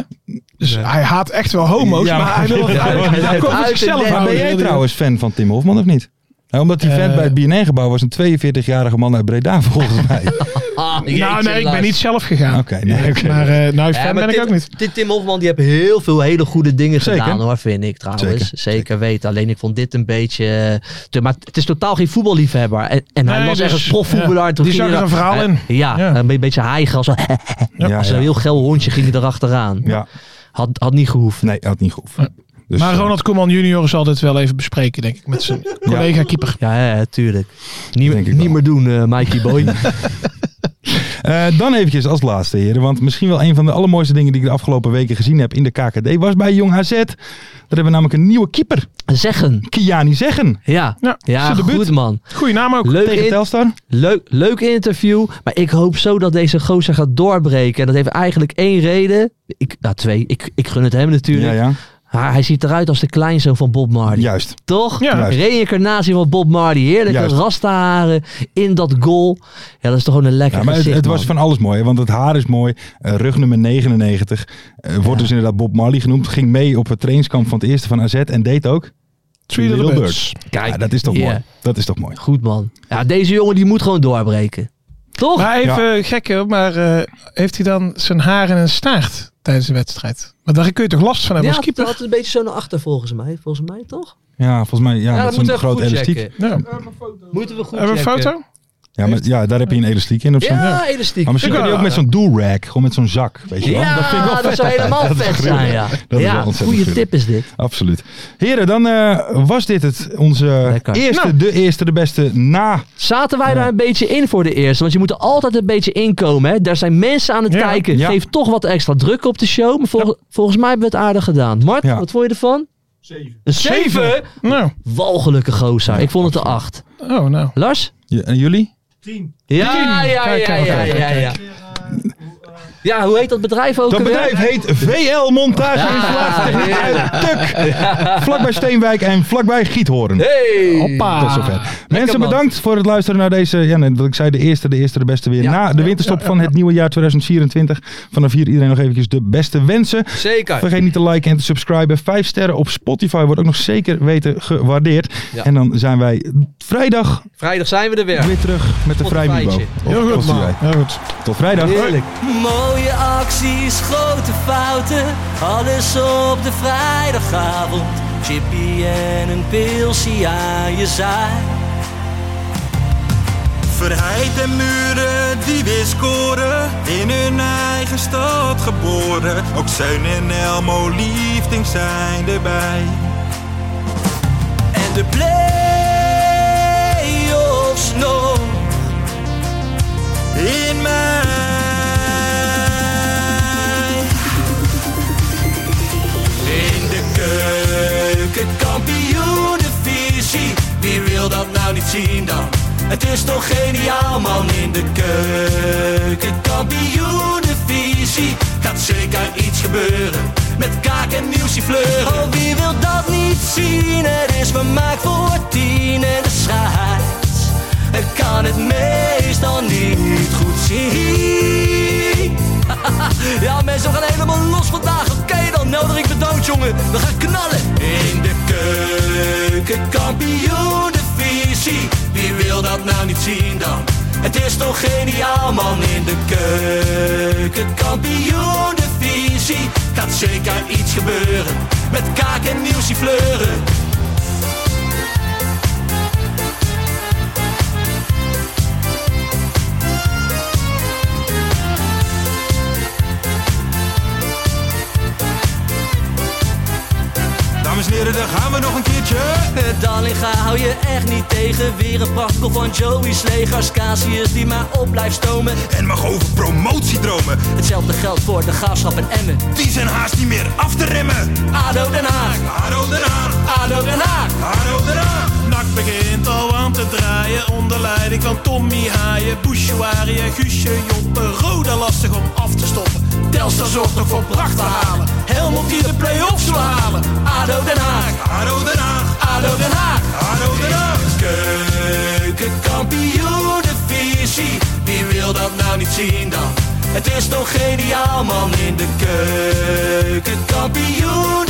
[SPEAKER 5] Dus hij haat echt wel homo's,
[SPEAKER 4] Ja,
[SPEAKER 5] maar
[SPEAKER 4] maar-
[SPEAKER 5] hij wil het
[SPEAKER 4] Ja,
[SPEAKER 5] uit-
[SPEAKER 4] maar-
[SPEAKER 5] hij wil het
[SPEAKER 6] Uiten,
[SPEAKER 5] zichzelf
[SPEAKER 6] nee,
[SPEAKER 5] houden.
[SPEAKER 4] ben jij trouwens fan van Tim Hofman of niet? Nou, omdat die vent
[SPEAKER 5] Eh.
[SPEAKER 4] bij het BNN-gebouw was een 42-jarige man uit Breda volgens mij. Oké,
[SPEAKER 6] Ah,
[SPEAKER 5] nou, nee, ik ben niet zelf gegaan.
[SPEAKER 4] nee, oké.
[SPEAKER 5] Maar eh nou, fan ben
[SPEAKER 6] Tim,
[SPEAKER 5] ik ook niet.
[SPEAKER 6] Tim, Tim Hofman die heeft heel veel hele goede dingen
[SPEAKER 4] Zeker.
[SPEAKER 6] gedaan hoor, vind ik trouwens.
[SPEAKER 4] Zeker,
[SPEAKER 6] Zeker, weten. Alleen ik vond dit een beetje... eh, te- maar het is totaal geen voetballiefhebber. En, en hij
[SPEAKER 5] Nee,
[SPEAKER 6] was
[SPEAKER 5] dus,
[SPEAKER 6] echt een profvoetballer.
[SPEAKER 5] ja,
[SPEAKER 6] Toen
[SPEAKER 5] die
[SPEAKER 6] ging
[SPEAKER 5] zag
[SPEAKER 6] hij
[SPEAKER 5] er
[SPEAKER 6] daar-
[SPEAKER 5] een verhaal
[SPEAKER 6] eh, Ja,
[SPEAKER 5] Ja.
[SPEAKER 6] een be- beetje hijgen. Als,
[SPEAKER 4] Ja,
[SPEAKER 6] eh, als
[SPEAKER 4] ja.
[SPEAKER 6] een heel geil hondje ging hij erachteraan.
[SPEAKER 4] Ja.
[SPEAKER 6] Had, had niet gehoefd.
[SPEAKER 4] Nee, had niet gehoeven. Dus,
[SPEAKER 5] maar
[SPEAKER 4] eh,
[SPEAKER 5] Ronald Koeman junior zal dit wel even bespreken, denk ik, met zijn collega keeper.
[SPEAKER 6] Ja, ja, ja, tuurlijk.
[SPEAKER 4] Denk
[SPEAKER 6] Niet,
[SPEAKER 4] ik
[SPEAKER 6] niet
[SPEAKER 4] wel.
[SPEAKER 6] meer doen, eh, Mikey Boy.
[SPEAKER 4] Eh, dan eventjes als laatste, heren. Want misschien wel een van de allermooiste dingen die ik de afgelopen weken gezien heb in de KKD was bij Jong AZ. Daar hebben we namelijk een nieuwe keeper.
[SPEAKER 6] Zeggen.
[SPEAKER 4] Kiani Zeggen.
[SPEAKER 6] Ja,
[SPEAKER 5] Ja,
[SPEAKER 6] ja,
[SPEAKER 5] zijn debuut.
[SPEAKER 6] goed man.
[SPEAKER 5] Goeie naam ook.
[SPEAKER 6] Leuk,
[SPEAKER 4] Tegen
[SPEAKER 6] in-
[SPEAKER 4] Telstar.
[SPEAKER 6] Leuk, leuk interview. Maar ik hoop zo dat deze gozer gaat doorbreken. En dat heeft eigenlijk één reden. Ik, nou, twee. Ik, ik gun het hem natuurlijk.
[SPEAKER 4] Ja, ja.
[SPEAKER 6] Maar hij ziet eruit als de kleinzoon van Bob Marley.
[SPEAKER 4] Juist.
[SPEAKER 6] Toch?
[SPEAKER 5] Ja. Juist.
[SPEAKER 6] Reïncarnatie van Bob Marley. Heerlijke
[SPEAKER 4] Juist.
[SPEAKER 6] rastaharen in dat goal. Ja, dat is toch gewoon een lekker
[SPEAKER 4] Ja, maar het,
[SPEAKER 6] gezicht,
[SPEAKER 4] het was
[SPEAKER 6] man.
[SPEAKER 4] van alles mooi, hè, want het haar is mooi. Eh, rug nummer 99 eh, wordt dus inderdaad Bob Marley genoemd. Ging mee op het trainingskamp van het eerste van AZ en deed ook.
[SPEAKER 5] Three Little
[SPEAKER 4] Little
[SPEAKER 5] Birds.
[SPEAKER 6] Kijk,
[SPEAKER 4] Ja, dat is toch
[SPEAKER 6] ja.
[SPEAKER 4] mooi. Dat is toch mooi.
[SPEAKER 6] Goed, man. Ja, deze jongen die moet gewoon doorbreken. Toch?
[SPEAKER 5] Maar
[SPEAKER 4] Ja.
[SPEAKER 5] even gekker, maar eh, heeft hij dan zijn haar en een staart tijdens de wedstrijd? Maar daar kun je toch last van hebben
[SPEAKER 6] ja,
[SPEAKER 5] als eh, keeper?
[SPEAKER 6] dat had een beetje zo naar achter volgens mij. Volgens mij, toch?
[SPEAKER 4] Ja, volgens mij ja,
[SPEAKER 6] Ja,
[SPEAKER 4] dat
[SPEAKER 6] dat
[SPEAKER 4] is een
[SPEAKER 6] moeten we
[SPEAKER 4] groot
[SPEAKER 6] even goed
[SPEAKER 4] elastiek.
[SPEAKER 6] checken.
[SPEAKER 5] Ja.
[SPEAKER 6] Moeten we goed
[SPEAKER 5] Hebben we een
[SPEAKER 6] checken.
[SPEAKER 5] foto?
[SPEAKER 4] Ja, maar, ja, daar heb je een elastiek in of zo.
[SPEAKER 6] Ja, elastiek.
[SPEAKER 4] Maar misschien
[SPEAKER 5] Ik
[SPEAKER 4] kan je
[SPEAKER 5] wel.
[SPEAKER 4] ook met zo'n do-rag, gewoon met zo'n zak, weet je wel.
[SPEAKER 6] Ja, dat,
[SPEAKER 4] vind ik wel vet.
[SPEAKER 6] zou helemaal
[SPEAKER 4] Dat is
[SPEAKER 6] vet
[SPEAKER 4] gruwelijk.
[SPEAKER 6] zijn, ja.
[SPEAKER 4] Dat is wel
[SPEAKER 6] ja,
[SPEAKER 4] ontzettend
[SPEAKER 6] goede
[SPEAKER 4] gruwelijk.
[SPEAKER 6] tip is dit.
[SPEAKER 4] Absoluut. Heren, dan eh, was dit het. Onze
[SPEAKER 6] Lekker.
[SPEAKER 4] eerste,
[SPEAKER 5] Nou.
[SPEAKER 4] de eerste, de beste na.
[SPEAKER 6] Zaten wij daar een beetje in voor de eerste? Want je moet er altijd een beetje inkomen. Hè? Daar zijn mensen aan het
[SPEAKER 5] Ja,
[SPEAKER 6] kijken.
[SPEAKER 4] ja.
[SPEAKER 6] Geef toch wat extra druk op de show. Maar vol- volgens mij hebben we het aardig gedaan. Mart,
[SPEAKER 4] Ja.
[SPEAKER 6] wat vond je ervan?
[SPEAKER 7] Zeven.
[SPEAKER 6] Een 7?
[SPEAKER 5] Nou,
[SPEAKER 6] Walgelijke gozer. Ik vond het een 8.
[SPEAKER 5] oh nou.
[SPEAKER 6] Lars?
[SPEAKER 4] J- en jullie?
[SPEAKER 7] Tien. eh,
[SPEAKER 6] Ja, ja, ja,
[SPEAKER 5] Kijk, kijk,
[SPEAKER 6] ja,
[SPEAKER 5] kijk,
[SPEAKER 6] ja, ja. Ja, hoe heet dat bedrijf ook
[SPEAKER 4] Dat
[SPEAKER 6] alweer?
[SPEAKER 4] bedrijf heet VL Montage en
[SPEAKER 6] Ja,
[SPEAKER 4] Installatietechniek uit Tuk. Vlakbij Steenwijk en vlakbij Giethoorn.
[SPEAKER 6] Hey.
[SPEAKER 5] Hoppa.
[SPEAKER 4] Tot zover. Mensen,
[SPEAKER 6] man.
[SPEAKER 4] bedankt voor het luisteren naar deze. Ja, nee, wat ik zei, de eerste, de eerste, de beste weer.
[SPEAKER 6] Ja.
[SPEAKER 4] Na de winterstop van het nieuwe jaar 2024. Vanaf hier iedereen nog eventjes de beste wensen.
[SPEAKER 6] Zeker.
[SPEAKER 4] Vergeet niet te liken en te subscriben. Vijf sterren op Spotify wordt ook nog zeker weten gewaardeerd.
[SPEAKER 6] Ja.
[SPEAKER 4] En dan zijn wij vrijdag
[SPEAKER 6] Vrijdag zijn we er weer.
[SPEAKER 4] weer terug met de
[SPEAKER 6] Spotify'tje.
[SPEAKER 4] Vrijmibo.
[SPEAKER 5] Heel goed, man. Heel Nou, goed.
[SPEAKER 4] Tot vrijdag.
[SPEAKER 6] Heerlijk.
[SPEAKER 2] Mooie acties, grote fouten, alles op de vrijdagavond. Chippy en een pilsie aan je zaai.
[SPEAKER 3] Verheid en muren die weer scoren, in hun eigen stad geboren. Ook Zeun en Elmo Liefding zijn erbij.
[SPEAKER 2] En de play-offs nog.
[SPEAKER 3] In mij.
[SPEAKER 2] In de keuken, kampioenenvisie. Wie wil dat nou niet zien dan? Het is toch geniaal man in de keuken, kampioenenvisie. Gaat zeker iets gebeuren met kaak en nieuwsje fleuren. Oh, wie wil dat niet zien? Het is vermaakt voor tien en de scheids. Ik kan het meestal niet goed zien. Ja, mensen, we gaan helemaal los vandaag. Oké dan, Nelderik bedankt, jongen. We gaan knallen. In de keuken, kampioenenvisie. Wie wil dat nou niet zien dan? Het is toch geniaal, man. In de keuken, kampioenenvisie. Gaat zeker iets gebeuren. Met kaak en nieuwsie fleuren.
[SPEAKER 3] Dames en heren, daar gaan we nog een keertje.
[SPEAKER 2] Dallinga Eh, hou je echt niet tegen. Weer een prachtkel van Joey's legers. Casius die maar op blijft stomen.
[SPEAKER 3] En mag over promotiedromen,
[SPEAKER 2] Hetzelfde geldt voor de gaafschap en Emmen.
[SPEAKER 3] die zijn haast niet meer af te remmen.
[SPEAKER 2] ADO Den Haag,
[SPEAKER 3] Haro eraan,
[SPEAKER 2] ADO Den Haag.
[SPEAKER 3] haro eraan.
[SPEAKER 10] Nak begint al aan te draaien onder leiding van Tommy Haaien, Bouchouari en Guusje Joppen. Roda lastig om af te stoppen. Telstar zorgt nog voor pracht te halen. Helmond die de play-offs wil halen.
[SPEAKER 2] ADO Den Haag,
[SPEAKER 3] Haro eraan,
[SPEAKER 2] ADO Den Haag.
[SPEAKER 3] haro eraan.
[SPEAKER 2] Keukenkampioenenvisie, wie wil dat nou niet zien dan? Het is toch geniaal man in de keukenkampioenenvisie.